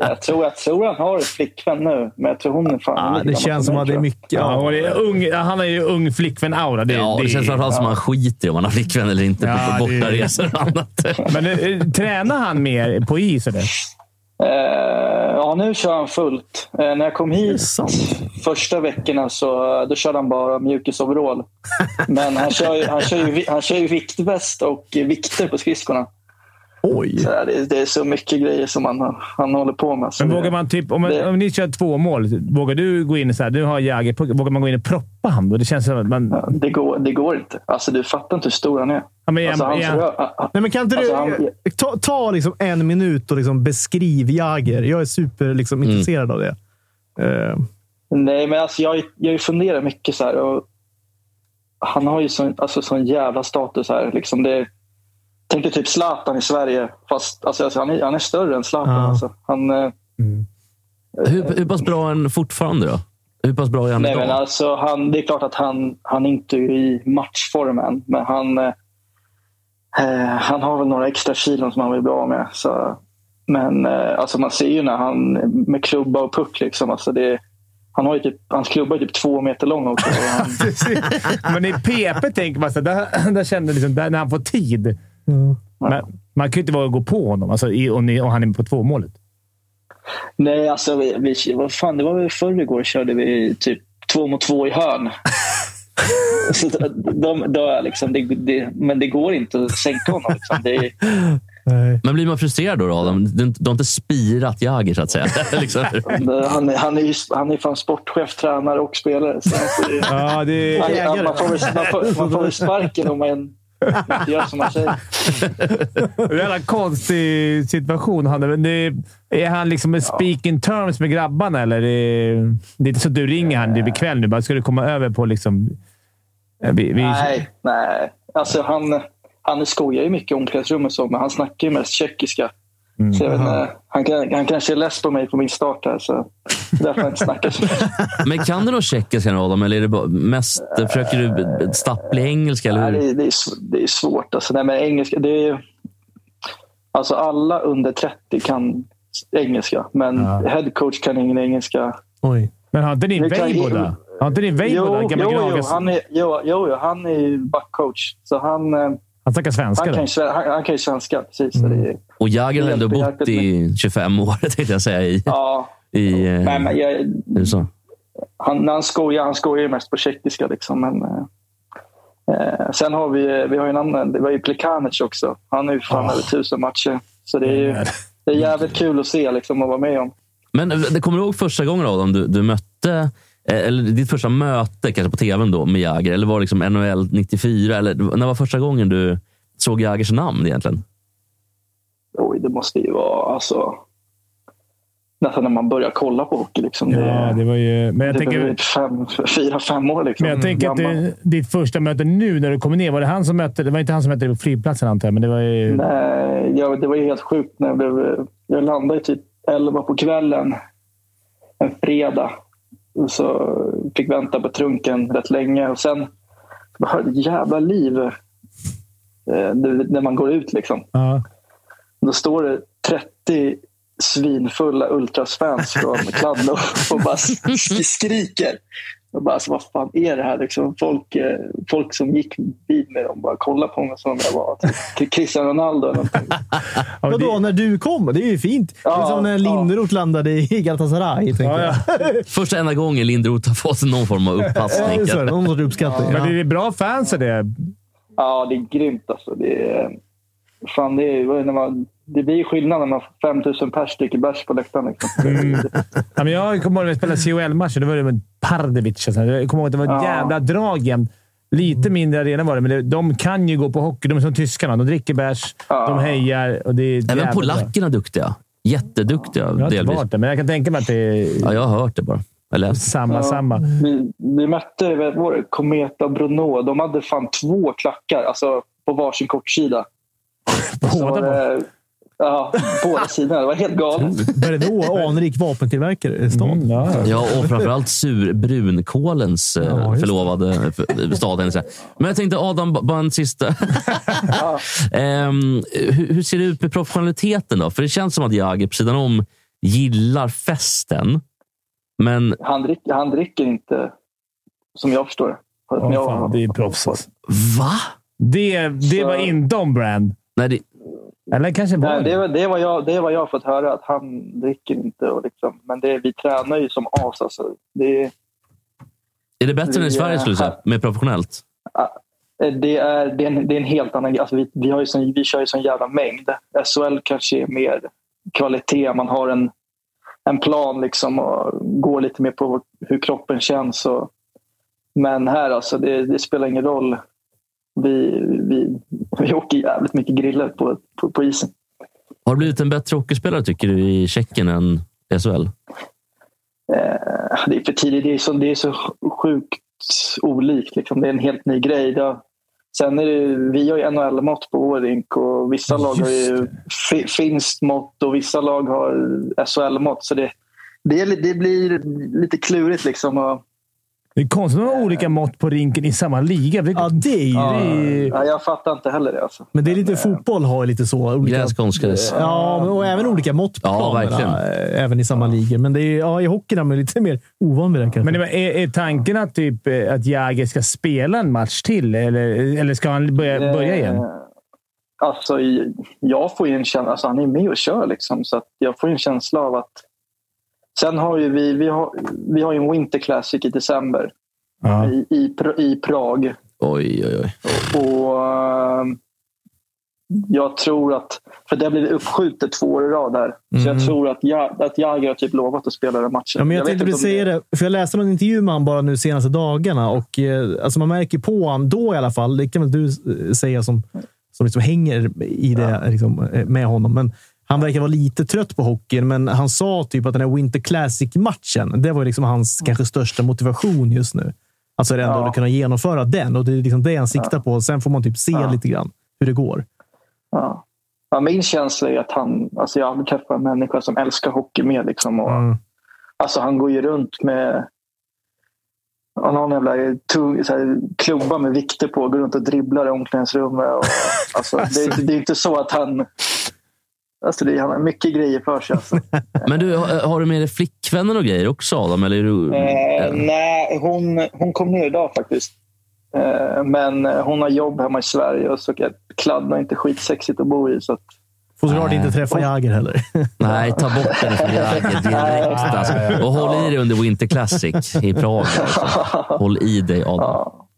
G: Jag tror, jag tror han har ett flickvän nu, men jag tror hon är fan
B: Ja,
G: lika
B: det
G: gammal
B: känns
G: som
B: som
G: mig,
B: att det är
G: tror jag.
B: mycket.
C: Ja,
B: Ja.
C: och det är ung, ja, han har ju ung flickvän-aura. Det,
D: Ja,
C: det,
D: det känns framförallt som att man skiter i om man har flickvän eller inte
C: Ja,
D: på
C: det-
D: bortaresor och annat.
C: Men eh, tränar han mer på is? Eller?
G: Eh, ja, nu kör han fullt. Eh, när jag kom hit första veckorna så eh, då körde han bara mjukisoverall. Men han kör, ju- han, kör ju, vi- han kör ju viktväst och eh, vikter på skridskorna.
B: Oj!
G: Så det, är- det är så mycket grejer som han, han håller på med. Så
C: Men
G: det-
C: vågar man typ, om, man,
G: Det-
C: om ni kör två mål, vågar du gå in så här, nu har Jagger puck, vågar man gå in och proppa han då? Det känns som att man...
G: Ja, det, går, det går inte. Alltså, du fattar inte hur stor han är.
C: Ja, men är
G: Alltså,
C: han-
G: han,
C: är han-
G: rör-
B: Nej, men kan inte du
G: Alltså, han-
B: ta, ta liksom en minut och liksom beskriv Jagger? Jag är super liksom,
D: Mm.
B: intresserad av det. Eh,
G: Nej, men alltså jag, jag har ju funderat mycket så här. Och han har ju sån, alltså, sån jävla status här. Liksom det, tänk dig typ Zlatan i Sverige. Fast alltså, alltså, han, är, han är större än Zlatan.
B: Ja.
G: Alltså. Han, eh,
D: Hur, hur pass bra är han fortfarande då? Hur pass bra är han
G: nej, men
D: idag?
G: alltså, han, det är klart att han, han inte är i matchform än. Men han, eh, eh, han har väl några extra kilon som han vill bli av med. Så, men eh, alltså, man ser ju när han med klubba och puck. Liksom, alltså, det, han har ju typ, hans klubba är typ två meter lång också. Och han,
C: men i PP tänker man så här, där, där känner liksom, där, när han får tid. Men, man kan ju inte vara och gå på honom alltså, i, och, ni, och han är på två målet.
G: Nej, alltså vi, vi, vad fan, det var väl förr igår körde vi typ två mot två i hörn. Så de, de, är liksom, det, det, men det går inte att sänka honom. Liksom. Det, är-
D: Men blir man frustrerad då, Adam? Du, du har inte spirat Jagger, så att säga. liksom.
G: det, han, är- han är ju han är fan sportchef, tränare och spelare. Så att det,
B: Ja, det
G: han, han, man,
B: Jagger.
G: får väl, man, får, man får väl sparken om man inte gör som man säger.
C: Det är en jävla konstig situation. Han, är- men det, är han liksom en speak in terms med grabbarna, eller? Det, det är inte så att du ringer han typ ikväll nu. Bara, ska du komma över på liksom... eh, Vi, vi,
G: Nej, nej. Alltså, han, han skojar ju mycket i omklädningsrummet, och så, men han snackar ju mest tjeckiska. Så
B: Mm.
G: jag vet, inte, han, kan- han kanske är less på mig på min start här, så därför han inte snackar så mycket.
D: Men kan du någon tjeckiska nu, Adam? Eller är det bara mest, försöker du b- stapplig engelska? Eller
G: Nej,
D: hur?
G: det, är- det, är, sv- det är svårt. Alltså. Nej, men engelska, det är ju, alltså alla under 30 kan engelska, men headcoach kan ingen engelska.
B: Oj.
C: Men har inte din
G: Nu kan
C: Weibo
G: jag-
C: där? Har inte din Weibo där?
G: Jo,
C: Gammal
G: jo, jo,
C: Gragas?
G: han är, jo, jo, jo, han är ju backcoach, så han, eh,
C: Han snackar svenska
G: han,
C: då?
G: kan, ju, sve- han, han kan ju svenska. Precis, så det är,
D: Och Jagger har ändå bott i 25 år, tänkte jag säga, i,
G: ja,
D: i eh,
G: nej, men jag,
D: USA.
G: han, när han skojar, han skojar ju mest på tjeckiska. Liksom, men, eh, eh, sen har vi, vi har ju en annan, det var ju Plikanic också. Han är ju fan över tusen matcher. Så det är ju det är jävligt kul att se liksom, och vara med om.
D: Men eh, det kommer du ihåg första gången Adam, du, du mötte, eh, eller ditt första möte kanske på tvn då med Jagger? Eller var det liksom NHL 94? Eller, när var första gången du såg Jagers namn egentligen?
G: Oj, det måste ju vara alltså, nästan när man börjar kolla på hockey. Liksom. Det,
C: Ja, det var ju... Men jag
G: det
C: tänker...
G: var ju fem, fyra, fem år. Liksom,
C: Men jag tänker att
G: gammal.
C: det, ditt första möte nu när du kommer ner, var det han som mötte... Det var inte han som mötte dig på flygplatsen antar jag, men det var ju...
G: Nej, ja, det var ju helt sjukt. När jag, blev, jag landade typ 11 på kvällen en fredag. Och Så fick vänta på trunken rätt länge. Och sen jag hörde ett jävla liv eh, det- när man går ut. Liksom.
C: Ja.
G: Då står det 30 svinfulla Ultras-fans från Kladno och bara sk- skriker. Och bara, alltså, vad fan är det här? Liksom, folk, eh, folk som gick vid med dem bara kollade på mig som om jag var typ Cristiano Ronaldo. Eller någonting.
C: Ja, men det-
B: Vadå, när du kom? Det är ju fint. det är
G: Ja,
B: som när
G: ja.
B: Linderoth landade i Galatasaray. Tänker
C: Ja, ja.
B: jag.
D: Första enda gången Lindroth har fått någon form av
B: Ja,
D: upppassning.
B: just det. Någon sorts uppskattning.
C: Men det är bra fans är det.
G: Ja, det är grymt alltså. Det, är, fan, det, är, vad är det när man, det blir skillnad när man får 5000 pers dricker bärs på läktaren. Liksom.
C: Ja, men jag kommer ihåg när vi spelade CHL-matcher. Då var det med Pardevic. och sånt. Jag kommer ihåg att det var ett
G: Ja. Mm.
C: jävla drag jämt. Lite mindre arena var det, men det, de kan ju gå på hockey. De är som tyskarna. De dricker bärs,
G: Ja.
C: de hejar och det är jävligt
D: Även
C: bra.
D: polackerna är duktiga. Jätteduktiga
C: Jag har inte
D: delvis.
C: varit där, men jag kan tänka mig att det är
D: Ja, jag har hört det bara. Jag läste.
C: samma,
G: Ja.
C: samma.
G: Vi, vi mötte vad var det, Cometa och Bruno. De hade fan två klackar alltså, på varsin kortsida. Så
C: Båda
G: var
C: var
G: det, Ja, båda sidorna. Det var helt galet.
B: Verdå, anrik vapentillverkare i stan.
C: Mm, ja.
D: Ja, och framförallt sur brunkålens eh,
B: Ja, just det.
D: förlovade eh, f- stad. henne så här. Men jag tänkte, Adam, b- bara en sista. Ehm, hur, hur ser det ut med professionaliteten då? För det känns som att Jagr på sidan om gillar festen. Men
G: Han, drick, han dricker inte, som jag förstår det. Som
C: Åh,
G: jag-
C: fan, det är proffs alltså.
D: va?
C: Det, det var inte om brand.
D: Nej, det,
C: Eller kanske var
G: Nej, Eh, det,
C: det.
G: var, det, var jag, det var jag har fått höra, att han dricker inte. Och liksom, men det, vi tränar ju som as. Alltså. Det, är-
D: är det bättre än i Sverige, skulle du säga? Mer professionellt?
G: eh, det, är, det, är en, det är en helt annan grej. Alltså, vi, vi, har ju sån, vi kör ju sån jävla mängd. SHL kanske är mer kvalitet. Man har en, en plan liksom och går lite mer på hur kroppen känns. Och, men här alltså, det, det spelar ingen roll. Vi, vi, vi åker jävligt mycket griller på, på, på isen.
D: Har du blivit en bättre hockeyspelare, tycker du, i Tjeckien än SHL?
G: Eh, det är för tidigt. Det är så, det är så sjukt olikt. Liksom. Det är en helt ny grej. Det har, sen är det, ju- vi har ju NHL-mått på vår rink och vissa lag har ju fi, finskt mått och vissa lag har SHL-mått. Så det, det, är, li- det blir lite klurigt. Liksom. Och,
C: Det är konstigt att de har olika mått på rinken i samma liga. Det-
B: Ja, det är ju...
G: ja, jag fattar inte heller det. Alltså.
B: Men det är lite fotboll har ju lite så. Olika,
D: Gräs, konstgräs.
B: ja, men- och även olika mått på
D: Ja,
B: planerna,
D: verkligen.
B: eh, Även i samma ligor. Men det är, ja, i hockeyn är man lite mer ovan vid det kanske.
C: Men det var- är, är tanken att, typ, eh, att Jäger ska spela en match till? Eller, eller ska han börja, börja igen?
G: Eh, Alltså, i- jag får ju en känsla, alltså han är med och kör liksom, så att jag får ju en känsla av att Sen har ju vi, vi, har, vi har ju en Winter Classic i december
C: Ja.
G: i, i, Pra- i Prag.
D: Oj, oj, oj.
G: Och eh, jag tror att, för det blev uppskjutet två år i rad där. Så jag tror att, jag, att Jagr har typ lovat att spela den
B: Mm.
G: matchen.
B: Ja, men jag,
G: vet
B: tänkte
G: inte om
B: precis säga det, för jag läste någon intervju med honom bara nu senaste dagarna och eh, alltså man märker på honom då i alla fall. Det kan väl du eh, säga som, som liksom hänger i det liksom, eh, med honom. Men han verkar vara lite trött på hockeyn, men han sa typ att den här Winter Classic-matchen, det var ju liksom hans kanske största motivation just nu. Alltså det ändå
G: Ja.
B: att kunna genomföra den och det är liksom det han siktar på. Sen får man typ se
G: Ja.
B: lite grann hur det går.
G: Ja. Ja, min känsla är att han, alltså jag har aldrig träffat en människa som älskar hockey mer. Liksom, och,
B: Mm.
G: Alltså han går ju runt med han har en jävla tung, så här, klubba med vikter på och går runt och dribblar i omklädningsrummet. Och, alltså, det, det är inte så att han... Alltså, det, han har mycket grejer för sig. Alltså.
D: Men du, har, har du med dig flickvänner och grejer också, Adam? Eller är du...
G: Eh, nej, hon, hon kom ner idag faktiskt. Eh, men eh, hon har jobb hemma i Sverige och så Kladden är inte skitsexigt att bo i. Så att,
B: Får såklart
D: Nej.
B: inte träffa Jagr heller.
D: Nej, ta bort den från Jagr direkt. Alltså. Och håll i dig under Winter Classic i Prag. Alltså. Håll i dig, Adam.
G: ja.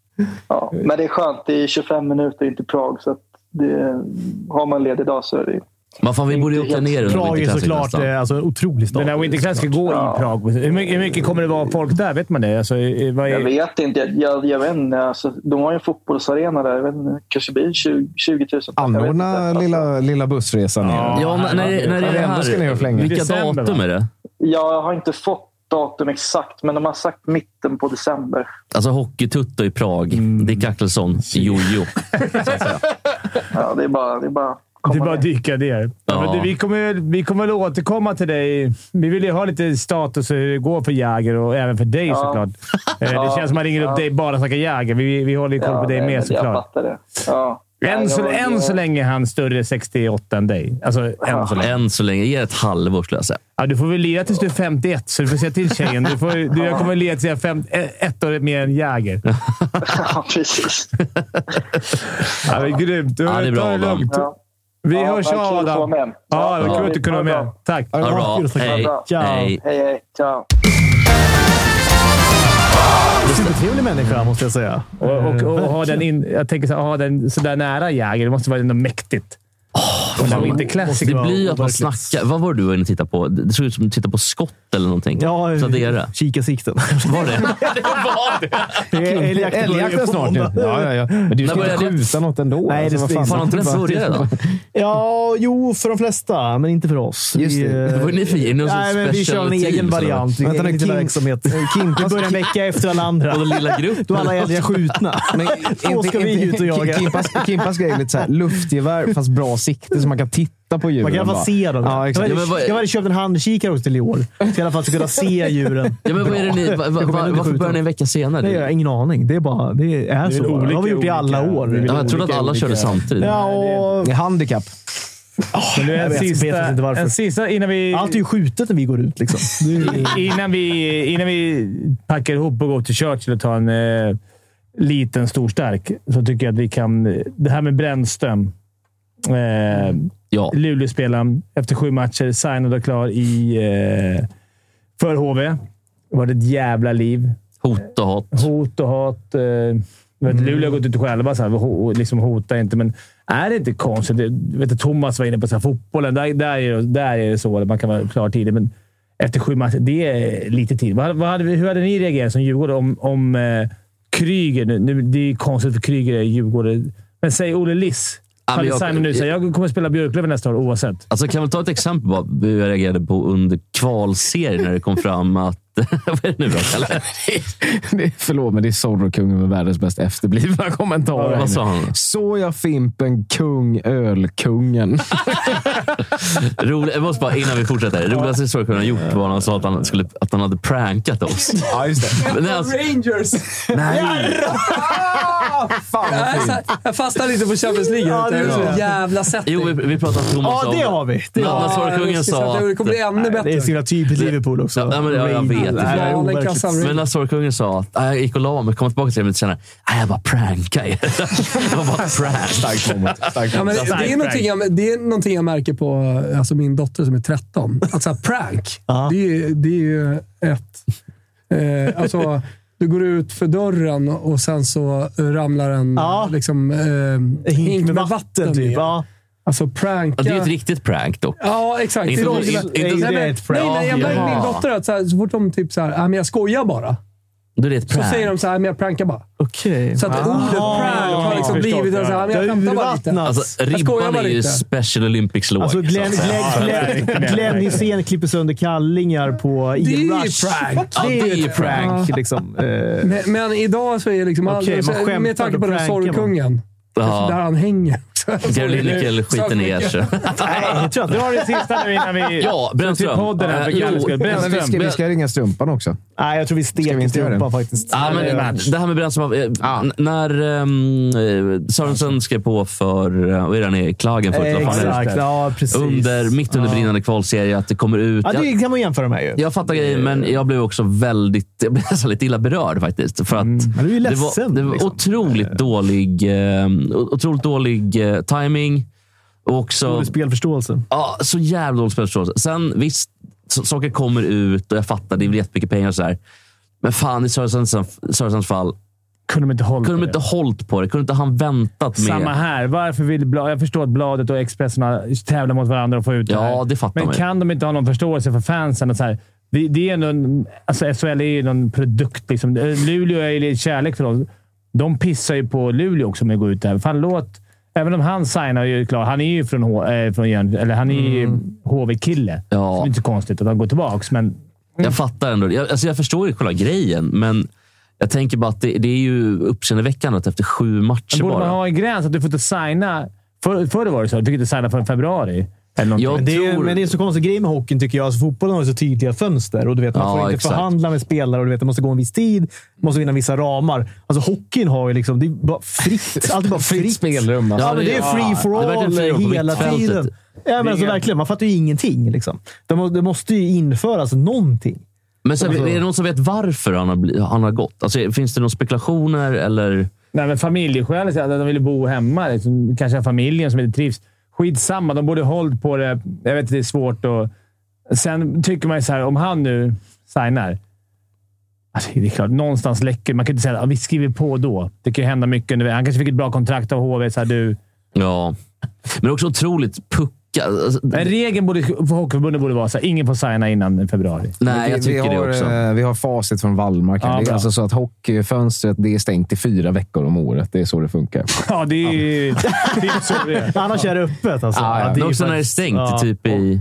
G: Ja. Men det är skönt, det är 25 minuter in till Prag. Så att det, har man ledig dag så är det
D: Men fan, vi borde ju åka ner under
B: Prag
D: Winter
B: är
D: Classic
B: såklart
D: nästan.
B: eh, alltså, en otrolig stad.
C: Den där Winter Class ska gå
G: Ja.
C: i Prag. Hur mycket, hur mycket kommer det vara folk där? Vet man det? Alltså, eh, vad
G: Jag
C: är,
G: vet inte. Jag, jag, jag vet inte. Alltså, de har ju en fotbollsarena där. Jag vet inte, kanske blir 20, 20 000. Jag vet
E: Anordna
G: inte.
E: lilla, lilla bussresan
C: Ja.
E: ner.
D: Ja, när, när, när är det
E: Ändå ska ni och
D: här?
E: flänga.
D: Vilka
C: December, va?
D: datum är det?
G: Jag har inte fått datum exakt, men de har sagt mitten på december.
D: Alltså Hockeytutto i Prag.
B: Mm.
D: Dick Axelsson, Jojo.
G: Ja, det är bara... Det är bara,
C: det
G: komma
C: är bara att
G: ner.
C: dyka ner. Ja.
D: Ja.
C: men du, vi, kommer, vi kommer väl återkomma till dig. Vi vill ju ha lite status och hur det går för Jäger och även för dig
G: Ja.
C: såklart. Eh, Det
G: Ja.
C: känns som att man ringer upp
G: Ja.
C: dig bara och snackar Jäger. Vi, vi håller ju koll på
G: Ja,
C: dig
G: nej, men
C: med
G: Jag
C: såklart.
G: fattar det. Ja. Nej,
C: Än så,
G: jag-
C: än så länge är han större 68 än dig. Alltså, än så länge.
D: Än så länge. Ge det ett halvår, skulle jag säga.
C: Ja, du får väl lira tills du är 51, så du får säga till tjejen. Du får, du, jag kommer lira tills jag är fem, eh, ett år mer än Jäger.
G: Ja, precis.
C: Ja, men, grymt. Du,
D: Ja, det är bra,
C: ta
D: Adam.
C: lugnt.
G: Ja.
C: Vi
G: Ja,
C: hörs,
G: vad kul att få
C: Adam.
G: vara med.
C: Ja, det var kul att du kunde vara med. Tack.
D: Ha det bra. Hej.
B: Ciao.
D: Hej.
G: Hej, hej. Ciao.
B: Supertrevlig människa, måste jag säga.
C: Och, och, och ha den in, jag tänker så, här, ha den så där nära Jäger. Det måste vara ändå mäktigt. och den inte
B: måste
C: klassisk.
D: Det
B: vara
D: blir ju att man
B: overkligt.
D: snackar. Vad var det du var inne och tittade på? Det såg ut som att du tittade på skott eller någonting.
B: Ja,
D: Så det är det.
B: Kikarsikten.
D: Var det? det var det.
E: Älgjakten snart ju. Ja, ja, ja. Men du ska
D: börjar
E: inte
D: det?
E: skjuta något ändå. alltså,
B: Nej, det
E: vad
B: är-
D: Fan, har inte den börjat redan?
B: Ja, jo, för de flesta, men inte för oss.
E: Just det.
B: eh,
D: Vad är ni för gäng? Någon
B: Nej,
D: sorts
B: men vi kör
D: special
B: en
D: team,
B: egen
D: så
B: variant. Vi Vänta,
E: Vänta nu,
B: en liten
E: Kim- alltså,
B: verksamhet. Vi
E: Kimpas,
B: börjar en vecka efter alla andra.
D: Och den lilla gruppen.
B: Då är alla älgar skjutna.
E: Men
B: Då ska vi ut och jaga.
E: Kimpas, Kimpas grej är lite så här, luftgevär fast bra sikte så man kan titta på djuren.
B: Man kan i alla
E: bara.
B: fall se dem.
E: Ja, exakt.
B: Jag,
D: Ja, men
B: hade,
D: vad-
B: jag hade köpt en handkikare också till i år. Så jag i alla fall ska kunna se djuren.
D: Ja, men vad är det ni, va, va,
B: Jag kommer
D: va,
B: ändå
D: varför
B: skjuta.
D: börjar ni en vecka senare?
B: Nej, jag har ingen aning. Det är bara det är
C: väl
B: så. bara. Det har vi gjort i
C: olika-
B: alla
C: olika-
B: år.
C: det är väl
D: Ja, jag trodde att
C: olika-
D: alla körde
C: olika-
D: samtidigt.
B: Ja, och...
E: Det är Handikapp.
C: Men du, en,
B: vet- vet
C: sista,
B: inte varför.
C: en sista innan vi,
B: Allt är ju skjutet när vi går ut. Liksom.
C: innan vi, innan vi packar ihop och går till Churchill och tar en eh, liten stor stark så tycker jag att vi kan... Det här med Brännström. Eh,
D: Ja.
C: Luleåspelaren, efter sju matcher, signad och klar i, eh, för HV. Det var ett jävla liv.
D: Hot och hat.
C: Hot och hat. Eh, jag
D: Mm.
C: vet, Luleå har gått ut själva så här, ho, liksom hota inte, men är det inte konstigt? Det- Jag vet, att Thomas var inne på så här, fotbollen. Där, där, är, det- där är det så. Man kan vara klar tidigt, men efter sju matcher, det är lite tid. Vad, vad hade, vi- hur hade ni reagerat som Djurgården om, om eh, Kryger? Nu, nu, det är konstigt för Kryger är Djurgården. Men säg Olle Liss.
D: Ja, men
C: Hade
D: jag-
C: signat nu. Så här, jag kommer spela Björklöven nästa år oavsett.
D: Alltså, kan vi ta ett exempel på hur jag reagerade på under kvalserien när det kom fram att... vad är det nu då, Kalle?
E: Det är, förlåt, men det är Zorro kungen med världens bäst efterblivna kommentarer.
D: Vad sa han?
E: Såg jag Fimpen kung ölkungen?
D: Rolig, jag måste bara, innan vi fortsätter. Roligaste historien han gjort var när han sa att han, skulle, att han hade prankat oss.
E: ja, just
D: Men det är alltså,
A: Rangers! Nej, så här, jag fastnar lite på Champions League.
B: Ja,
A: det är
B: det är
A: så
B: bra.
A: jävla
D: jo, vi,
A: setting.
D: vi pratade om Thomas
B: Ja, det har vi. Det,
D: Ja,
B: har vi.
D: men Sorkungen
A: jag ska säga
D: sa
A: att Det kommer bli ännu
B: det är så
A: bättre.
B: himla typiskt Liverpool också.
D: Ja, men jag- jag vet.
B: Nej, det är
A: Galen
B: overkligt.
A: kassan.
D: Men när sorgkungen sa att "Ah, jag gick och la mig, kom tillbaka till det men senare. "Ah, Jag bara prankade er. Det var bara prank.
E: Starkt moment. Starkt
A: Ja, men
E: moment.
A: det, det, är någonting jag, det är någonting jag märker på alltså min dotter som är 13. Att så här, prank,
B: Ja.
A: det, är, det är ju ett... Eh, alltså, du går ut för dörren och sen så ramlar en
B: Ja.
A: liksom, eh,
B: En Hink med vatten, typ.
A: ner.
B: Ja.
A: Alltså pranka.
D: Ja, Det är ju ett riktigt prank dock.
A: Ja, exakt.
D: Inte-
A: Det är-
D: inte- inte-
A: Nej, men-
B: det är ett prank.
A: Nej, nej, jag märker
D: Ja.
A: min dotter att så, här, så fort de typ så här, "Ah, men jag skojar bara.
D: Då är det ett
A: Så säger
D: prank.
A: de så här, "Ah, men jag prankar bara.
B: Okej.
A: Så att ordet prank har liksom
C: jag förstår.
A: blivit en så här, "Ah, men jag
B: Ah. Jag
A: skämtar bara lite.
B: urvattnas.
D: Alltså,
A: Jag skojar
D: ribban
A: bara
D: är ju
A: lite.
D: Special Olympics-låg.
B: Alltså Glenn,
D: så att säga.
B: Glenn, Glenn, Glenn Hysén klipper sönder kallingar på
A: Det är ju
B: E-Rush.
A: prank.
D: Ja,
B: Det är ju
D: prank.
B: ett prank. Liksom. Eh,
A: Men, men idag så är liksom
B: Okej,
A: aldrig,
B: man
A: så-
B: skämtar,
A: med tanke
B: då
A: på den här
B: prankar man.
A: sorgkungen.
D: Ja.
A: Där han hänger. Så-
D: Caroline
A: så-
D: Nickel, skiten ner sig.
B: Nej, jag tror
C: Du
B: inte.
C: har det sista nu innan vi...
D: Ja, Brännström.
C: Till podden här för
D: Eh, jo.
C: Kalles skull.
E: Ja, men vi, ska,
C: Brännström.
E: vi ska ringa strumpan också.
B: Nej, jag tror vi
E: Ska vi
B: steker
E: inte göra det?
B: strumpan faktiskt.
D: Ja, men
B: Eh,
D: det här med Brännström. eh, n- När ehm, eh,
B: Alltså.
D: Sörensen skrev på för, eh, vad är det han är, Klagen för? vad fan är det?
B: Exakt. Ja, precis.
D: Under, mitt under brinnande kvalserie, att det kommer ut.
B: Ja, det
D: jag,
B: kan man jämföra med ju.
D: jag fattar grejen,
B: Eh.
D: men jag blev också väldigt, jag blev nästan lite illa berörd faktiskt. För att
B: Mm. Men du är ju
D: det var,
B: ledsen.
D: det var
B: liksom.
D: otroligt dålig, eh, otroligt dålig eh, timing. Och också,
B: Dålig spelförståelse.
D: Ja, så jävla dålig spelförståelse. Sen visst, s- saker kommer ut och jag fattar, det är väl jättemycket pengar och så här. Men fan, i Sörensens Sörensens fall,
C: Kunde de inte hålla
D: kunde de
C: på det?
D: inte hållit på det? Kunde inte han väntat med...
C: Samma här. Varför vill Bla- jag förstår att Bladet och Expressen har- tävlar mot varandra och får ut det
D: Ja,
C: här.
D: det fattar
C: Men
D: man ju.
C: kan de inte ha någon förståelse för fansen? Och så här, det, det är ändå en, alltså SHL är ju någon produkt. Liksom. Eh, Luleå är ju lite kärlek för dem. De pissar ju på Luleå också med att gå ut där. Fan, låt... Även om han signar ju klar. Han är ju från, H, eh, från Jön, eller han är ju HV-kille.
D: Mm.
C: Så
D: Ja.
C: det är inte så konstigt att han går tillbaka, men
D: Jag fattar ändå. Jag, alltså jag förstår ju själva grejen, men jag tänker bara att det, det är ju uppseendeväckande att efter sju matcher
C: Men borde man
D: bara...
C: ha en gräns att du får inte signa? För, förr var det så. Du fick inte signa förrän februari. Eller någonting.
D: Jag
B: Men det, är, ju-
D: tror-
B: men det är så konstig grej med hockeyn tycker jag. Alltså, fotbollen har ju så tydliga fönster och du vet, man
D: Ja,
B: får inte
D: exakt.
B: förhandla med spelare och du vet, det måste gå en viss tid. måste vinna vissa ramar. Alltså hockeyn har ju liksom... Det är bara fritt. Allt är bara fritt.
E: Fritt spelrum.
B: Ja,
E: Alltså.
B: men det är
D: ja.
B: free
D: Det är
B: for
D: verkligen
B: all
D: free på
B: hela
D: mittfältet.
B: tiden. Ja, men alltså, verkligen. Man fattar ju ingenting. Liksom. Det, må, det måste ju införas någonting.
D: Men sen, är det någon som vet varför han har, bli- han har gått? Alltså, finns det några spekulationer eller...
C: Nej, men familjeskäl. så att De ville bo hemma. Liksom, kanske har familjen som inte trivs. Skitsamma. De borde hållit på det. Jag vet att det är svårt. Och, sen tycker man ju så här, om han nu signar. Alltså, det är klart, någonstans läcker Man kan inte säga att ah, vi skriver på då. Det kan ju hända mycket. under- Han kanske fick ett bra kontrakt av HV. Så här, du,
D: Ja. Men också otroligt pucka. Alltså,
C: men regeln borde, för Hockeyförbundet borde vara så här, ingen får signa innan februari.
D: nej, jag
E: vi, vi,
D: tycker
E: har,
D: det också.
E: eh, vi har facit från Wallmark.
C: Ja,
E: här. det är
C: bra.
E: alltså så att hockeyfönstret det är stängt i fyra veckor om året. Det är så det funkar.
C: Ja, det är ju... Det är så det är.
B: Annars är det öppet. Alltså.
E: Ja, ja.
B: det är
D: Men
B: ju
D: också när det är
B: faktiskt-
D: stängt
B: Ja.
D: typ i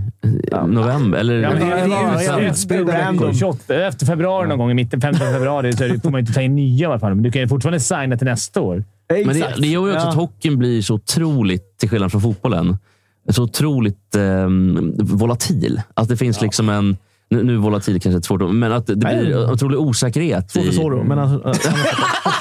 D: eh, november. Eller,
C: Ja, men det,
B: det är
C: är
B: ju
C: ju
B: utspel där
C: random.
B: veckor.
C: 28, efter februari någon gång, i mitten 15 februari, så är det- får man ju inte ta in nya i alla fall. Men du kan ju fortfarande signa till nästa år.
B: Exakt.
D: men det, det gör ju också
B: Ja.
D: att hockeyn blir så otroligt, till skillnad från fotbollen, så otroligt eh, volatil. Att det finns liksom en... Nu, nu volatil kanske är ett svårt ord, men att det blir otrolig osäkerhet.
B: Svårt
D: i-
B: att så då, men alltså, alltså,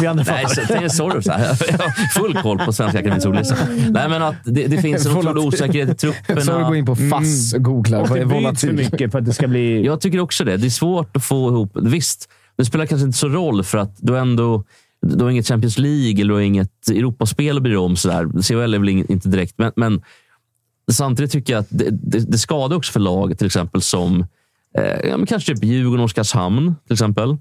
B: vi andra
D: Nej,
B: fattar.
D: så- tänk sorry. Så här. Jag har full koll på Svenska Akademiens ordlista. Nej, men att det, det finns en otrolig osäkerhet i
E: Så du går
D: trupperna.
E: in på FASS och googlar.
C: Och
E: Vad
C: det
E: är
C: byts för
E: volatil?
C: mycket för att det ska bli...
D: Jag tycker också det. Det är svårt att få ihop. Visst, det spelar kanske inte så roll för att du ändå du har inget Champions League eller du har inget Europaspel att bry dig om. Sådär. CHL är väl ing- inte direkt, men, men samtidigt tycker jag att det, det, det skadar också för lag till exempel som eh, ja, men kanske typ Djurgården och Oskarshamn till exempel.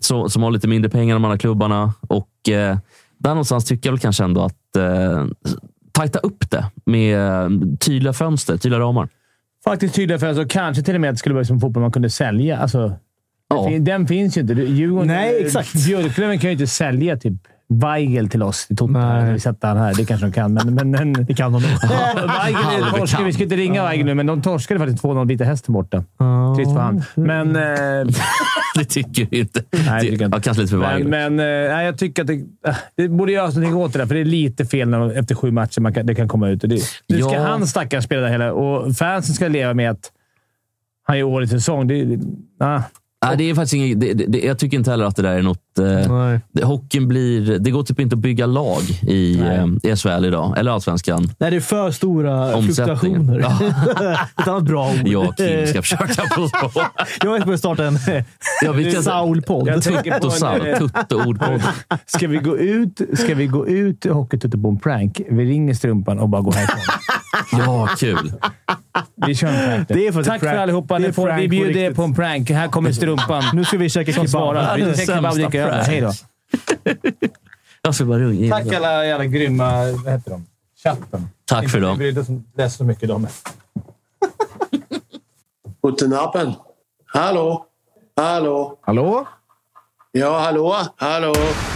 D: Så, som har lite mindre pengar än de andra klubbarna. Och eh, där någonstans tycker jag väl kanske ändå att eh, tajta upp det med eh, tydliga fönster, tydliga ramar.
C: Faktiskt tydliga för alltså, kanske till och med att det skulle vara som fotboll man kunde sälja. Alltså,
D: Ja.
C: fin- Den finns ju inte. Du- Djurgården,
B: Nej, exakt.
C: Björklöven kan ju inte sälja typ Weigel till oss i Tottenham. när Vi sätter han här. Det kanske de kan, men... men, men
B: Det kan de nog.
C: Weigel
D: halvkant.
C: torskade. Vi ska inte ringa Weigel nu, men de torskade faktiskt 2-0 Vita Hästen borta. Trist för han. Men... Eh,
D: Det tycker jag inte.
C: Nej, det tycker jag inte.
D: Ja, kanske lite för varje.
C: Men, men eh, nej, jag tycker att det, eh, det borde göras någonting åt det där, för det är lite fel när, de- efter sju matcher man kan, det kan komma ut. Och det, nu ska
D: Ja.
C: han stackaren spela det hela och fansen ska leva med att han gör årets säsong. Det, det, ah.
D: Nej, det är faktiskt inget, det, det, det, jag tycker inte heller att det där är något... Eh,
B: Nej.
D: det, hockeyn blir... Det går typ inte att bygga lag i,
C: Nej.
D: eh, i SHL idag, eller Allsvenskan.
B: Nej, det är för stora
D: Omsättningen.
B: fluktuationer. Ett annat bra ord.
D: Jag och Kim ska försöka på så.
B: Jag håller på att starta en
D: Ja, vi kan-
B: Saul-podd.
C: Jag tänker på en-
D: Tuttosaur, tuttoordpodd.
C: Ska vi gå ut, ska vi gå ut Hockeytutte på en prank? Vi ringer Strumpan och bara går härifrån.
D: Ja, kul.
C: Vi kör en prank. nu.
B: Det är faktiskt
C: Tack för
B: prank.
C: allihopa.
B: Det är
C: Ni får,
B: prank
C: vi
B: på
C: bjuder er
B: riktigt.
C: på en prank. Här kommer Strumpan.
B: Nu ska vi käka
C: som
B: kebab.
C: svarar. Vi dricker kebab och
D: sämsta
C: dricker öl.
D: prank.
C: Hej då.
D: Jag ska bara ringa.
C: Tack alla jävla grymma... Vad heter de? Chatten.
D: Tack för dem.
C: brydde oss inte så mycket om
H: Guten Abend. Hallo. Hallo.
E: Hallå?
H: Ja, hallå. Hallå.